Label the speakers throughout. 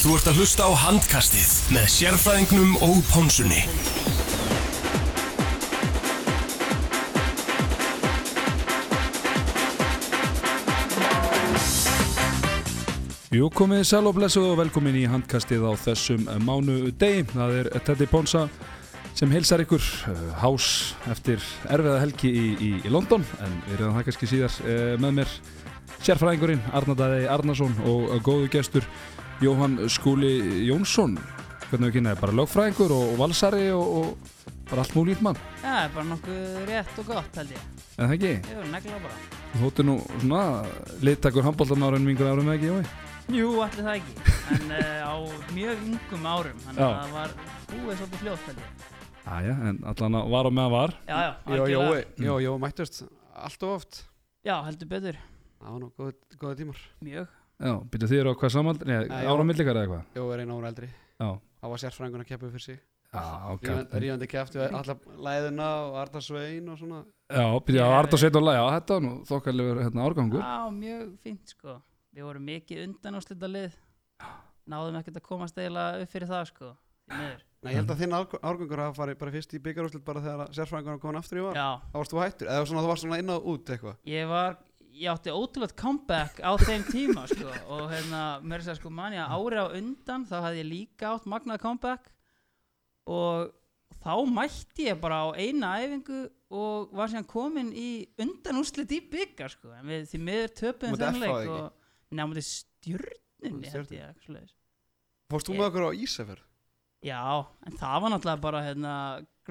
Speaker 1: Þú ert að hlusta á handkastið með sérfræðingnum og pónsunni.
Speaker 2: Jú, komið sæl og blessuð og velkomin í handkastið á þessum mánu degi. Það er Teddy Ponsa sem heilsar ykkur eh, hás eftir erfiða helgi í, í, í London en við erum það kannski síðar eh, með mér sérfræðingurinn Arnardæði Arnarsson og eh, góðu gestur Jóhann Skúli Jónsson. Hvernig við kynnaði bara lögfræðingur og, og valsari og, og bara allt múlít mann.
Speaker 3: Já, það er bara nokkuð rétt og gott held ég.
Speaker 2: En það ekki,
Speaker 3: Ég verður negla bara.
Speaker 2: þóttu nú svona litakur handbóltamára en vingur árum eða ekki, Jói?
Speaker 3: Jú, allir það ekki. En uh, á mjög yngum árum, þannig að
Speaker 2: Já.
Speaker 3: það var búið svolítið fljótt held ég.
Speaker 2: Æja, en allan að var og með að var.
Speaker 3: Já, já,
Speaker 4: Jó,
Speaker 3: algjörlega.
Speaker 4: Jói, jó, Jói mættust allt og oft
Speaker 3: Já, heldur betur.
Speaker 4: Það var nú góð, góða tímar
Speaker 3: Mjög.
Speaker 2: Já, byrja þið eru á hvað samald, neða,
Speaker 4: Nei, já.
Speaker 2: ára millikar eða eitthvað?
Speaker 4: Jói er einu ára eldri
Speaker 2: Já,
Speaker 4: Það var sérfræðingun að keppa upp fyrir sig
Speaker 2: já, ok.
Speaker 4: Rífandi- Rífandi keppt við alla læðuna og Arda Svein og svona
Speaker 2: Já, byrja að arda sveit og laga, já, þetta var nú þokkalegur hérna árgangur.
Speaker 3: Já, mjög fínt sko. Við vorum mikið undan úrslita lið. Náðum ekkert að komast eiginlega upp fyrir það sko. Því miður.
Speaker 4: Nei, ég held að þinn árg- árgangur hafa farið bara fyrst í byggarúslit bara þegar sérfræðingun var komin aftur í var
Speaker 3: Já,
Speaker 4: Það varst þú hættur, eða svona þú varst svona inn á út eitthvað
Speaker 3: ég var, ég átti ótrúlega comeback á þeim tíma sko. Og hérna, mér er sér sko manni að ári á undan, þá hafði ég líka átt magnað comeback. og þá mætti ég bara á eina æfingu og var síðan komin í undanúslit í byggar sko. en við því miður töpuðum
Speaker 4: Móti
Speaker 3: þeim
Speaker 4: FH
Speaker 3: leik
Speaker 4: ekki?
Speaker 3: og nefnum þetta stjörnunni
Speaker 4: Móti
Speaker 3: held ég, eitthvað svoleiðis.
Speaker 4: Fórst þú
Speaker 3: Ég-
Speaker 4: með okkur á Ísafjörð?
Speaker 3: já, en það var náttúrulega bara hérna,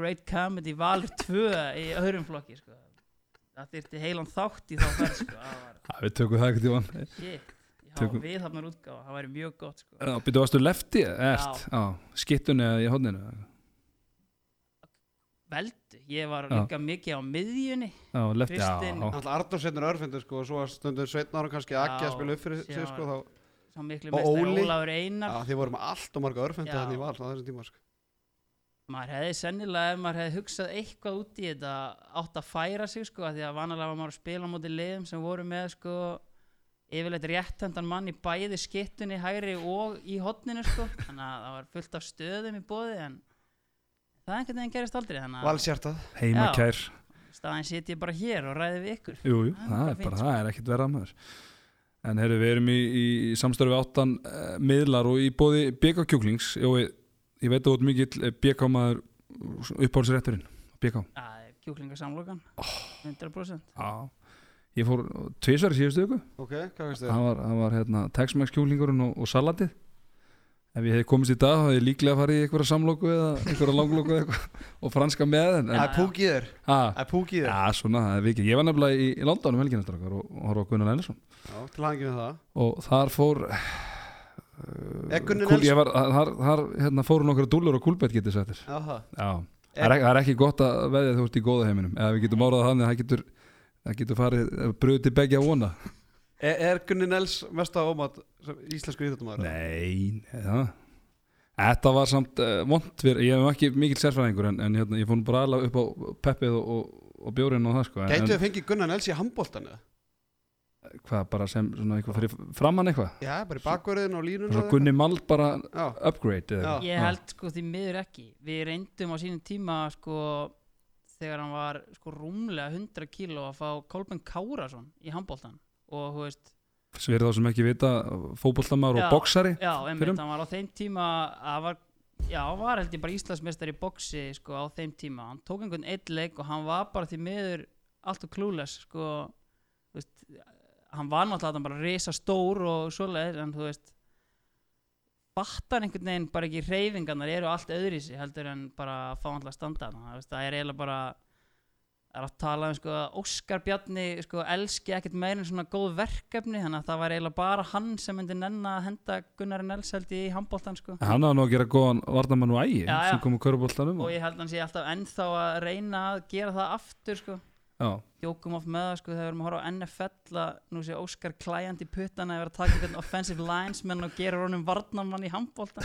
Speaker 3: Great Comedy Valur 2 í öðrum flokki sko. það þyrfti heilan þátt í þá færð sko. það var
Speaker 2: Já, við tökum það ekkert í vann.
Speaker 3: shit já,
Speaker 2: Tökum-
Speaker 3: við hafnar útgáfa, það væri mjög gott sko.
Speaker 2: Já, byrja varstu lefti, ert, já, skittunni eða í hodninu.
Speaker 3: veldu, ég var
Speaker 2: Já.
Speaker 3: líka mikið á miðjunni
Speaker 2: Já, lefti,
Speaker 3: Kristinn.
Speaker 2: já, já.
Speaker 4: Þannig að Arda Svein er örfendur sko og svo var stundum Sveinn ára kannski ekki að
Speaker 3: Já,
Speaker 4: spila upp fyrir sig
Speaker 3: síðan
Speaker 4: sko þá
Speaker 3: sá miklu
Speaker 4: Og
Speaker 3: mestar
Speaker 4: Óli.
Speaker 3: Ólafur Einar
Speaker 4: Já, Þið vorum allt og marga örfendur
Speaker 3: Já.
Speaker 4: þannig val á þessum tíma sko
Speaker 3: maður hefði sennilega ef maður hefði hugsað eitthvað út í þetta átt að færa sig sko af því að vanalega var maður að spila á móti liðum sem voru með sko yfirleitt réttendan mann í bæði skittunni hægri og í hotninu sko þannig að það var fullt af stöðum í bóði en það einhvern veginn gerist aldrei þannig að
Speaker 4: Valsjartað
Speaker 2: Heima
Speaker 3: Já.
Speaker 2: kær.
Speaker 3: staðin sit ég bara hér og ræði við ykkur
Speaker 2: Jú, jú, það
Speaker 3: Það er bara
Speaker 2: er
Speaker 3: fínt,
Speaker 2: bara,
Speaker 3: sko.
Speaker 2: það er ekkert verra maður. En heyrðu, við erum í, í samstarfi áttan uh, miðlar og í bóði BK Kjúklings. Jó, ég, ég veit að út mikill BK maður uppáhaldsrétturinn, BK.
Speaker 3: að kjúklingasamlokan 100%
Speaker 2: Já, ég fór tvisverið síðustu ykkur
Speaker 4: Ok, hvað veist þið?
Speaker 2: það var, það var hérna, Tex-Mex kjúlingurinn og, og salatið ef ég hef komist í dag þá hef ég líklega farið í einhverja samloku eða einhverja langloku eða eitthvað og franska með en,
Speaker 4: Það
Speaker 2: en
Speaker 4: er púkið þér,
Speaker 2: að,
Speaker 4: það er púkið þér
Speaker 2: já, svona, það er vikið ég var nefnilega í, í London um helginastar okkar og, og horfa á Gunnar Nelson
Speaker 4: Já, til hangi með það
Speaker 2: og þar fór
Speaker 4: Er Gunnar
Speaker 2: kúl, ég var, þar, þar hérna, fóru nokkra dúllur og kúlbett getið sættir
Speaker 4: Já, það
Speaker 2: já, það er, ekki- það er ekki gott að veðja þú ert í góða heiminum eða við getum árað þannig að það getur, það getur farið bröðið til begja vona
Speaker 4: Er, er Gunni Nels mesta ómat sem íslensku íþjóttumæður?
Speaker 2: Nei, það Þetta var samt uh, vond fyrir, ég hef ekki mikil sérfræðingur en, en hérna, ég fór nú bara aðla upp á peppið og, og, og bjórinn og það sko en,
Speaker 4: Gætu þið fengið Gunnar Nels í handbóltan eða?
Speaker 2: en hvað bara sem svona eitthvað fyrir framann eitthvað
Speaker 4: Já, bara í bakverðin og línun
Speaker 2: Svo Gunni Mald bara
Speaker 4: Já,
Speaker 2: upgrade eða
Speaker 4: Já.
Speaker 2: eitthvað.
Speaker 3: ég held sko því miður ekki við reyndum á sínum tíma sko þegar hann var sko rúmlega 100 kíló að fá Kolben Kárasson í handbóltan og þú veist
Speaker 2: Svo eru þá sem ekki vita fótboltamæður
Speaker 3: Já.
Speaker 2: og boksari
Speaker 3: já,
Speaker 2: Fyrrum?
Speaker 3: einmitt, hann var á þeim tíma að var Já, hann var held ég bara Íslandsmeistar í boksi sko á þeim tíma, hann tók einhvern eitt leik og hann var bara því miður allt og klúles sko þú veist, hann var náttúrulega þarna bara risa stór og svoleiðis en þú veist fattar einhvern veginn bara ekki reyfingarnar eru allt öðru í sig heldur en bara að fá hann til að standa þarna, þú veist, það er eiginlega bara það er að tala um sko að Óskar Bjarni sko elski ekkert meir en svona góð verkefni þannig að það var eiginlega bara hann sem myndi nenna að henda Gunnarinn Elseldi í handbóltan sko
Speaker 2: En Hann hafði nú að gera góðan vardamann og ægi
Speaker 3: Já, já.
Speaker 2: sem kom úr köruboltanum
Speaker 3: og
Speaker 2: og,
Speaker 3: ég held að hann sé alltaf ennþá að reyna að gera það aftur sko
Speaker 2: já,
Speaker 3: Jókum oft með það sko þegar við erum að horfa á NFL að nú sé Óskar klæjandi í puttana eða vera að taka einhvern offensive linesman og gera honum varnamann í handbólta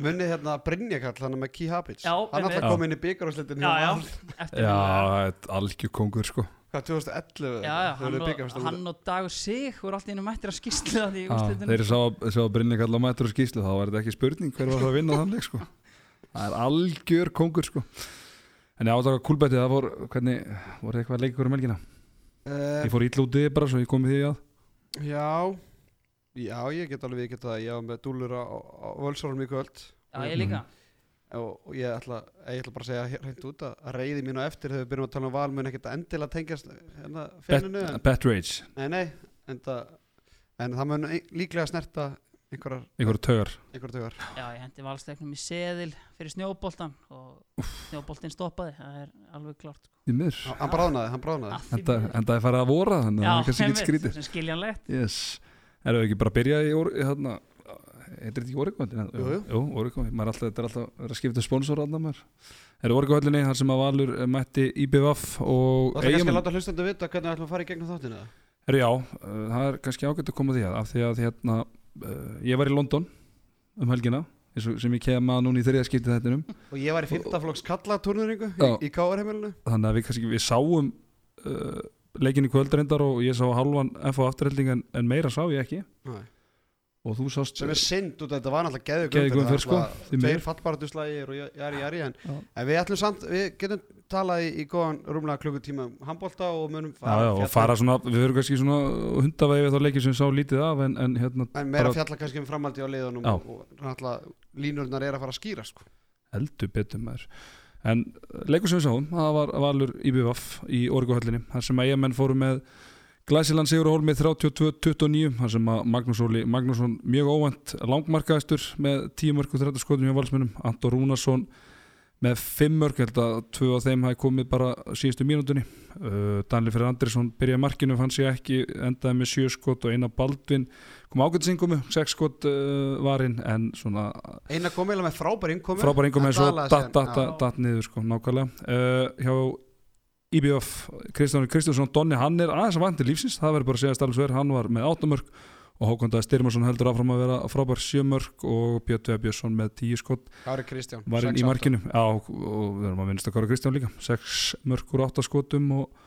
Speaker 4: Munni hérna Brynjakall, hann er með Key Habits
Speaker 3: Já,
Speaker 4: Hann
Speaker 3: einmitt.
Speaker 4: alltaf kom inn í byggarúslitin
Speaker 3: Já, já, eftir
Speaker 2: já
Speaker 3: það.
Speaker 2: algjör kongur sko
Speaker 4: Hvað, 2011?
Speaker 3: já, já, hann, og,
Speaker 4: og hann
Speaker 3: hann og Dagur Sig voru alltaf inn og mættir að skýrslu þannig í
Speaker 2: Já,
Speaker 3: úrslitunum
Speaker 2: þeir sá, sá Brynni kalla mættur og skýslu þá var þetta ekki spurning hver var það að vinna þann leik sko. það er algjör kongur sko. en ég átaka kúlbætti það voru, hvernig, voru eitthvað leikur um helgina ég
Speaker 4: uh,
Speaker 2: fór ítla úti bara svo ég komið því að
Speaker 4: Já Já, ég get alveg viðkjönt það Ég var með dúlur á, á völsálum í kvöld
Speaker 3: já, ég líka
Speaker 4: og, og ég, ætla, ég ætla bara að segja hreint út að að reiði mín á eftir þegar við byrjum að tala um val mun ekkert endilega tengjast hérna fjöninu en,
Speaker 2: Bet, bet Rage,
Speaker 4: Nei, nei, en það, en það mun ein- líklega snerta einhverjar,
Speaker 2: einhverju taugar
Speaker 4: einhverjar dögar
Speaker 3: já, ég hendi valsteknum í seðil fyrir snjóboltan og snjóboltin stoppaði það er alveg klart sko.
Speaker 2: í miður
Speaker 4: Hann hann bráðnaði, hann bráðnaði
Speaker 3: Að því
Speaker 2: þetta
Speaker 3: miður.
Speaker 2: það er farið að vora þannig að það er kannski ekki
Speaker 3: einmitt,
Speaker 2: skrítið
Speaker 3: sem skiljanlegt
Speaker 2: yes. erum við ekki bara að byrja í or, hérna, heitir þetta ekki Orikóhöllin?
Speaker 4: Jú, jú.
Speaker 2: jú Orikó, maður er alltaf, þetta er alltaf að vera að skipta um sponsor alltaf maður er Orikóhöllinni þar sem að Valur eh, mætti IBVF
Speaker 4: Það
Speaker 2: og
Speaker 4: ætla kannski að
Speaker 2: Eyjamenn
Speaker 4: láta hlustandi vita hvernig við ætlum að fara í gegnum þáttina
Speaker 2: Herru, Já, eh, það er kannski ágætt að koma því að af því að hérna, eh, ég var í London um helgina eins og- sem ég kem að núna í þriða skipti þettinum
Speaker 4: Og ég var í fymtaflokks kallatúrnuringu í,
Speaker 2: Já.
Speaker 4: í KR-heimilinu
Speaker 2: þannig að við kannski við sáum uh, leikin í kvöldreindar og ég sá halvan FH afturhelding en, en meira sá ég ekki og þú sást
Speaker 4: sem er synd út af þetta var náttúrulega geðu
Speaker 2: Geðveik umferð, sko, því miður.
Speaker 4: Tveir fallbaratuslægir og jari jari en,
Speaker 2: Já.
Speaker 4: en við ætlum samt, við getum talað í, í góðan rúmlega klukkutíma um handbólta og munum
Speaker 2: Já, já, og fara svona, við höfum kannski svona hundavæði við þá leikir sem við sá lítið af en, en hérna,
Speaker 4: En meira
Speaker 2: bara-
Speaker 4: fjalla kannski um framhaldi á leiðunum
Speaker 2: Já.
Speaker 4: og náttúrulega línurnar er að fara að skýra sko.
Speaker 2: heldur betur maður en eh, leikur sem við sáum, það var Valur IBVF í Orguhöllinni þar sem að EMN fóru með Glæsiland Sigur og Holmi 32-29 þar sem að Magnús Óli Magnússon mjög óvænt langmarkaðistur með 10 mörg og 30 skotum hjá valsmennum Anton Rúnarsson með 5 mörg held að tvö af þeim hafi komið bara á síðustu mínútunni uh, Danli Fyrir Andrisson byrjaði markinu fann sig ekki, endaði með 7 skot og eina Baldvin kom ágætsingumu 6 skot uh, varinn en svona
Speaker 4: Einar kom eiginlega með frábær innkomi
Speaker 2: frábær engum eins og
Speaker 4: dalaði
Speaker 2: datt
Speaker 4: síðan,
Speaker 2: dat,
Speaker 4: já.
Speaker 2: dat, dat niður sko, nákvæmlega uh, hjá IBF Kristján Kristjánsson, Donni, hann er aðeins að vanti lífsins, það verður bara að segja stærlis verð, hann var með áttamörk og Hákon Dæði Styrmarsson heldur áfram að vera frábær sjömörk og Björn Tvei Björnsson með tíu skott
Speaker 4: Kári Kristján
Speaker 2: var inn í
Speaker 4: 6-8.
Speaker 2: markinu Já, og og við erum að minnast að Kára Kristján líka sex mörg úr átta skotum og,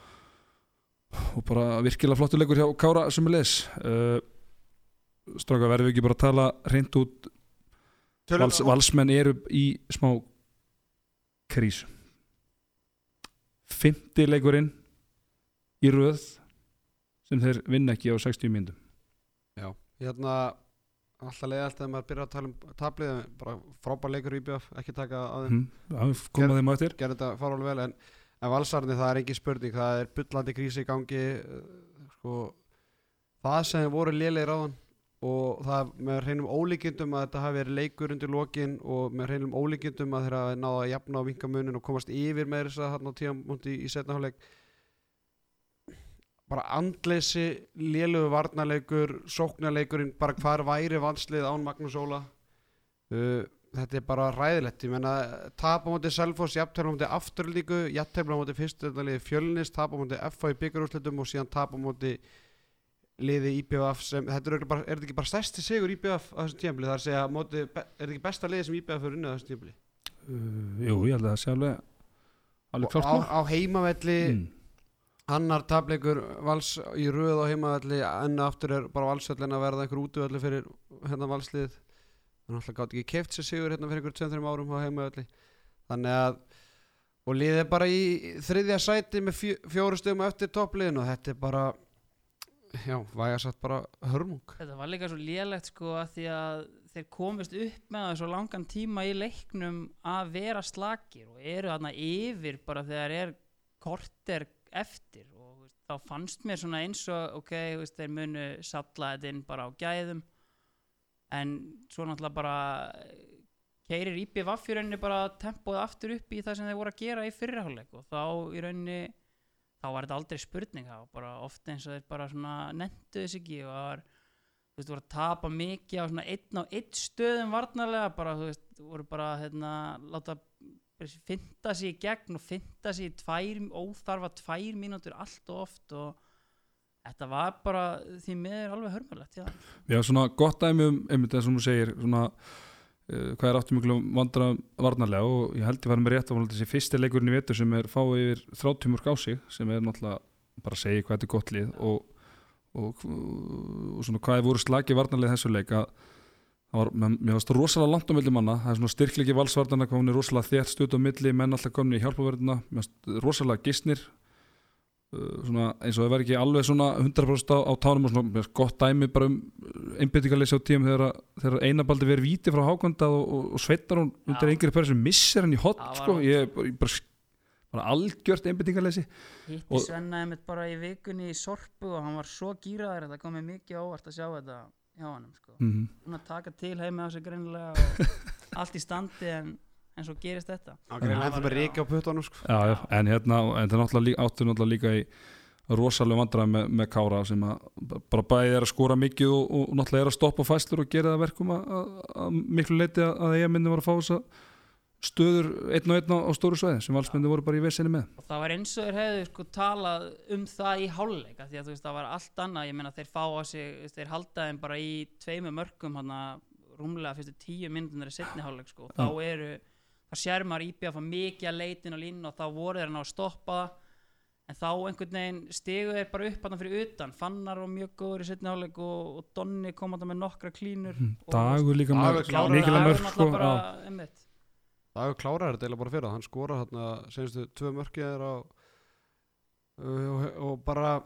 Speaker 2: og bara virkilega flottur leikur hjá Kára sem er leis uh, stráka verðum við ekki bara að tala reynd út,
Speaker 4: Tölum- um
Speaker 2: vals, valsmenn eru í smá krís fymti leikurinn í röð sem þeir vinna ekki á 60 mínútum
Speaker 4: hérna, Alltaf leiðalt þegar maður byrjar að tala um tablið en bara frábær leikur í BF, ekki taka á þeim
Speaker 2: hm, já, við komum að þeim á eftir
Speaker 4: gerði þetta farálega vel en, en valsarni það er ekki spurning það er bullandi krísi í gangi eh, sko, það sem voru lélegir á hann og það er með hreinum ólíkindum að þetta hafi verið leikur undir lokin og með hreinum ólíkindum að þeirra hafi náða að jafna á vinkamunin og komast yfir með þess að þarna á tíðamúndi í setnaháleik bara andleysi lélegu varnarleikur sóknarleikurinn, bara hvar væri vanslið án Magnús Óla uh, þetta er bara ræðilegt ég menna tap á móti Selfoss, jafntefla á móti afturlíku, jafntefla á móti fyrstendaliði fjölnis, tap á móti FH í byggarúslitum og síðan tap á móti liði IPF sem, þetta er, örugglega bara, er þetta ekki bara stærsti sigur IPF á þessu tímpli það er að segja, á móti, be- er þetta ekki besta liði sem IPF er unnið á þessu tímpli
Speaker 2: uh, jú, ég held að það sé alveg alveg
Speaker 4: og
Speaker 2: klart
Speaker 4: á,
Speaker 2: mál.
Speaker 4: á heimavelli
Speaker 2: Mm.
Speaker 4: annar tapleikur vals í röð á heimavelli enn og aftur er bara valsvöllin að verða einhver útvöldi fyrir hérna valslið þannig alltaf gátt ekki keft sér sigur hérna fyrir einhver 2-3 árum á heimavelli þannig að og liðið er bara í þriðja sæti með fjö, fjóru stöðum eftir toppliðin og þetta er bara já, væga satt bara hörmung
Speaker 3: Þetta var líka svo lélegt sko að því að þeir komist upp með það svo langan tíma í leiknum að vera slakir og eru þarna yfir bara þegar er korter eftir og þú veist, þá fannst mér svona eins og ok, þú veist, þeir munu salla þetta inn bara á gæðum en svo náttúrulega bara keirir IPVF í rauninni bara tempóð aftur upp í það sem þeir voru að gera í fyrirháleik og þá í rauninni þá var þetta aldrei spurning þá bara oft eins og þeir bara svona nendu þess ekki og það var þú veist, voru að tapa mikið á svona einn á einn stöðum varnarlega bara, þú veist, voru bara, hérna, láta finta sig í gegn og finta sig í tvær, óþarfa tvær mínútur allt og oft og þetta var bara því miður alveg hörmulegt, já.
Speaker 2: Já, svona gott dæmi um einmitt það sem þú segir svona, uh, hvað er áttu miklu vandra varnarlega og ég held ég var með rétt að vonandi þessi fyrsti leikurinn í vetur sem er fáið yfir 30 mörg á sig sem er náttúrulega bara segi hvað þetta er gott lið og, og, og svona hvað þið voru slagi varnarlega þessu leik að það var, men- mér varst rosalega langt á milli manna það er svona styrklegi valsvarnarna hvað hún er rosalega þétt stutt á milli, menn alltaf komin í hjálpaverðina mér varst rosalega gistnir uh, svona, eins og það væri ekki alveg svona 100% á, á tánum og svona mér finnst gott dæmi bara um einbyttingarleysi á tíum þegar, að- þegar einabaldi verið víti frá hákvöndað og, og, og sveitar hún undir
Speaker 3: Já.
Speaker 2: einhverju pæri sem missir hann í hot
Speaker 3: Já, var
Speaker 2: sko.
Speaker 3: vont.
Speaker 2: ég, bara- ég bara, bara algjört einbyttingarleysi
Speaker 3: hitti
Speaker 2: Og-
Speaker 3: Svenna einmitt bara í vikunni í sorpu og hann var svo gýraður að það komið mikið á óvart að sjá þetta hjá hann sko.
Speaker 2: mm -hmm.
Speaker 3: hann að taka til heima á sig greinilega og allt í standi en, en svo gerist þetta
Speaker 4: Það er ennþá bara
Speaker 3: Já.
Speaker 4: reykja á puttunum sko.
Speaker 2: já, já, en hérna en það náttúrulega líka, áttu náttúrulega líka í rosalega vandræð með, með Kára sem að bara bæði er að skora mikið og, og náttúrulega er að stoppa fæslur og gera það að verkum að, að, að miklu leiti að, að ég minni var að fá þess að stöður einn og einn á, á stóru svæði sem valsmyndi voru bara í vesinni með
Speaker 3: og það var eins og þeir hefðu sko talað um það í háluleika því að þú veist það var allt annað ég meina þeir fá á sig, þú veist, þeir halda þeim bara í tveimu mörgum hann að rúmlega fyrstu tíu minnunir í setni háluleik sko og þá eru, þá sér maður íbjöð að fá mikið að leitin og línu og þá voru þeir að ná að stoppa það. en þá einhvern veginn stegu þeir bara upp hann fyrir utan, Fannar var mjög góður í setni háluleik og, og Donni kom hann með nokkra klínur og
Speaker 2: Mhm. dagur líka
Speaker 4: Dagur
Speaker 2: með
Speaker 4: klárar-
Speaker 2: mikil
Speaker 4: Dagur
Speaker 2: að mörg sko,
Speaker 3: bara,
Speaker 2: já.
Speaker 3: einmitt,
Speaker 4: Það hefur klárað þetta eiginlega bara fyrir það. Hann skora hérna, senstu, tvö mörkið er á og, og bara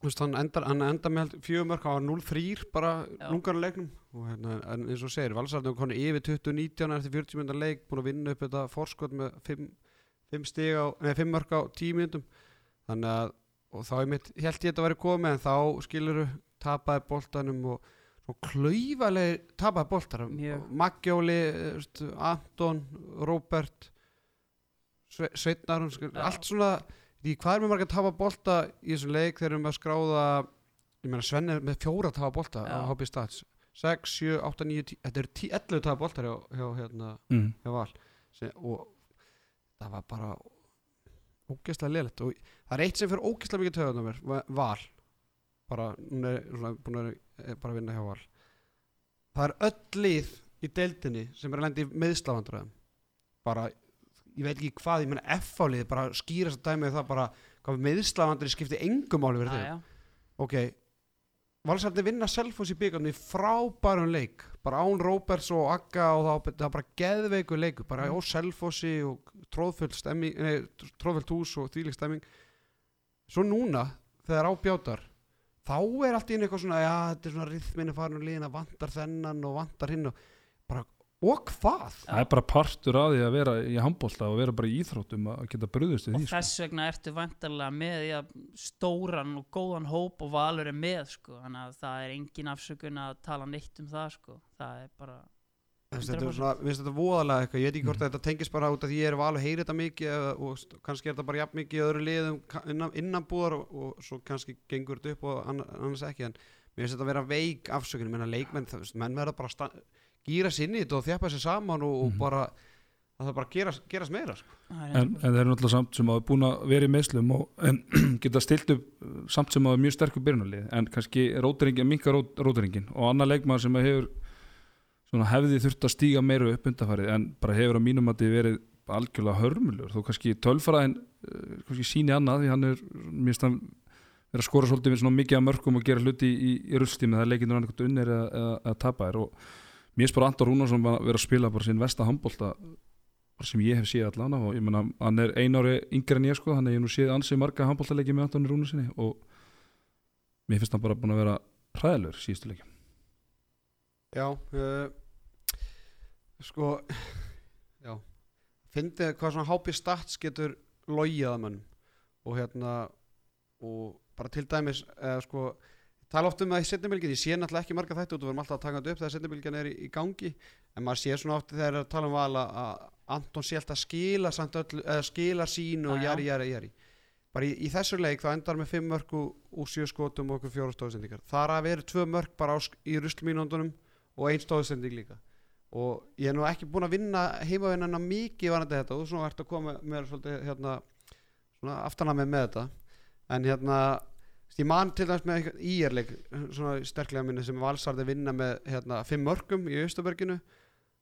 Speaker 4: þú veist, hann endar, hann endar með held- fjögur mörk, hann var 0-3 bara
Speaker 3: Já.
Speaker 4: lungar leiknum og hérna, en eins og þú segir, Valsarðin er konið yfir 20-19 eftir 40 minnda leik, búin að vinna upp þetta forskot með 5, 5 stig á, nei, 5 mörk á 10 minnum þannig að, og þá einmitt held ég þetta væri komið, en þá skiluru tapaði boltanum og svo klaufaleg tapaði boltanum
Speaker 3: Mjög.
Speaker 4: Maggjóli, þú veist, Anton Róbert Sve, Sveitnar,
Speaker 3: Já.
Speaker 4: allt svona Því hvað er með marga að tafa bolta í þessum leik þegar við erum að skráða ég meina Svenni er með fjóra að tafa bolta
Speaker 3: Já.
Speaker 4: á HB Stats 6, 7, 8, 9, 10 Þetta eru 10 11 tafa boltar hjá, hjá, hérna,
Speaker 2: Mm.
Speaker 4: hjá Val Sem, og það var bara ógeðslega leilegt og það er eitt sem fyrir ógeðslega mikið töðan á mér Va- Val bara, hún er svona búin að er bara að vinna hjá Val það er öll lið í deildinni sem er að lenda í meðslavandröðum bara, ég veit ekki hvað ég meina F-álið, bara skýrast að dæmið það bara, hvað meðslavandri skipti engum máli verið
Speaker 3: já,
Speaker 4: þeim,
Speaker 3: já.
Speaker 4: ok Valsarni vinna Selfoss í byggarni frábærum leik, bara án Róberts og Akka og það, það var bara geðveiku leiku, bara á Selfossi og tróðfull stemming, nei, tróðfull tús og þvílik stemming svo núna, þegar á bjátar þá er allt í einu eitthvað svona já, þetta er svona rithminu farin og lína, vantar þennan og vantar hinn og bara, og hvað?
Speaker 2: það er bara partur að því að vera í handbólta og vera bara í íþróttum að geta bröðust við
Speaker 3: og
Speaker 2: því sko.
Speaker 3: þess vegna ertu vantarlega með ja, stóran og góðan hóp og valur er með sko þannig að það er engin afsökun að tala neitt um það sko það er bara
Speaker 4: Þú veist, Þetta er
Speaker 3: 100%.
Speaker 4: svona, mér finnst þetta voðalega eitthvað, ég veit ekki hvort að þetta tengist bara út af því ég er val að heyra þetta mikið eða, og st- kannski er þetta bara jafn mikið í öðru liðum ka- innan, innanbúðar og, og svo kannski gengur þetta upp og anna- annars ekki en mér finnst þetta að vera veik afsökun, menna leikmenn, það, veist, menn verða bara að sta- gíra sinni þetta og þjappa sér saman og, og bara að það bara gerast, gerast meira sko.
Speaker 3: það er
Speaker 2: en, en það er náttúrulega samt sem að búin að vera í meðslum og en, geta stilt upp uh, samt sem að mjög sterkur byrjunarlið en kannski rótaringin, minka rót, rótaringin og annar leikmaður sem að hefur svona hefði þurft að stíga meira upp undanfarið en bara hefur á mínum að þið verið algjörlega hörmulur þó kannski tölfaraðin uh, kannski síni annað því hann er mér stann er að skora svolítið með svona mikið að mörgum og gera hluti í, í rullstími það er leikindur annarkot unnir eða, eða, eða tapa þér og mér spara Andor Rúnarsson bara vera að spila bara sín vesta handbólta sem ég hef séð allan og ég meina hann er einu ári yngri en ég sko þannig að ég hef nú séð ansið marga handbóltaleiki með Andor Rúnarssoni og mér finnst hann bara búin að vera hræðilegur síðustu leiki
Speaker 4: Já, uh, sko, já, fyndið hvað svona hápi stats getur logið að mann og hérna, og bara til dæmis, eða sko, ég tala oft um það í setnibylgin, ég sé náttúrulega ekki marga þætti út og við erum alltaf að taka þetta upp þegar setnibylgin er í, í gangi, en maður sé svona oft þegar er að tala um val að að Anton sé alltaf að skila, samt öll, eða skila sín og
Speaker 3: Já, já.
Speaker 4: jari, jari, jari. Bara í, í þessu leik þá endar hann með fimm mörg úr sjö skotum og okkur fjóra stóðsendingar. Það er að vera tvö mörg bara á, sk- í ruslmínundunum og einn stóðsending líka og ég er nú ekki búin að vinna heimavinnana mikið varandi þetta og svona ert að koma með svolítið hérna svona aftana með með þetta en hérna ég man til dæmis með íjarleik svona sterklega minni sem valsarði vinna með hérna fimm mörgum í Östuberginu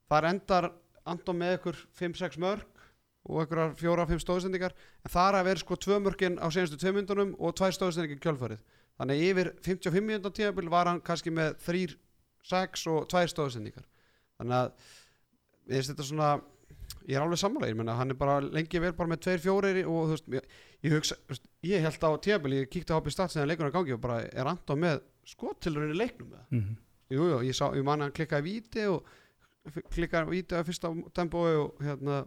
Speaker 4: þar endar Anton með ykkur 5-6 mörg og einhverjar fjóra, fimm stóðsendingar en þar að vera sko tvö mörkin á senstu tveimundunum og tvær stóðsendingar kjölfarið þannig yfir 55 minúndan tíðabil var hann kannski með þrýr, sex og tvær stóðsendingar þannig að ég veist þetta svona ég er alveg sammála, ég meina hann er bara lengi vel bara með tveir fjórir og þú veist ég, ég, hugsa, þú veist, ég held á tíðabil, ég kíkti á hopi statt sem leikurinn að gangi og bara er andá með skotilurinn í leiknum með
Speaker 2: mm -hmm.
Speaker 4: Jú, jú, ég, sá, ég man að hann klikkaði víti og f- klikkaði víti að fyrsta tempói og hérna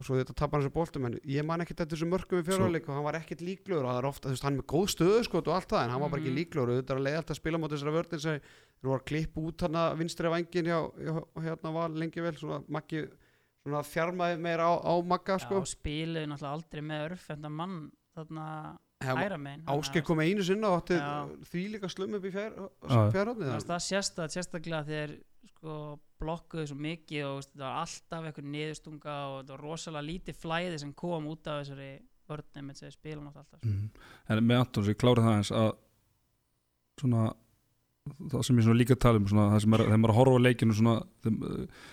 Speaker 4: og svo þetta tapar hans að boltum en ég man ekkert eftir þessum mörgum í fjóraðleik og hann var ekkert líklegur og það er ofta, þú veist, hann er með góð stöðu sko og allt það en hann var bara ekki
Speaker 3: Mhm.
Speaker 4: líklegur og þetta er að leiða alltaf að spila á móti þessara vörðin sem þú var að klippa út hann að vinstri vangin hjá, hjá, hérna var lengi vel svona Maggi svona þjarmaði meira á, á Magga sko
Speaker 3: Já, spiluðu náttúrulega aldrei með örfendan mann þarna
Speaker 4: Hef-
Speaker 3: hæra megin þannig að-
Speaker 4: Ásgeir kom einu sinna og átti
Speaker 3: Já.
Speaker 4: því líka slum upp í
Speaker 2: Já.
Speaker 4: fjárhóðni
Speaker 3: Þú veist, það sést það sérstaklega þegar sko, blokkuðu svo mikið og þú veist, þetta var alltaf eitthvað niðurstunga og þetta var rosalega lítið flæði sem kom út af þessari vörnum sem við spilum átt alltaf sko.
Speaker 2: en með Anton sem ég klára það eins að svona það sem ég svona líka tala um svona, það sem er, þegar maður er að horfa á leikinu svona, þeim, eh,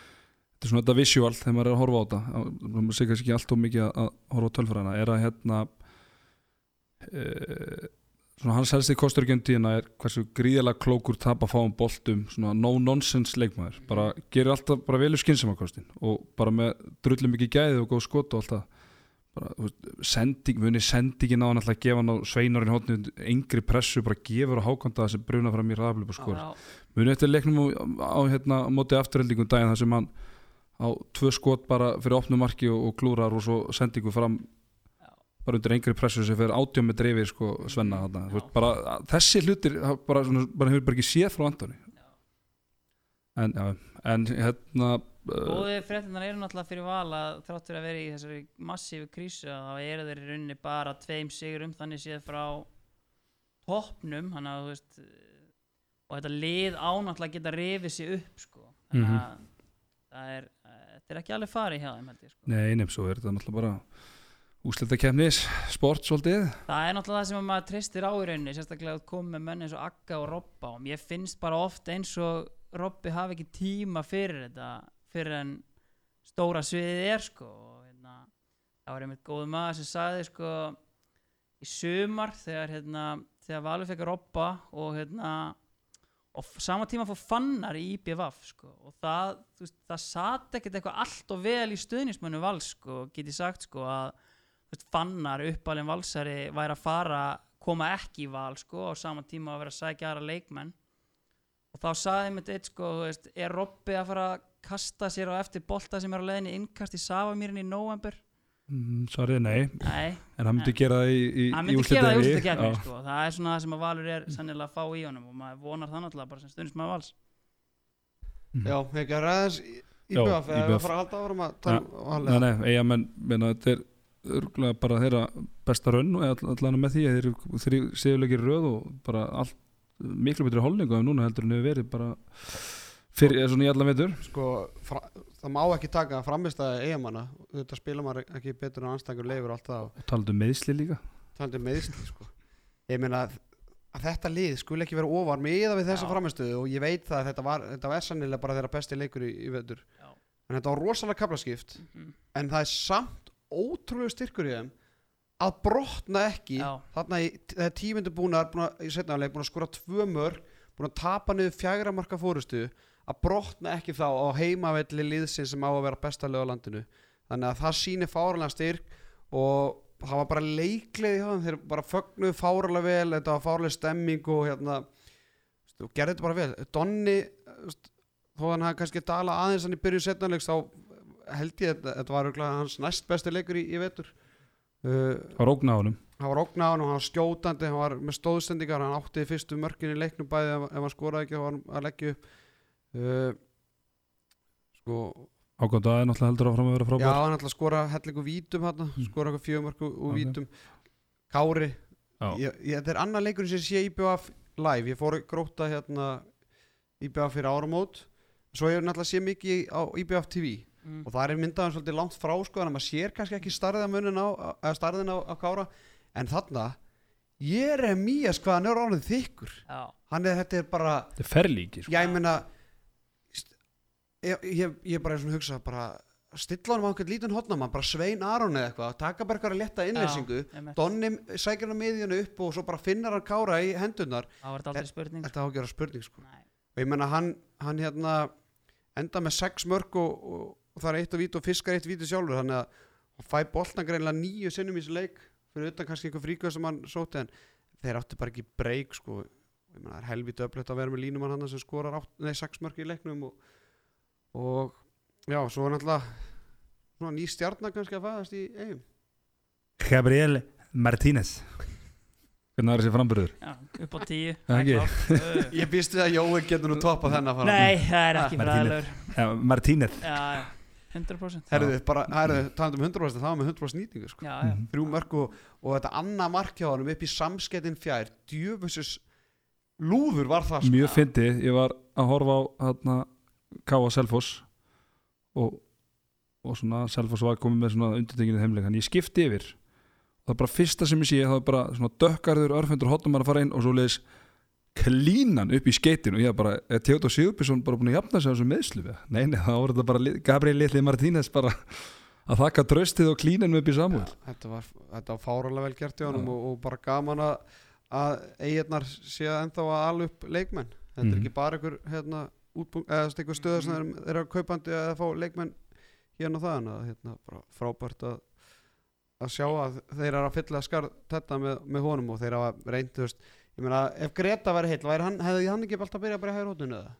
Speaker 2: þetta er svona þetta visual þegar maður er að horfa á þetta að- maður sé kannski ekki allt of mikið að- að horfa á tölfræðina er að hérna e, svona hans helsti kostur ekki um tíðina er hversu gríðalega klókur tap að fáum boltum svona no-nonsense leikmaður bara gerir alltaf bara velu skynsamankostin og bara með drullum mikið gæði og góð skot og allt það bara, þú veist, sending, muni sendingin á hann alltaf að gefa hann á sveinarinn hóttinu yngri pressu, bara gefur á hákanda það sem bruna fram í raðblöp og skor
Speaker 3: Já,
Speaker 2: muni eftir leiknum á, á hérna, á móti afturheldingum daginn þar sem hann á tvö skot bara fyrir opnu marki og, og klúrar og svo sendingu fram
Speaker 3: Já.
Speaker 2: bara undir engri pressu sem fyrir átjum með dreifir sko Svenna þarna Þú veist,
Speaker 3: Já.
Speaker 2: bara, að- þessi hlutir það bara, svona, bara hefur bara ekki séð frá Antoni en, já, en hérna uh,
Speaker 3: Góðu fréttinnar eru náttúrulega fyrir val að þrátt fyrir að vera í þessari massífu krísu að þá eru þeir í rauninni bara tveim sigurum þannig séð frá toppnum þannig að þú veist og þetta lið á náttúrulega að geta rifið sér upp sko. þannig að það er, eh, þetta er ekki alveg farið hjá þeim held ég sko.
Speaker 2: nei, nefn svo er þetta náttúrulega bara úslita kemnis, sport svolítið
Speaker 3: Það er náttúrulega það sem að maður treystir á í rauninni sérstaklega að koma með menn eins og Agga og Robba og mér finnst bara oft eins og Robbi hafi ekki tíma fyrir þetta fyrir en stóra sviðið er sko og hérna, það var einmitt góð maður sem sagði sko í sumar þegar hérna þegar Valur fekk Robba og hérna og f- sama tíma fór fannar í IBVF sko og það, þú veist, það sat ekkert eitthvað allt og vel í stuðnismönu vals sko, get ég sagt sko að þú veist, fannar uppalinn valsari væri að fara koma ekki í val sko á sama tíma að vera að sækja aðra leikmenn og þá saði mitt eitt sko þú veist, er Robbi að fara að kasta sér á eftir bolta sem er á leiðinni innkast í Savamýrin í november
Speaker 2: Mm, Svarið er nei,
Speaker 3: nei,
Speaker 2: en hann myndi gera það í, í,
Speaker 3: hann
Speaker 2: í
Speaker 3: myndi gera það í úrstu
Speaker 2: úrslitakeppni.
Speaker 3: kefni sko. það er svona það sem að Valur er sannilega að fá í honum og maður vonar það náttúrulega bara sem stundist maður vals
Speaker 4: Já, ekki að ræðast
Speaker 2: Já,
Speaker 4: IBF eða
Speaker 2: IBF.
Speaker 4: að fara að halda áfram að tala um
Speaker 2: Já.
Speaker 4: Valið?
Speaker 2: Nei, nei, eiga menn, menna, þetta er örgulega bara þeirra besta raun og all- allan með því að þeir eru þrjú séulegir röð og bara allt miklu betri holningu af núna heldur en hefur verið bara fyrir, eða svona í allan veitur
Speaker 4: sko, fra, það má ekki taka framistæði eigamanna, þetta spila maður ekki betur en anstækur leifur og allt það og
Speaker 2: og talaðu um meðsli líka
Speaker 4: talandi um meðsli sko. ég meina að, að þetta lið skulle ekki vera ofar meða við þessa
Speaker 3: Já.
Speaker 4: framistöðu og ég veit það að þetta var, þetta var sannilega bara þeirra besti leikur í, í vetur
Speaker 3: Já.
Speaker 4: en þetta var rosalega kaplaskipt
Speaker 3: Mhm.
Speaker 4: en það er samt ótrúlega styrkur í þeim að brotna ekki
Speaker 3: Já.
Speaker 4: þarna í, það er tímundu búnar búna, í setnaðarleik búin að skora tvö mörg búin að tapa niður fjagra marka fórustu að brotna ekki þá á heimavelli liðsins sem á að vera besta lög á landinu þannig að það sýnir fáralega styrk og það var bara leikleið hjá þeim, þeir bara fögnuðu fáralega vel þetta var fáralega stemming og hérna þú veist, og gerði þetta bara vel Donni, þú veist, þó hann hafði kannski dala aðeins hann í byrjun setnaðarleiks þá held ég að þetta- þetta var örugglega hans næst besti leikur í, í vetur uh,
Speaker 2: á rókna ánum
Speaker 4: hann var ógnaðan og hann var skjótandi hann var með stóðsendingar, hann átti fyrstu mörkin í leiknum bæði ef, ef hann skoraði ekki þá var hann að leggja upp uh, sko
Speaker 2: ákvæmda er náttúrulega heldur áfram að vera
Speaker 4: já,
Speaker 2: frábær
Speaker 4: hann ætla að skora hellingu vítum hann, skora eitthvað fjögur mörku úr
Speaker 2: Hmm. Ok.
Speaker 4: vítum Kári,
Speaker 2: Já.
Speaker 4: ég, ég, þetta er annar leikurinn sem sé IBF live, ég fór í gróta hérna IBF fyrir áramót svo ég náttúrulega sé mikið á IBF TV
Speaker 3: mm.
Speaker 4: og það er myndaðan svolítið langt frá sko þannig að maður sér kannski ekki starðamunin á, á starðin á, á Kára en þarna ég er mýjas hvað hann er orðin þykkur
Speaker 3: Já,
Speaker 4: hann er þetta er bara,
Speaker 2: þetta er ferlíki sko.
Speaker 4: já, ég meina st- ég, ég, ég bara er svona að hugsa bara stilla honum á einhvern lítinn hotnamann bara Svein Aron eða eitthvað, taka bara eitthvað að letta innlýsingu
Speaker 3: einmitt.
Speaker 4: Donni sækir hann miðjunu upp og svo bara finnar hann Kára í hendurnar
Speaker 3: Það var þetta aldrei spurning
Speaker 4: Þetta á að gera spurning sko
Speaker 3: Nei.
Speaker 4: og ég menna hann, hann hérna enda með sex mörg og, og, og það er eitt og víti og fiskar eitt víti sjálfur þannig að hann fæ boltan greinlega nýju sinnum í þessu leik fyrir utan kannski einhver fríkvöð sem hann sóti en þeir áttu bara ekki breyk sko ég menna það er helvítið öflögt að vera með línumann hann sem skorar átt, nei, sex mörg í leiknum og, og já, svo er náttúrulega svona ný stjarnar kannski að fæðast í eigum
Speaker 5: Gabriel Martínez
Speaker 2: Hvernig er þessi framburður?
Speaker 3: Já, upp á tíu
Speaker 2: Það ekki.
Speaker 3: Það er klárt.
Speaker 4: Ég býst við að Jói getur nú toppa þennan fara
Speaker 3: Nei, það er ekki
Speaker 5: Ah,
Speaker 3: fræðilegur
Speaker 5: ja, Martínez
Speaker 3: Já, já, 100%
Speaker 4: Herðu, bara, herðu, talandi um 100% það var með 100% nýtingu sko
Speaker 3: Já, já,
Speaker 2: Mhm.
Speaker 4: þrjú mörg og, og þetta annað mark hjá honum upp í samskettin fjær djöfusis lúður var það sko.
Speaker 2: Mjög fyndi, ég var að horfa á hérna, Káa Selfoss og, og svona Selfoss var komið með svona undirtenginu heimleik en ég skipti yfir það er bara fyrsta sem ég sé, það er bara svona dökkarður örfendur hotnum að fara inn og svo leiðis klínan upp í skeitin og ég bara, er Theodor Sigurbjörnsson bara búin að jafna sig á þessu meðslu við? Nei, nei, það voru þetta bara Li- Gabriel Litli Martínez bara að þakka tröstið og klínan upp í samúl
Speaker 4: Já, þetta var, þetta var fáralega vel gert hjá honum og, og bara gaman að, að eiginnar séu ennþá að ala upp leikmenn þetta er
Speaker 5: Mhm.
Speaker 4: ekki bara einhver hérna, útbúng, eða þessi einhver stöð sem þeir þeir eru að kaupandi eða að fá leikmenn hérna og það en að hérna, bara frábært að að sjá að þeir eru að fylla skarð þetta með, með honum og þeir hafa reynd þú veist, ég meina ef Greta væri heill væri hann, hefði hann ekki alltaf byrjað bara í hægur hótinu eða?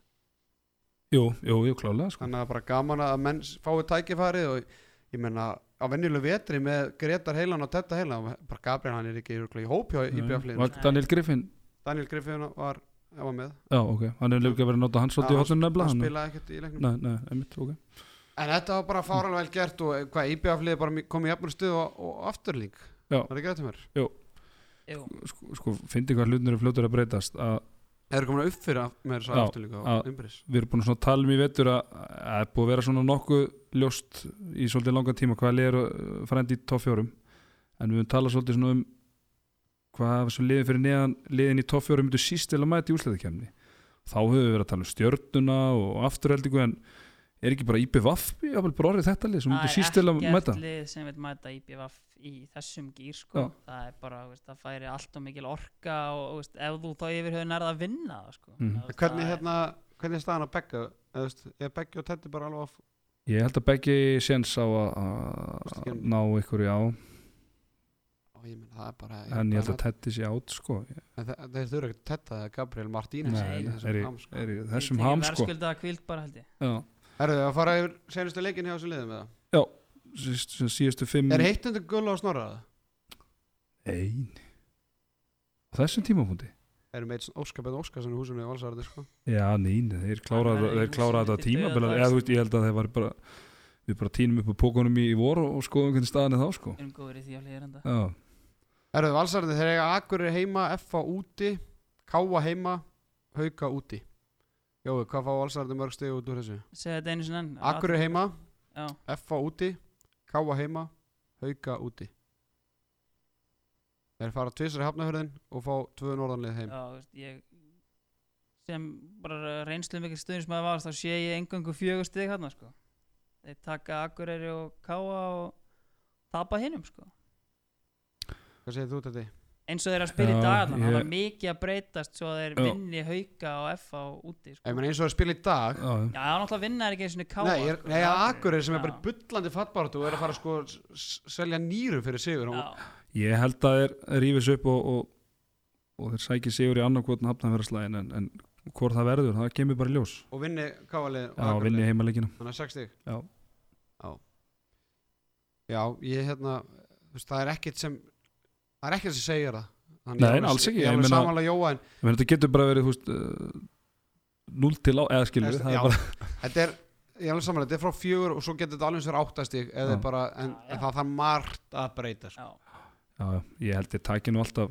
Speaker 2: Jú, jú, jú, klálega sko
Speaker 4: þannig að bara gaman að menn fái tækifærið og ég menna á venjulegu vetri með Gretar Heilan og Tetta Heilan bara Gabriel hann er ekki örugglega í hópjá í bjöflið
Speaker 2: Var Daniel Griffin
Speaker 4: Daniel Griffin var, var með
Speaker 2: Já, ok, hann hefur líka verið að nota hans svolítið í
Speaker 4: Já,
Speaker 2: hotnum nefnilega
Speaker 4: hann
Speaker 2: hann-
Speaker 4: spilaði ekkert í leiknum
Speaker 2: Nei, nei, einmitt, ok
Speaker 4: en þetta var bara fáralega vel gert og hvað íbjöflið bara kom í jafnur stuð og, og afturlík
Speaker 2: Já.
Speaker 4: var ekki þetta mér
Speaker 3: jú
Speaker 2: sko, sko fyndi hvað hlutinir eru fljótur að breytast að
Speaker 4: þeir eru komin að uppfyrir mér svo
Speaker 2: Já,
Speaker 4: afturlík
Speaker 2: að-
Speaker 4: og umbris
Speaker 2: við erum búin að svona tala um í vetur að að það er búið að vera svona nokkuð ljóst í svolítið langan tíma hvað liður frændi í topp fjórum en við höfum talað svolítið svona um hvað sem liðin fyrir neðan liðin í topp fjórum myndu síst til að mæta í úsleðikemni þá höfum við verið að tala um stjörnuna og afturheldingu en er ekki bara IBVF jáfnvel bara orðið þetta lið sem myndu síst til að mæta
Speaker 3: ekkert lið sem vil mæta IBVF í þessum gýr sko. það er bara, þú veist, það færi allt og mikil orka og þú veist, ef þú þá yfir höfðu nærða að vinna það, sko.
Speaker 2: Mhm.
Speaker 3: Það, þú veist,
Speaker 4: hvernig,
Speaker 3: það er-
Speaker 4: hérna, hvernig er staðan að begga Eða, þú veist, er beggi og Teddy bara alveg á f-
Speaker 2: ég held að beggi séns á að- að
Speaker 4: Úrslitakeppni.
Speaker 2: ná ykkur í á
Speaker 4: Ó, ég meina, það er bara,
Speaker 2: en ég held
Speaker 4: bara-
Speaker 2: að tætti sér át sko
Speaker 4: en þe- þeir þurfa ekki Tetta eða Gabriel Martínez
Speaker 2: Nei,
Speaker 4: í þessum
Speaker 2: er í-
Speaker 4: ham, sko.
Speaker 2: er í
Speaker 3: Ég
Speaker 2: þessum
Speaker 3: tek
Speaker 2: ham
Speaker 3: ég
Speaker 2: sko
Speaker 3: verðskuldaða hvíld bara held ég
Speaker 2: Já.
Speaker 4: Herðu, að fara yfir senustu leikin hjá þessu liðum eða?
Speaker 2: Síst- sem síðustu fimm
Speaker 4: Er heitt undir gull á snorraða?
Speaker 2: ein á þessum tímapunkti
Speaker 4: Erum eitt óskapið óskarsan í húsinu í Valsarði, sko?
Speaker 2: já, nein, þeir
Speaker 3: Það
Speaker 2: kláraði
Speaker 3: var
Speaker 2: þeir
Speaker 3: einu
Speaker 2: kláraði
Speaker 3: sinni
Speaker 2: þetta
Speaker 3: til
Speaker 2: tímabil
Speaker 3: dauðadags.
Speaker 2: eða þú veist, ég held að þeir var bara við bara tínum upp á pókunum í, í vor og skoðum hvernig staðan er þá sko
Speaker 3: Við erum góður í því hérna. á hlýðranda
Speaker 2: já,
Speaker 4: Herðu, Valsarði, þeir eiga Akureyri heima, FA úti, Káa heima, Hauka úti. Jói, hvað fá Valsarði mörg stegu út úr þessu?
Speaker 3: Segðu þetta einu sinni enn
Speaker 4: Akureyri heima,
Speaker 3: Já,
Speaker 4: FA úti, Káa heima, Hauka úti. Þeir fara tvisar í hafnahörðin og fá tvö norðanlið heim.
Speaker 3: já, þú veist, ég sem bara reynslu mikil stuðin sem að varst þá sé ég engangu fjögur stig hann sko. Þeir taka Akureyri og Káa og tapa hinnum sko.
Speaker 4: Hvað segir þú þetta?
Speaker 3: eins og þeir eru að spila
Speaker 2: Já,
Speaker 3: í dag allan,
Speaker 2: ég-
Speaker 3: það var mikið að breytast svo að þeir
Speaker 2: Já.
Speaker 3: vinni hauka og FA úti sko.
Speaker 4: Ég meina eins og þeir spila í dag.
Speaker 2: já, já.
Speaker 3: Já, náttúrulega vinna er ekki einu svona káa
Speaker 4: Nei, ég er,
Speaker 3: sko,
Speaker 4: nei,
Speaker 3: það er
Speaker 4: Akureyri sem er
Speaker 3: Já.
Speaker 4: bara í bullandi fattbáratu og er að fara sko s- s- selja nýru fyrir sigur og
Speaker 3: Já,
Speaker 2: ég held að þeir rífis upp og, og, og þeir sæki sigur í annarkotn hafnafjörðslæðin en, en hvort það verður, það kemur bara í ljós
Speaker 4: og vinni kávalið
Speaker 2: já, vinni heimalegina
Speaker 4: þannig að 6 stig
Speaker 2: Já.
Speaker 4: já já, ég hérna þú veist, það er ekkert sem það er ekkert sem segir það þannig
Speaker 2: Nei,
Speaker 4: ég er alveg-
Speaker 2: alls ekki, ég
Speaker 4: ég er alveg
Speaker 2: meina-
Speaker 4: samanlega jóa en
Speaker 2: menn þetta getur bara verið, þú veist uh, 0 til á, eða skilur við, það
Speaker 4: Já.
Speaker 2: er bara
Speaker 4: þetta er ég er alveg samanlega þetta er frá fjögur og svo getur þetta alveg sér áttastig eða
Speaker 2: Já.
Speaker 4: bara en,
Speaker 3: Já, já.
Speaker 4: en það þarf margt að breyta sko.
Speaker 3: já,
Speaker 2: Já, já, ég held ég taki nú alltaf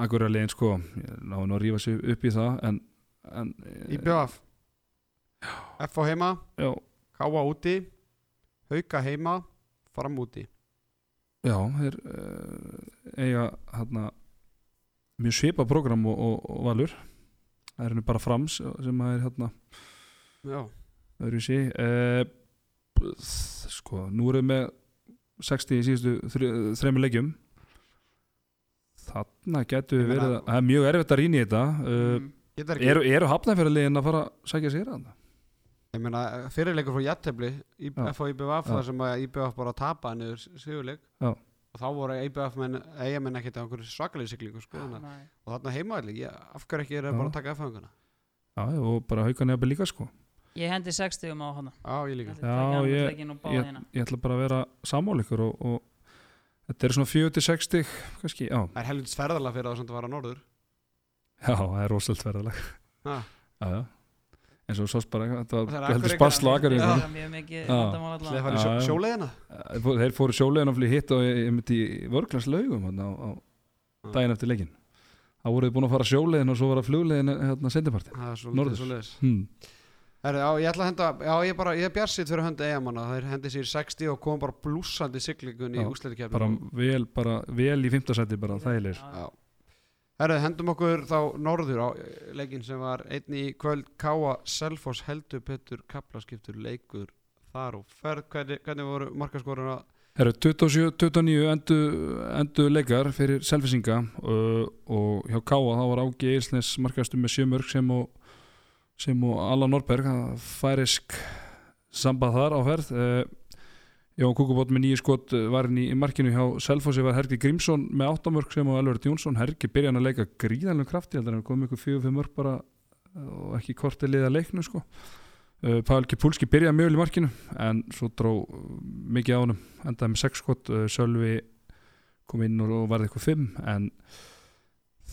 Speaker 2: Akkur að leiðin sko ég ná nú að rífa sig upp í það en, en
Speaker 4: í BF F á heima
Speaker 2: já,
Speaker 4: Káa úti Hauka heima Fram úti
Speaker 2: já, þeir uh, eiga hérna mjög svipa program og, og, og valur það er henni bara frams sem að er hérna
Speaker 4: já
Speaker 2: öðruvísi uh, sko, nú erum við með 60 í síðustu þre, þreymur leikjum þarna getur
Speaker 4: Ég
Speaker 2: við verið
Speaker 4: meina-
Speaker 2: að- það er mjög erfitt að rýna í þetta uh,
Speaker 3: Mm.
Speaker 4: Geta ekki,
Speaker 2: eru, eru hafnafjörðarliðin að fara að sækja sér að
Speaker 4: ég meina, fyrirleikur frá Jattefli,
Speaker 2: Já.
Speaker 4: F og IBF,
Speaker 2: Já.
Speaker 4: þar sem að IBF bara tapaði niður sigurleik.
Speaker 2: Já.
Speaker 4: Og þá voru IBF menn, eiga menn ekkert á einhverju svakalegi siglingu, sko. Þannig.
Speaker 3: Nei.
Speaker 4: að- Og þarna heimaðli, af hverju ekki er
Speaker 2: Já.
Speaker 4: það bara að taka F-fanguna?
Speaker 2: Já, og bara hauka nefnir líka sko
Speaker 3: Ég hendi 60 á hana
Speaker 4: Já, ég líka.
Speaker 2: Já, ég- ég, ég ætla bara að vera sammál ykkur og, og þetta er svona 40-60 stig, kannski, já,
Speaker 4: Það er helvits ferðalega fyrir það sem það var á norður.
Speaker 2: já, það er rosalega verðalag
Speaker 4: Ha.
Speaker 2: já, já, eins og sást bara þetta
Speaker 4: Og það er
Speaker 2: var heldur
Speaker 4: Akureyri-
Speaker 2: spasl og sko. akkur
Speaker 4: Akureyri-
Speaker 3: Það er mjög mikið
Speaker 2: hérna. Já.
Speaker 3: vandamál
Speaker 4: Það
Speaker 3: allan
Speaker 4: er farið
Speaker 2: Já, já.
Speaker 4: sjóleiðina.
Speaker 2: þeir fóru sjólegin að flýja hitt og ég, ég myndi í vörglans laugum hérna, á, á
Speaker 4: Já.
Speaker 2: daginn eftir leikin þá voru þið búin að fara sjólegin og svo var að fluglegin hérna sendiparti
Speaker 4: Það er
Speaker 2: Norður.
Speaker 4: svolítið svolítið.
Speaker 2: hmm.
Speaker 4: Herru, já, ég ætla að henda, já, ég bara, ég er bjarsitt fyrir hönd eigamanna, þeir hendi sér í 60 og kom bara blúsandi siglingun í
Speaker 2: Já, bara
Speaker 4: úsleitikefnum.
Speaker 2: vel, bara vel í fymtasæti bara, þægilegir
Speaker 4: Já. Herru, hendum okkur þá norður á eh, leikinn sem var einn í kvöld Káa, Selfoss, Heldur, Petur, Kaplaskiptur, Leikur, þar og ferð, hvernig, hvernig voru markaskorun að,
Speaker 2: Herru, 27-29 endu, endu leikar fyrir selfisinga uh, og hjá Káa þá var Ági Eilsnes markastur með sjömörk sem og, sem og Alla Norberg það færisk sambað þar á ferð uh, Jón Kúkubótt með nýju skot eh, var inn í, í markinu hjá Selfossi var Hergi Grímsson með áttamörk sem og Elvert Jónsson Hergi byrjaði að leika gríðanlega krafti heldur en hann kom ykkur fjögur-fimm mörk bara eh, og ekki korti liða leiknu sko uh, Pavel Kipulski byrjaði mjög vel í markinu en svo dró eh, mikið á honum endaði með 6 skot uh, Sölvi kom inn og og varði eitthvað 5 en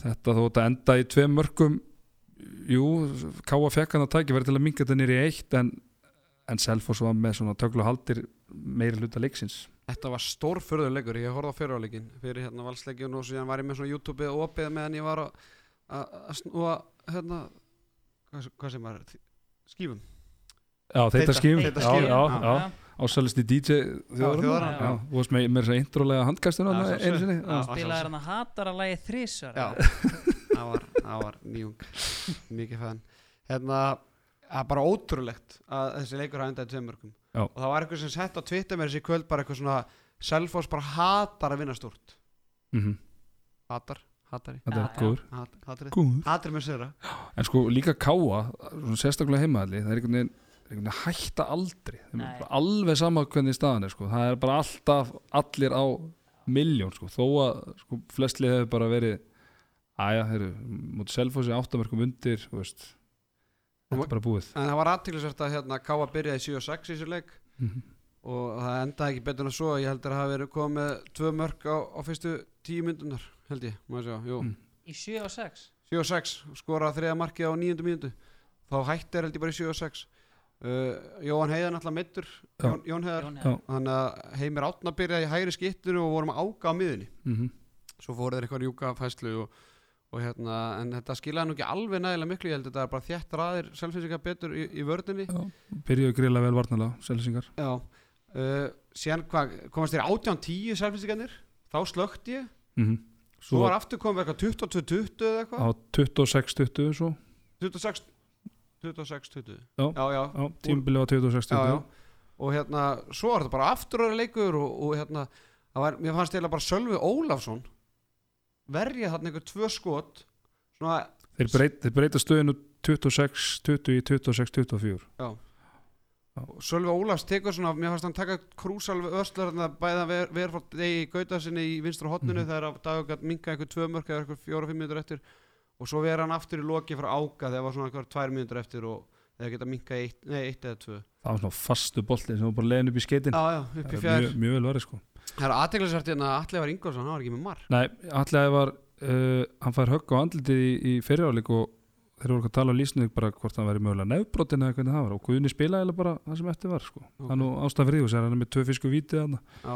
Speaker 2: þetta þó þetta endaði í tveim mörgum jú, Káa fekk hann að tæki verið til að minga þetta nýri í eitt en, en Selfoss var með svona töglu haldir meiri hluta leiksins
Speaker 4: þetta var stór leikur, ég horfði á fyriráleikin fyrir hérna valsleikin og síðan var ég með svona YouTube-ið og opið meðan ég var að, að, að snúa, hérna, hvað, hvað sem var, skífum.
Speaker 2: Já, þetta
Speaker 4: Þetta-
Speaker 2: skýfum
Speaker 4: þetta
Speaker 2: Já,
Speaker 4: skýfum,
Speaker 2: já,
Speaker 4: já.
Speaker 2: já Ásælisti DJ
Speaker 4: þjóðarinnar.
Speaker 2: þjóðurinn Já, þú varst með með þess að introlega handkastuna
Speaker 4: Já,
Speaker 2: þarna
Speaker 4: sjálfsögðu.
Speaker 2: einu sinni
Speaker 4: Já.
Speaker 2: Já.
Speaker 3: Spilaði hann að hatara lagi þrísvar
Speaker 4: Já, það var, það var nýjung mikið fæðan hérna, það er bara ótrúlegt að þessi leikur hafa endaði tveimörgum
Speaker 2: Já.
Speaker 4: og það var eitthvað sem sett á Twitter með þessi kvöld bara eitthvað svona, Selfoss bara hatar að vinna stúrt
Speaker 2: Mhm.
Speaker 4: hatar, hatari,
Speaker 2: Þetta
Speaker 3: Já,
Speaker 2: er
Speaker 3: já.
Speaker 2: góður
Speaker 4: hat, hatari
Speaker 2: Góður
Speaker 4: hatari með sér eh.
Speaker 2: En sko líka káa, svona sérstaklega heimaðalli, það er einhvern veginn, það er einhvern veginn að hætta aldrei. Þeim er
Speaker 3: Nei.
Speaker 2: bara alveg sama hvernig staðan er sko. Það er bara alltaf allir á miljón sko. Þó að sko, flestlið hefur bara verið, aðja, þeir eru mútið selfósi áttamörkum undir, þú veist, þetta er bara búið.
Speaker 4: en það var aðtiklisvert að hérna, Káa byrjaði 7-6 í þessu leik
Speaker 2: Mhm.
Speaker 4: og það endaði ekki betur en svo ég heldur að það hafi verið komið með tvö mörg á, á fyrstu tíu myndunar held ég, má ég sjá, jú
Speaker 2: Mm.
Speaker 3: Í 7 og 6
Speaker 4: 7 og 6, skoraði þriða markið á nýjundu mínútu þá hætti er held ég bara í 7 og 6 uh, Jóhann Heiðar náttúrulega mittur
Speaker 2: Já.
Speaker 4: Jón, Jón Heiðar
Speaker 3: Jón
Speaker 2: Já.
Speaker 3: hefði
Speaker 4: þannig að Heimir Átna byrjaði í hægri skittunum og vorum að áka á miðunni
Speaker 2: Mm -hmm.
Speaker 4: svo fóru þeir eitthvað rjúka fæslu og, og hérna, en þetta skilaði nú ekki alveg nægilega miklu, ég held að þetta er bara þétt raðir selvfynsika betur í, í vördinni
Speaker 2: Byrjuðu gríðlega vel varnalega, selsingar.
Speaker 4: Já, uh, síðan hvað komast þeir 18-10 selvfynsikanir þá slökti ég,
Speaker 2: Mm
Speaker 4: svo
Speaker 2: Svo
Speaker 4: var aftur komið eitthvað 22-20 eða eitthvað
Speaker 2: á 26-20 svo,
Speaker 4: 26 26-20
Speaker 2: Já.
Speaker 4: já, já,
Speaker 2: á tímbilið á 26-20.
Speaker 4: já, já. og hérna, svo var þetta bara afturöðra leikur og, og hérna, það var, mér fannst eiginlega bara Sölvi Ólafsson verja þarna einhver tvö skot svona,
Speaker 2: Þeir, breyt, þeir breyta stöðinu 26-20 í 26-24.
Speaker 4: og Sölvi Ólafs tekur svona, mér fannst hann taka krúsalvi öslar þarna bæða ver, verfórt degi í gauta sinni í vinstra hotninu
Speaker 2: Mhm.
Speaker 4: þegar Dagur gætt minga einhver tvö mörk eða einhver fjóra, fimm mínútur eftir og svo verið hann aftur í loki frá áka þegar var svona einhver tvær mínútur eftir og þegar geta minga eitt, nei, eitt eða tvö
Speaker 2: Það var svona fastu bolti sem var bara leiðin upp í skeitin.
Speaker 4: Já, já, upp
Speaker 2: Það
Speaker 4: í
Speaker 2: er
Speaker 4: fjær
Speaker 2: mjög, mjög vel verið sko.
Speaker 4: Það er aðteglisvært hérna að Atli var Ingolson, hann var ekki með mark
Speaker 2: Nei, allega var uh, hann fær högg á andlitið í, í fyriráleik og þeir voru að tala á lýsnið bara hvort hann væri mögulega nefbrotin eða hvernig það var og Guðni spilaði eiginlega bara það sem eftir var sko.
Speaker 4: Ok.
Speaker 2: hann og ástæðan fyrir því og sér hann er með tvö fisku vítið hann
Speaker 4: Já,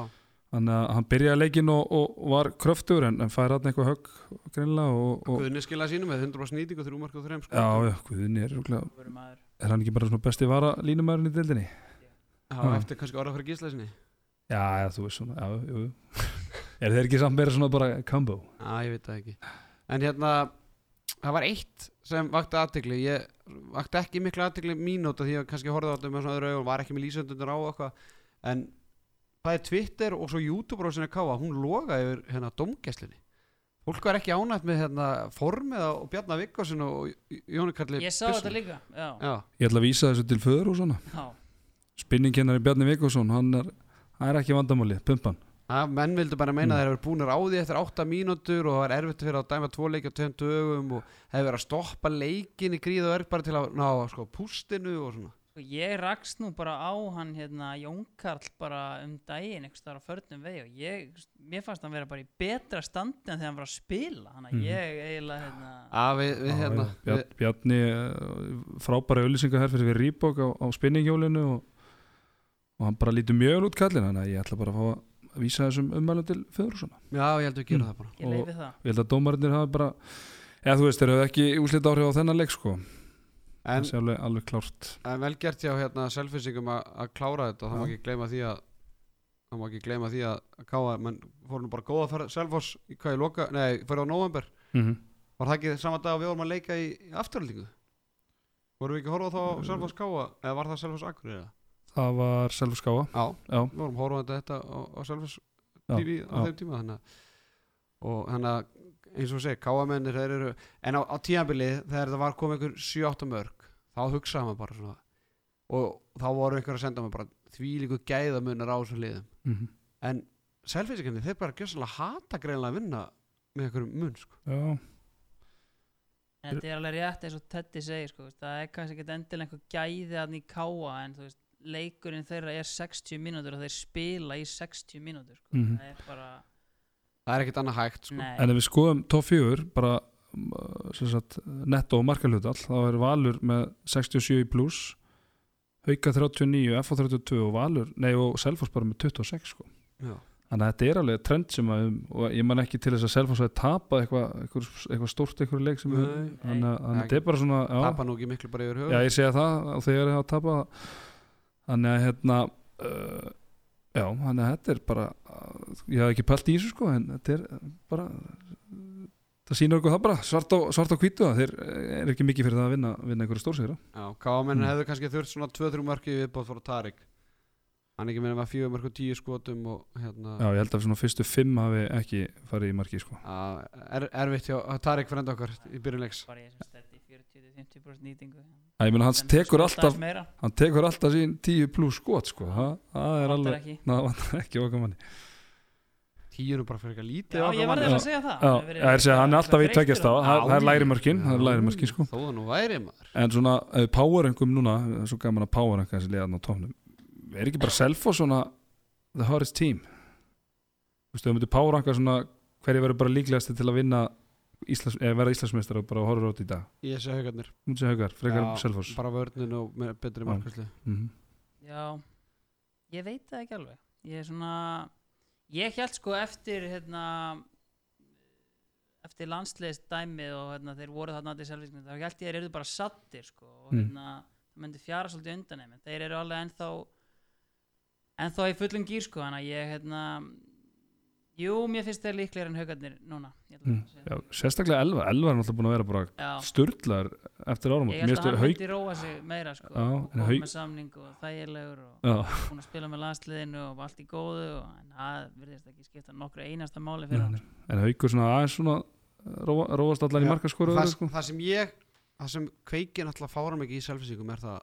Speaker 2: þannig að hann byrjaði leikinn og, og var kröftur en, en fær hann eitthvað högg greinlega og, og
Speaker 4: Guðni skilaði sínum með 100% nýtingu, 3 mark og 3 sko.
Speaker 2: já, já, Guðni er örugglega-
Speaker 3: verið maður
Speaker 2: er hann ekki bara svona besti vara línumæðurinn í dildinni
Speaker 4: Já,
Speaker 2: Já.
Speaker 4: eftir kannski orða fyrir gísla sinni
Speaker 2: já, já, þú veist svona, já, jú, jú. er þeir ekki samt meira svona bara combo
Speaker 4: Já, ég veit það ekki En hérna, það var eitt sem vakti aðtegli ég vakti ekki mikla aðtegli mínúta því að kannski horfði á þetta með svona öðru augun var ekki með lýsöndunir á og eitthvað en það er Twitter og svo YouTube rósinu káa, hún loga yfir hérna domgæslinni fólk var ekki ánætt með hérna formið á Bjarnar Vikkosinu og Jónu Kalli
Speaker 3: Ég sá þetta líka Já,
Speaker 4: Já,
Speaker 2: Ég ætla að vísa þessu til föður og svona
Speaker 3: já,
Speaker 2: Spinningkennari Bjarni Vikursson, hann er, hann er ekki vandamáli, pumpan
Speaker 4: að menn vildu bara meina mm. þeir eru búinir á því eftir 8 mínútur og það var erfitt fyrir að dæma tvo leiki á 20 dögum og hefur verið að stoppa leikin í gríð og erg bara til að ná sko, pústinu og svona
Speaker 3: Sko, ég rakst nú bara á hann hérna Jón Karl bara um daginn einhvers þar á förnum vegi og ég, mér fannst hann vera bara í betra standi en þegar hann var að spila
Speaker 2: Mhm.
Speaker 3: þannig að ég eiginlega hérna
Speaker 4: að við, við hérna við,
Speaker 2: Bjarni, Bjarni eh, frábæra ölýsingaherfir við Reebok á, á spinninghjólinu og, og hann bara lítur mjög vel út kallin þannig að ég ætla bara að fá að vísa þessum ummælum til föður og svona
Speaker 4: já, ég held við gerum það bara
Speaker 3: ég leifi það
Speaker 2: Ég held að dómarinnir hafi bara eða þú veist, þeir hafa ekki úslit áhrif á þennan leik sko
Speaker 4: en,
Speaker 2: það sé alveg, alveg klárt
Speaker 4: en vel gert ég á hérna selfinsingum að að klára þetta það má ekki gleyma því að það má ekki gleyma því að káa menn fór nú bara góða ferð selfos í hvað ég loka, nei, fyrir á november var það ekki sama dag að við vorum að leika í, í afturöldingu vorum við ekki að horfa þá á selfos káa eða var það selfos akkur eða?
Speaker 2: Það var selfskáa
Speaker 4: Já,
Speaker 2: Já.
Speaker 4: við vorum horfandi að þetta á, á Selfoss
Speaker 2: Já,
Speaker 4: TV á
Speaker 2: já.
Speaker 4: þeim tíma þannig að, og þannig að eins og segi, káamennir þeir eru en á, á tímabili þegar það var komið einhver 7-8 mörg, þá hugsaði maður bara svona og þá voru einhver að senda maður bara því líku gæðamunar á þessum liðum
Speaker 2: mm
Speaker 4: en selfinsingandi, þeir bara gjössalega hata greinlega að vinna með einhverjum mun sko.
Speaker 2: Já,
Speaker 3: En þetta er alveg rétt eins og Teddy segir sko, þú veist, það er kannski ekki endilega einhver gæði hann í káa en þú veist, leikurinn þeirra er 60 mínútur og þeir spila í 60 mínútur sko.
Speaker 2: Mhm.
Speaker 3: það er bara,
Speaker 4: það er ekkert annað hægt sko.
Speaker 3: nei,
Speaker 2: en ef við skoðum top 4 bara m, sem sagt, netto og markalhutall þá er Valur með 67 í pluss Hauka 39, FH 32 og Valur, nei og Selfoss bara með 26 sko.
Speaker 4: Já.
Speaker 2: þannig að þetta er alveg trend sem að og ég man ekki til þess að Selfoss hafi tapað eitthvað eitthvað, eitthvað stórt eitthvað leik sem við-
Speaker 4: Nei.
Speaker 2: þannig að þannig að þetta er bara svona já,
Speaker 4: tapa nú ekki miklu bara yfir höfum
Speaker 2: Já, ég segja það að þegar það tapa þannig að hérna uh, já, þannig að þetta er bara uh, ég hafði ekki pælt í þessu sko en þetta er bara það sýnir okkur það bara, svart á, svart á hvítu það þeir er ekki mikið fyrir það að vinna, vinna einhverju stórsigra
Speaker 4: Já, káamenn
Speaker 2: Mm.
Speaker 4: hefðu kannski þurft svona 2-3 mörki viðbóð fyrir Tarik hann ekki meina með 4 mörk og 10 skotum og hérna
Speaker 2: Já, ég held að svona fyrstu fimm hafi ekki farið í marki sko
Speaker 4: að er, erfitt hjá að Tarik frenda okkar í byrjunleiks
Speaker 3: bara ég sem stætti 40-50% nýtingu
Speaker 2: að ég meina hans
Speaker 3: En
Speaker 2: tekur
Speaker 3: svo
Speaker 2: alltaf
Speaker 3: aðeins meira,
Speaker 2: hann tekur alltaf sín 10 pluss skot sko það, það er
Speaker 3: vantar
Speaker 2: alveg
Speaker 3: ekki
Speaker 2: Ná, það vantar ekki okkar manni
Speaker 4: 10 er bara fyrir eitthvað lítið
Speaker 3: Já, ég var
Speaker 2: manni.
Speaker 3: eða að segja það
Speaker 2: Já,
Speaker 3: Hann hefur verið
Speaker 2: ég er að segja, hann er alltaf í
Speaker 3: þreyttur
Speaker 2: tveggjast á
Speaker 3: á-
Speaker 2: það það er læri mörkin, það er læri mörkin sko
Speaker 4: þó það nú væri maður
Speaker 2: En svona uh, powerengum núna það er Svo gaman að powerenga þessi liðan á tónum Er ekki bara Selfoss svona The hardest team Þú veist, þau myndu powerenga svona Hverju verður bara líklegasti til að vinna Íslands, eða verða Íslandsmeistar og bara horfður át í dag
Speaker 4: ég sé haugarnir
Speaker 2: Mútið sé haugar, frekar
Speaker 4: Já,
Speaker 2: Selfoss
Speaker 4: bara vörnin og með betri
Speaker 2: Já.
Speaker 4: markvæslu
Speaker 2: mm
Speaker 3: Já, ég veit það ekki alveg Ég er svona Ég held sko eftir hérna eftir landsleis dæmið og hérna, þeir voru þarna til selviskmynd þá held ég þeir eru bara sattir sko og
Speaker 2: Mm.
Speaker 3: hérna, það myndi fjara svolítið undan þeim en þeir eru alveg ennþá ennþá í fullum gýr sko þannig að ég hérna jú, mér finnst þeir líklegir en haugarnir núna ég ætla
Speaker 2: mm.
Speaker 3: að segja
Speaker 2: Já, Sérstaklega Elvar, Elvar er náttúrulega búin að vera bara
Speaker 3: það. Já.
Speaker 2: Sturlar eftir áramót
Speaker 3: Ég held að hann
Speaker 2: haug
Speaker 3: myndi róa sig meira sko,
Speaker 2: Já,
Speaker 3: og
Speaker 2: en
Speaker 3: koma
Speaker 2: Hauk-
Speaker 3: með samning og þægilegur og
Speaker 2: Já,
Speaker 3: búin að spila með landsliðinu og allt í góðu og, en það virðist ekki skipta nokkru einasta máli fyrir hann
Speaker 2: nei, en haugur svona aðeins svona uh, róa, Róast allar í
Speaker 4: Já,
Speaker 2: markaskoru
Speaker 4: það,
Speaker 2: sko.
Speaker 4: það sem ég það sem kveikin alltaf fára mikið í selfinsingum er það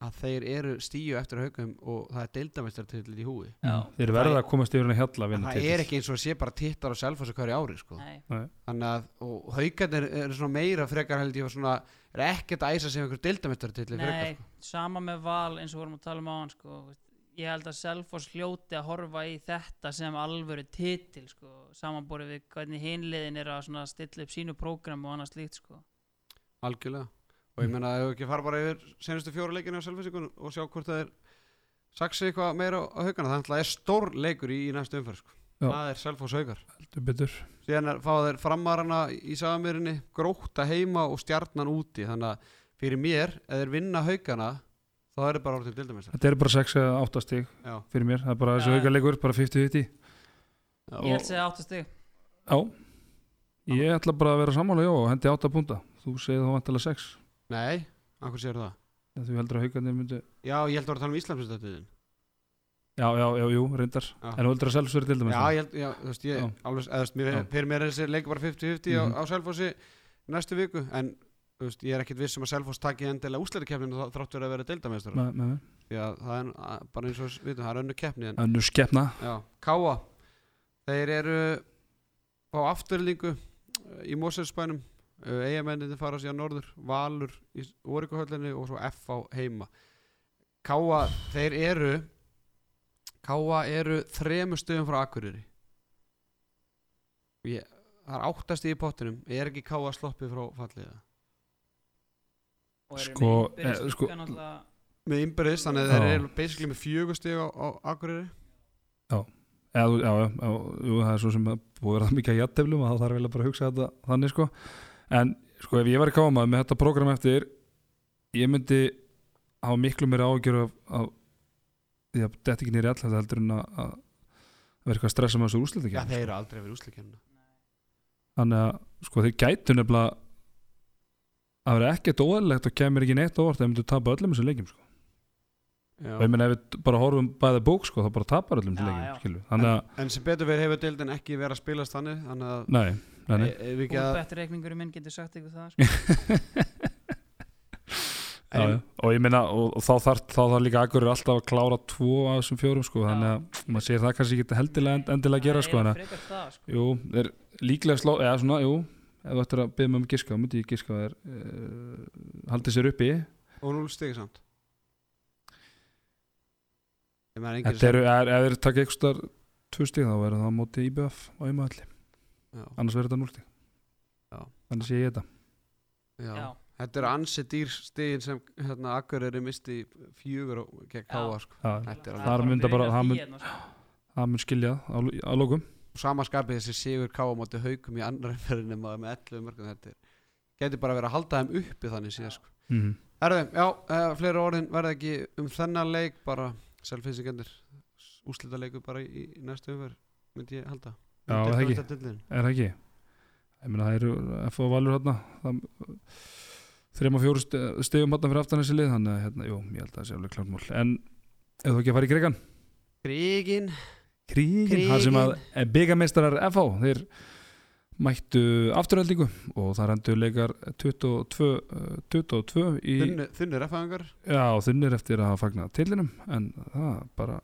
Speaker 4: að þeir eru stíu eftir haugum og það er deildamestartill í húi
Speaker 2: Þeir verða að komast yfir henni hjalla að
Speaker 4: en
Speaker 2: vinna
Speaker 4: það
Speaker 2: titil.
Speaker 4: er ekki eins og sé bara tittar og selfos hverju ári sko
Speaker 3: Nei,
Speaker 4: þannig að, og haugarnir eru svona meira frekar held ég var svona, er ekkert að æsa sem einhver deildamestartill frekar
Speaker 3: nei sama með val eins og vorum að tala um á hann sko, þú veist, ég held að Selfoss hljóti að horfa í þetta sem alvöru titil sko, samanborið við hvernig hinliðin er að svona stilla upp sínu prógram og annað slíkt sko.
Speaker 4: algjörlega og ég meina að hefur ekki fara bara yfir senustu fjóra leikinu á selvisingun og sjá hvort það er saksi eitthvað meira á haugana þannig að það er stór leikur í, í næstu umferð sko.
Speaker 2: Já.
Speaker 4: það er selfos haugar
Speaker 2: Heldur betur
Speaker 4: síðan er, fá þeir framarana í sagamýrinni gróta heima og stjarnan úti þannig að fyrir mér, ef þeir vinna haugana þá er það bara orðin dildamestrar
Speaker 2: Þetta eru bara 6 eða 8 stig
Speaker 4: Já.
Speaker 2: fyrir mér, það er bara þessi
Speaker 3: Já.
Speaker 2: auka leikur, bara 50-50
Speaker 3: ég held að segja áttu stig
Speaker 2: Já, Ég ætla bara að vera sammála, já, og hendi 8 púnta. Þú segir þá vantilega 6.
Speaker 4: Nei, af hverju sér það?
Speaker 2: Þú heldur að haugarnir myndu...
Speaker 4: Já, ég held að vera að tala um Íslandsmyndstöðin
Speaker 2: Já, já, já, jú, reyndar.
Speaker 4: Já.
Speaker 2: En þú heldur að selfsverið til dæmis?
Speaker 4: Já, ég held, já, þú veist, ég
Speaker 2: Já.
Speaker 4: alveg, eða, þú veist, mér,
Speaker 2: Já.
Speaker 4: fyrir mér er þessi leik bara 50-50
Speaker 2: Mhm.
Speaker 4: á, á Selfossi næstu viku en, þú veist, ég er ekkit viss um að Selfoss taki endilega úsleitakefninu þrátt verið að vera deildamestrar
Speaker 2: Með, með, með.
Speaker 4: því að það er að, bara eins og við vitum, það er önnu keppni en,
Speaker 2: Önnu skeppna.
Speaker 4: já, Káa þeir eru á afturlingu eh, í Moselsbænum eigamenninu fara síðan norður, Valur í Órikuhöllinni og svo F á heima Káa, þeir eru Káa eru þremur stöðum frá Akureyri Ég, það er áttast í pottinum, er ekki Káa sloppið frá falliða?
Speaker 3: og eru
Speaker 2: Sko,
Speaker 3: með innbyrðis
Speaker 2: eh, sko-
Speaker 3: líka náttúrulega-
Speaker 4: Með innbyrðis, þannig að þeir
Speaker 2: Já.
Speaker 4: eru basically með fjögur stöð á, á Akureyri
Speaker 2: Já, þú- já, já, já, jú, það er svo sem að búið að vera það mikið að jatteflum að það þarf eiginlega bara að hugsa þetta þannig, sko. En, sko, ef ég væri kámaður með þetta prógram eftir, ég myndi hafa miklu meira ágjör af, af því að þetta ekki nýri alltaf heldur en að, að vera eitthvað að stressa með þessu úrslit
Speaker 4: Já, þeir eru aldrei verið úsleitakefninu
Speaker 2: þannig að sko þeir gætu nefnilega að vera ekkert óæðilegt og kemur ekki neitt á óvart ef myndu tapa öllum þessum leikjum sko. og ég meina ef við bara horfum bæði bók sko þá bara tapar öllum
Speaker 3: Já,
Speaker 2: þessum leikjum
Speaker 3: já.
Speaker 2: skilur. þannig að,
Speaker 4: En sem betur verið hefur deildin ekki verið að spilast þannig Þannig að
Speaker 2: nei, nei, nei.
Speaker 4: e- ef ekki að
Speaker 3: Útbettreikningurinn minn getur sagt ykkur það sko.
Speaker 2: Já, já. og ég meina og, og þá þarf þá þarf líka akkur alltaf að klára tvo af þessum fjórum sko þannig að maður sér það kannski ekki heldilega end, endilega að gera sko
Speaker 3: Það
Speaker 2: þannig
Speaker 3: er frekar það sko.
Speaker 2: að jú, þeir líklega sló eða svona, jú, ef þú ættir að byrja með um giska þá myndi ég giska að þeir uh, haldið sér uppi
Speaker 4: Og núl stig samt Ég meina engin
Speaker 2: Þetta eru, er, ef þeir taka eitthvað star tvö stíð þá verður það á móti IBF á Ímahalli,
Speaker 4: já,
Speaker 2: annars verður þetta núl stíð
Speaker 4: Já.
Speaker 2: Þannig sé ég þetta
Speaker 4: já.
Speaker 3: Já,
Speaker 4: Þetta eru ansi dýr stigin sem hérna, Akureyri misti fjögur og- gegn
Speaker 3: Já.
Speaker 4: Káa sko.
Speaker 2: Það,
Speaker 4: Þetta
Speaker 3: Það
Speaker 4: er alveg-
Speaker 3: er
Speaker 2: Þar mynda bara-
Speaker 3: byrjað
Speaker 2: það
Speaker 3: því
Speaker 2: mun-
Speaker 3: hérna, sko.
Speaker 2: það mun skilja á, lo- á lókum
Speaker 4: Sama skapið þessi sigur Káa móti haukum í annar ferðinni maður með 11 mörgum þetta Gæti bara verið að halda þeim uppi þannig síðan sko.
Speaker 2: mm.
Speaker 4: Herðu, já, uh, fleiri orðin verða ekki um þennan leik bara selfinsingendir úslita leiku bara í, í næstu umver myndi ég halda
Speaker 2: Já,
Speaker 4: Myndi
Speaker 2: það
Speaker 4: ekki
Speaker 2: ekki.
Speaker 4: þetta dildin.
Speaker 2: Er það ekki? Ég meina það eru F.O. Valur hérna það, þreim og fjóru stigum hérna fyrir aftan þessi lið þannig að hérna, jú, ég held að það sé alveg klart mál En ef þú ekki að fara í Gregan
Speaker 4: Krigin
Speaker 2: Krígin, þar sem að byggameistarar FH, þeir mættu afturöldingu og það rendu leikar 22, eh, 22 í
Speaker 4: Þunnu, þunnu refaðingar
Speaker 2: Já, þunnir eftir að hafa fagnað tilinum en það bara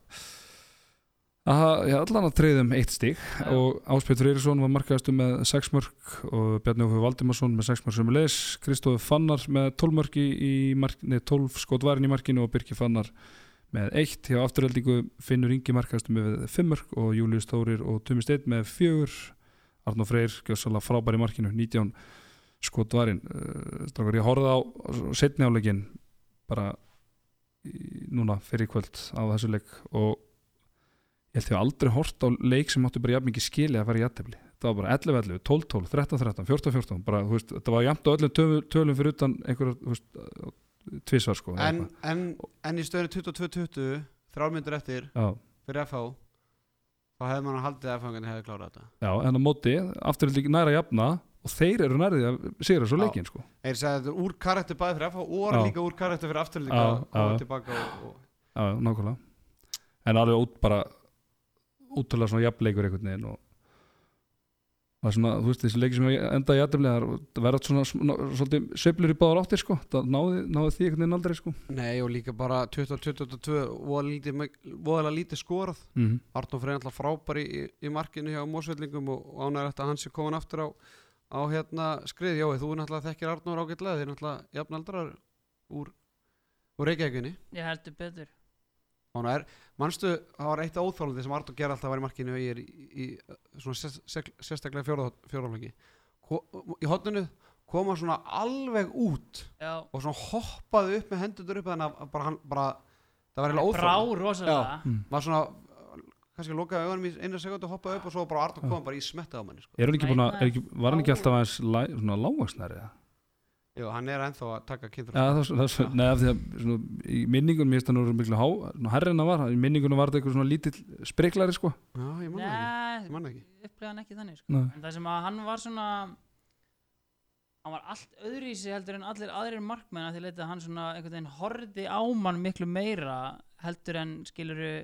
Speaker 2: að, já, allan að treyðum eitt stig
Speaker 3: Já.
Speaker 2: og Áspjöldur Eiríksson var markaðastu með 6 mörg og Bjarni Ófjör Valdimarsson með 6 mörg sem er leis, Kristóð Fannar með 12 mörg í, í mark, nei, 12 skotvarin í markinu og Birki Fannar með 1 hjá afturöldingu Finnur Ingi markaðastu með 5 mörg og Július Þórir og Tumi Steinn með 4 Arnó Freyr, gjössalega frábær í markinu 19 skotvarin uh, strákar, ég horfði á setni áleikin bara í- núna fyrir kvöld á þessu leik og ég held ég hafi aldrei hort á leik sem áttu bara jafn mikið skili að fara í jættefli það var bara 11, 11, 12, 12, 13, 13, 14, 14 bara, þú veist, þetta var jafnt á öllum tölum, tölum fyrir utan einhverjar, þú veist tvísvar sko eða
Speaker 4: en,
Speaker 2: eitthvað.
Speaker 4: en, en í stöðinu 22-20 þrjármyndur eftir
Speaker 2: já,
Speaker 4: fyrir FH þá hefði mann haldið að FH-ingarnir hefði klárað þetta
Speaker 2: já, en á móti afturhaldi næra að jafna og þeir eru nærið að sigra svo
Speaker 4: Já.
Speaker 2: leikin sko
Speaker 4: Þeir sagði þetta er úr karakter bæði fyrir FH og
Speaker 2: Já.
Speaker 4: líka úr karakter fyrir afturlíka
Speaker 2: Já,
Speaker 4: og koma
Speaker 2: já.
Speaker 4: tilbaka og, og
Speaker 2: já, já, nákvæmlega en alveg út bara útrúlega svona jafnleikur einhvern veginn og það er svona, þú veist, þessi leiki sem enda í aðdæmlega það verða svona, svona svolítið sveiflur í báðar áttir sko, það náði, náði því einhvern veginn aldrei sko
Speaker 4: Nei og líka bara 20-22 voðalega lítið skorað
Speaker 2: mm
Speaker 4: Arnóf Freyr alltaf frábær í, í markinu hjá Mósvellingum og ánægilegt að hans er komin aftur á, á hérna skrið. Jói, þú náttúrulega þekkir Arnór ágætlega, þeir náttúrulega jafnaldrar úr, úr Reykjavíkunni.
Speaker 3: Ég heldur betur
Speaker 4: Hún er, manstu, það var eitt óþólandi sem Arnór gerði alltaf að vera í markinu í, í, í svona sérst- sérst- sérstaklega fjórðalegi. Í hotninu kom hann svona alveg út
Speaker 3: Já,
Speaker 4: og svona hoppaði upp með hendur upp þannig að bara hann bara, það var eiginlega
Speaker 3: brá
Speaker 4: óþólandi.
Speaker 3: rosalega
Speaker 4: maður svona uh, kannski lokaði augunum í einu sekundu hoppaði upp og svo bara Arnur kom bara í smetta á manni sko.
Speaker 2: er hann ekki
Speaker 3: Nei,
Speaker 2: búin að,
Speaker 3: það
Speaker 2: er
Speaker 3: er
Speaker 2: ekki, var hann ekki alltaf aðeins læ, svona lágvaksnæri eða?
Speaker 4: Jú, hann er ennþá að taka kynþur
Speaker 2: Já, það, var- það, var svo- nei, af því að svona, í minningunum, ég veist hann voru miklu há, svona hærri en það var, í minningunum var þetta eitthvað svona lítill spriklari sko
Speaker 4: Já, ég manna ekki,
Speaker 3: Nei,
Speaker 4: ég manna ekki.
Speaker 3: upp upplifa hann ekki þannig sko.
Speaker 2: Nei.
Speaker 3: en það sem að hann var svona hann var allt öðru í sig heldur en allir aðrir markmenn að því leita hann svona einhvern veginn horfði á mann miklu meira heldur en skiluru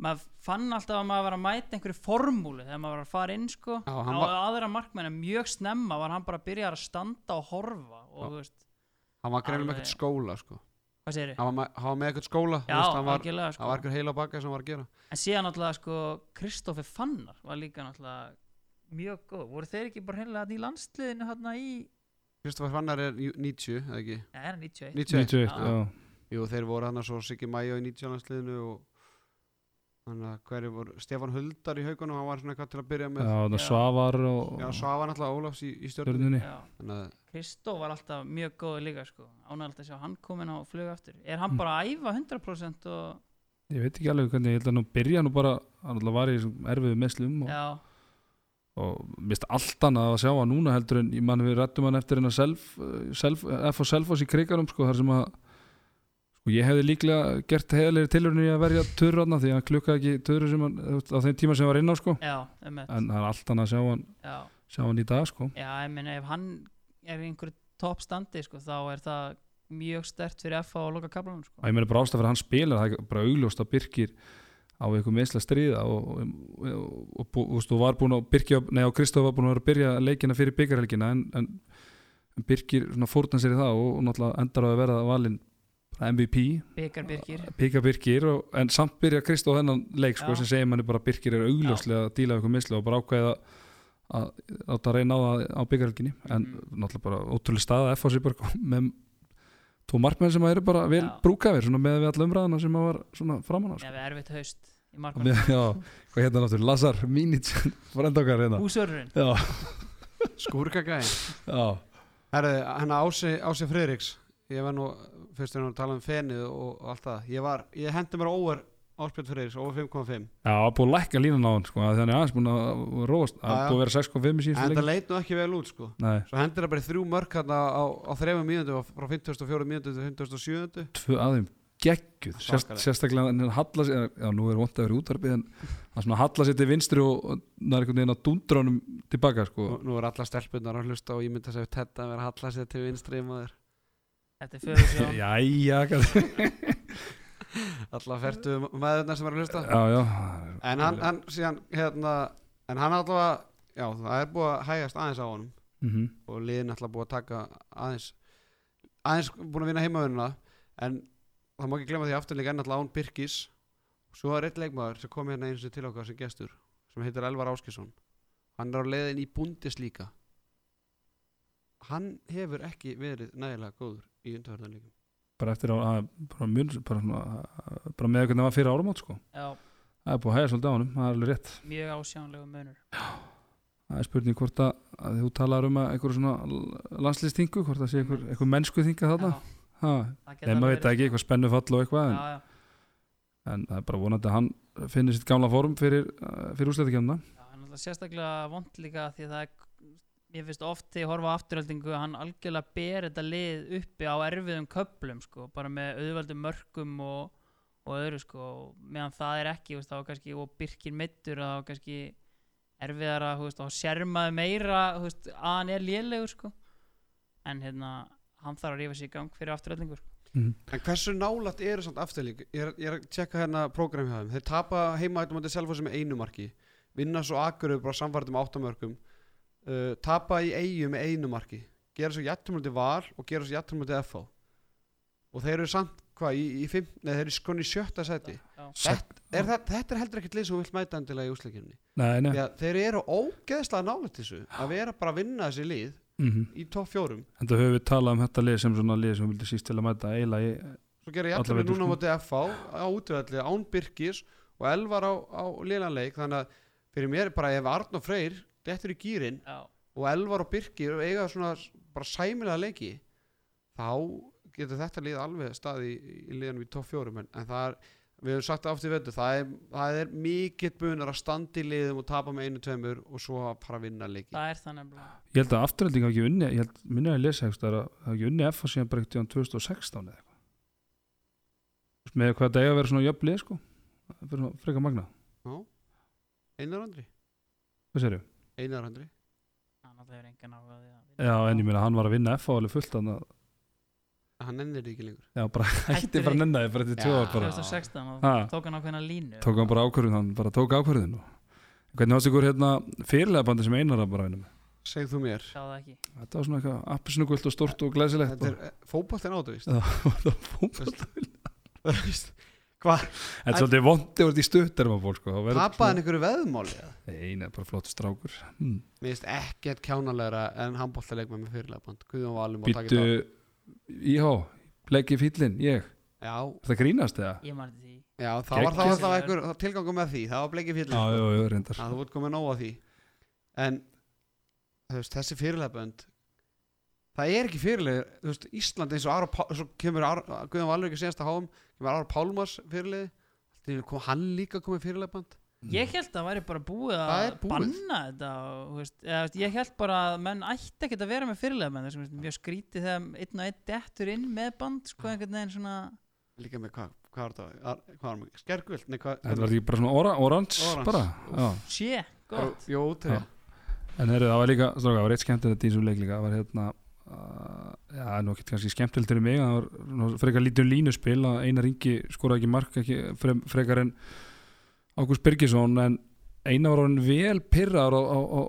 Speaker 3: maður fann alltaf að maður var að mæta einhverju formúlu þegar maður var að fara inn sko
Speaker 4: Já,
Speaker 3: á
Speaker 4: hann var-
Speaker 3: aðra markmenn en mjög snemma var hann bara að byrja að standa og horfa og þú veist,
Speaker 4: hann var greinilega með
Speaker 3: Alveg.
Speaker 4: eitthvað skóla sko.
Speaker 3: hvað segir þið?
Speaker 4: hann var, með- hann var með eitthvað skóla þú
Speaker 3: Já,
Speaker 4: veist, hann var,
Speaker 3: algjörlega
Speaker 4: hann var
Speaker 3: sko.
Speaker 4: eitthvað heila baka sem hann var að gera
Speaker 3: en síðan náttúrulega sko Kristófi Fannar var líka náttúrulega mjög góð, voru þeir ekki bara heila í landsliðinu hérna í
Speaker 4: Kristoffer Fannar er jú- 90, eða ekki
Speaker 3: Nei, það er 91
Speaker 4: 91,
Speaker 2: 91,
Speaker 3: Já.
Speaker 2: já.
Speaker 4: Jú, þeir voru hann svo Siggi Mæjó í 19. landsliðinu og þannig að hverju voru Stefán Huldar í haugunum, hann var svona eitthvað til að byrja
Speaker 2: Já,
Speaker 4: með
Speaker 2: þannig
Speaker 3: Já.
Speaker 2: Svavar og
Speaker 4: Já, Svafa náttúrulega Ólafs í, í stjórnum
Speaker 2: Stjörnunni.
Speaker 3: Já.
Speaker 4: Þannig að
Speaker 3: Kristó var alltaf mjög góð líka sko. ánægilegt að sjá hann komin á flug aftur er
Speaker 2: Mm.
Speaker 3: hann bara að æfa 100% og...
Speaker 2: Ég veit ekki alveg hvernig, ég held að nú byrja nú bara, hann alltaf var í þessum erfiðu meslum og,
Speaker 3: já,
Speaker 2: og mist allt annað að sjá að núna heldur en ég mann við rættum hann eftir hennar self, eh, self, F og Selfoss í krigarum sko þar sem að sko ég hefði líklega gert heiðalegri tilhörinu í að verja törur hann því að hann klukkaði ekki törur sem hann þú veist, á þeim tíma sem hann var inn á sko
Speaker 3: já, um
Speaker 2: en það er allt annað að sjá hann,
Speaker 3: já,
Speaker 2: sjá hann í dag sko
Speaker 3: já, ég meina ef hann er í einhverju toppstandi sko, þá er það mjög stert fyrir FA og loka kaplanum sko.
Speaker 2: og ég meina bara ástæða fyrir hann spilar það er bara augljóst að Birkir á einhver meðsla stríða og, og, og, og, bú- þú veist, og var búin að Birkir, nei og Kristof var búin að vera að byrja leikina fyrir byggarhelgina en, en, en Birkir svona fórna sér í það og, og náttúrulega endar á að verða valinn MVP,
Speaker 3: Byggar-byrgir
Speaker 2: pika Birkir og, en samt byrja Kristof þennan leik sko,
Speaker 3: Já.
Speaker 2: sem segir manni bara að Birkir er augljóslega að díla við einhver meðsla og bara ákveða að, að, að reyna á það á byggarhelginni en náttúrulega bara ótrúlega staða F.A. sér bara með tvo markmenn sem eru bara vel
Speaker 3: Já.
Speaker 2: brúkafir svona með við alla umræðana sem að var svona framann á sko.
Speaker 3: ef við erfitt haust í
Speaker 2: Og
Speaker 3: markmann
Speaker 2: með- Já, hvað hérna náttúrulega, Lazar Mínits frendokkar hérna
Speaker 3: húsörurinn
Speaker 2: Já,
Speaker 4: skúrkagæðin
Speaker 2: já,
Speaker 4: Herðu, hann Ási, Ási Friðriks Ég var nú, fyrst en að tala um fenið og, og allt það Ég var, ég hendi mér óver Áspjöld Friðriks, óver 5,5
Speaker 2: já, búið að lækka línan á hann sko, af því hann er aðeins búin að róast hann
Speaker 4: Já, já.
Speaker 2: er búið að vera 6.5 í
Speaker 4: En
Speaker 2: síðustu
Speaker 4: þetta
Speaker 2: leikin
Speaker 4: leit nú ekki vel út sko
Speaker 2: Nei,
Speaker 4: Svo hendir það bara í þrjú mörk hann á, á, á þrefum mínútu frá 54 mínútu til 57
Speaker 2: tvö aðeim geggjuð, Sérst,
Speaker 4: Svakalegt.
Speaker 2: sérstaklega hann hallar sér, já, nú er vont að vera í útarpið en hann svona hallar sér til vinstri og og það er einhvern veginn að dundra honum tilbaka sko,
Speaker 4: Nú, nú er alla stelpunar að hlusta og ég myndi að segja þetta að vera að halla sér til vinstri maður
Speaker 3: þetta er fyrir sjá
Speaker 2: jæja kannski.
Speaker 4: Alla fertu maðurna sem er að hlusta
Speaker 2: já, já,
Speaker 4: En hann, hann síðan, hérna En hann allavega, já, það er búið að hægast aðeins á honum
Speaker 2: mm -hmm.
Speaker 4: Og liðin allavega búið að taka aðeins Aðeins búin að vinna heimavöruna En það má ekki glemma því aftur líka enn allavega án Birkis Svo er eitt leikmaður sem kom hérna eins og til okkar sem gestur Sem heitir Elvar Áskisson Hann er á leiðin í Bundesliga Hann hefur ekki verið nægilega góður í undarverðanleikum
Speaker 2: bara eftir að, að bara, mun, bara, svona- bara með hvernig það var fyrir áramót sko.
Speaker 3: já,
Speaker 2: það er búið að hægja svolítið á honum, það er alveg rétt
Speaker 3: mjög ásjánlegu munur
Speaker 2: það er spurning hvort að, að þú talar um að einhver svona landslýstingu hvort það sé einhver, einhver mennsku þinga þarna
Speaker 3: Já,
Speaker 2: Ha,
Speaker 3: það
Speaker 2: nei,
Speaker 3: geta
Speaker 2: maður
Speaker 3: alveg
Speaker 2: veit það ekki,
Speaker 3: verið,
Speaker 2: eitthvað spennu fall og eitthvað
Speaker 3: sko.
Speaker 2: en,
Speaker 3: Já, já.
Speaker 2: en það er bara vonandi að hann finnir sitt gamla form fyrir, uh, fyrir úsleitakefna
Speaker 3: Já, en alltaf sérstaklega vond líka því að það er, ég finnst oft þegar ég horfa á afturhaldingu að hann algjörlega ber þetta lið uppi á erfiðum köplum sko, bara með auðvaldum mörkum og, og öðru sko, og meðan það er ekki, þú veist, þá er kannski, og Birkin meittur, þá er kannski erfiðara, þú veist, og sérmaði meira, þú veist, að hann er lélegur sko, en hérna, hann þarf að rífa sér í gang fyrir sko. afturhaldingur.
Speaker 2: Mhm.
Speaker 4: En hversu nálægt eru samt afturlík? Ég er, ég er að tjekka hérna prógram hjá þeim. Þeir tapa heima þetta mútið selva sem einu marki. Vinna svo akkurum bara samfærdum áttamörkum. Uh, tapa í eigu með einu marki. Gera svo jættumöldi val og gera svo jættumöldi FH. Og þeir eru samt, hvað, í, í fimm, nei þeir eru skonni í sjötta seti.
Speaker 3: Já,
Speaker 4: Er það, þetta er heldur ekkert lið sem þú vilt mæta endilega í úsleikinni.
Speaker 2: nei, nei,
Speaker 4: Ja, þeir eru ógeðslega nálægt þessu að vera bara að vinna þessi lið
Speaker 2: mm
Speaker 4: í topp fjórum.
Speaker 2: en það höfum við talað um þetta lið sem svona lið sem við vildum síst til að mæta eiginlega í,
Speaker 4: svo gera
Speaker 2: Alla
Speaker 4: jafnvel
Speaker 2: vetur,
Speaker 4: núna á
Speaker 2: sko.
Speaker 4: móti FH á útvöldi án Birkis og Elvar á, á liðanleik þannig að fyrir mér bara ef Arn og Freyr dettur í gýrin
Speaker 3: já,
Speaker 4: og Elvar og Birkir eiga svona s- bara sæmilega leiki þá getur þetta lið alveg staði í, í liðanum í topp fjórum en, en það er, við höfum sagt það oft í vetu það er, það er mikill bunar að standa í liðum og tapa með einu tveimur og svo að fara að vinna leiki
Speaker 3: það er þannig að
Speaker 2: ég held að afturhalding hafi ekki unni ég held, minna að lesa hefst, að það hafi ekki unni F síðan bara ekkert í 2016 eða eitthvað Þú veist, með hvað þetta eiga að vera svona jöfnlið sko, Það er svona frekar magna
Speaker 4: Einar og Andri
Speaker 2: Hvað séru?
Speaker 4: Einar Andri
Speaker 3: hann alltaf hefur engan áhuga á því að vinna.
Speaker 2: Já, en ég meina hann var að vinna F á alveg fullt þannig að
Speaker 4: Hann nennir því ekki lengur
Speaker 2: já, bara hætti
Speaker 3: Hættur
Speaker 2: bara að
Speaker 3: í-
Speaker 2: nenni bara þetta er tvö
Speaker 4: Já.
Speaker 2: ár bara
Speaker 3: 2016 og
Speaker 2: Ha.
Speaker 3: tók hann ákveðna línu
Speaker 2: tók hann bara ákvörðin, hann bara tók ákvörðin og hvernig varst ykkur hérna fyrirlega bandi sem einar að bara einum
Speaker 4: Segð þú mér
Speaker 3: sá það ekki
Speaker 2: þetta var svona eitthvað appisnugvöld og stórt og glæsilegt og-
Speaker 4: Þetta er eh, fótboltinn á þetta víst
Speaker 2: þetta var fótbolti.
Speaker 4: Þú veist, Hvað?
Speaker 2: Þetta er svolítið vondi og þetta í stutt erum að fólk sko, þá verður
Speaker 4: Tapaði hann einhverju veðmáli? eða?
Speaker 2: svona- Nei, neða, bara flottur strákur hmm.
Speaker 4: Mér finnst ekkert kjánalega en handbóltaleik með mér fyrirlega band Guðjón Valum og
Speaker 2: Býttu
Speaker 4: takkir
Speaker 2: Íhá, legg í fýllin, ég
Speaker 4: Já,
Speaker 2: Er það grínast eða?
Speaker 3: ég marði því
Speaker 4: já, það var þá
Speaker 2: Geggjað.
Speaker 4: alltaf einhver tilgangu með því Það var bleikið
Speaker 2: Já,
Speaker 4: fjöldlega
Speaker 2: já, já, reyndar
Speaker 4: að þú ert komið nóg að því en þú veist, þessi fyrirlegabönd það er ekki fyrirleg þú veist, Ísland eins og Ára Pál- svo kemur Ára, Guðan Valur ekki senast að háum kemur Ára Pálmars fyrirleg Þegar kom hann líka komið fyrirlegabönd
Speaker 3: Ég held að það væri bara búið
Speaker 4: Það
Speaker 3: að
Speaker 4: er búið.
Speaker 3: banna þetta og, þú veist, eða, þú veist, Ég held bara að menn ætti ekkert að vera með fyrirlega menn þessum, Mjög skrítið þegar einn og einn dettur inn með band sko, einhvern veginn svona
Speaker 4: líka með hvað, hvað var það Ar- hvað var það, skergvöld Nei, hvað,
Speaker 2: Þetta var ekki bara svona ora, orans
Speaker 4: Orange,
Speaker 2: bara já.
Speaker 3: Sjé, gott
Speaker 4: Jó, til
Speaker 2: Já. En heyrðu, það var líka, stráka, það var eitt skemmtilegt í þessum leik líka Það var hérna uh, Já, nú ekkert kannski skemmtilegt fyrir mig en Það var nú frekar lítið um línuspil að Einar Ingi skoraði ekki mark ekki, fre, frekar en Ágúst Birgisson en Einar var hann vel pyrraður á, á, á,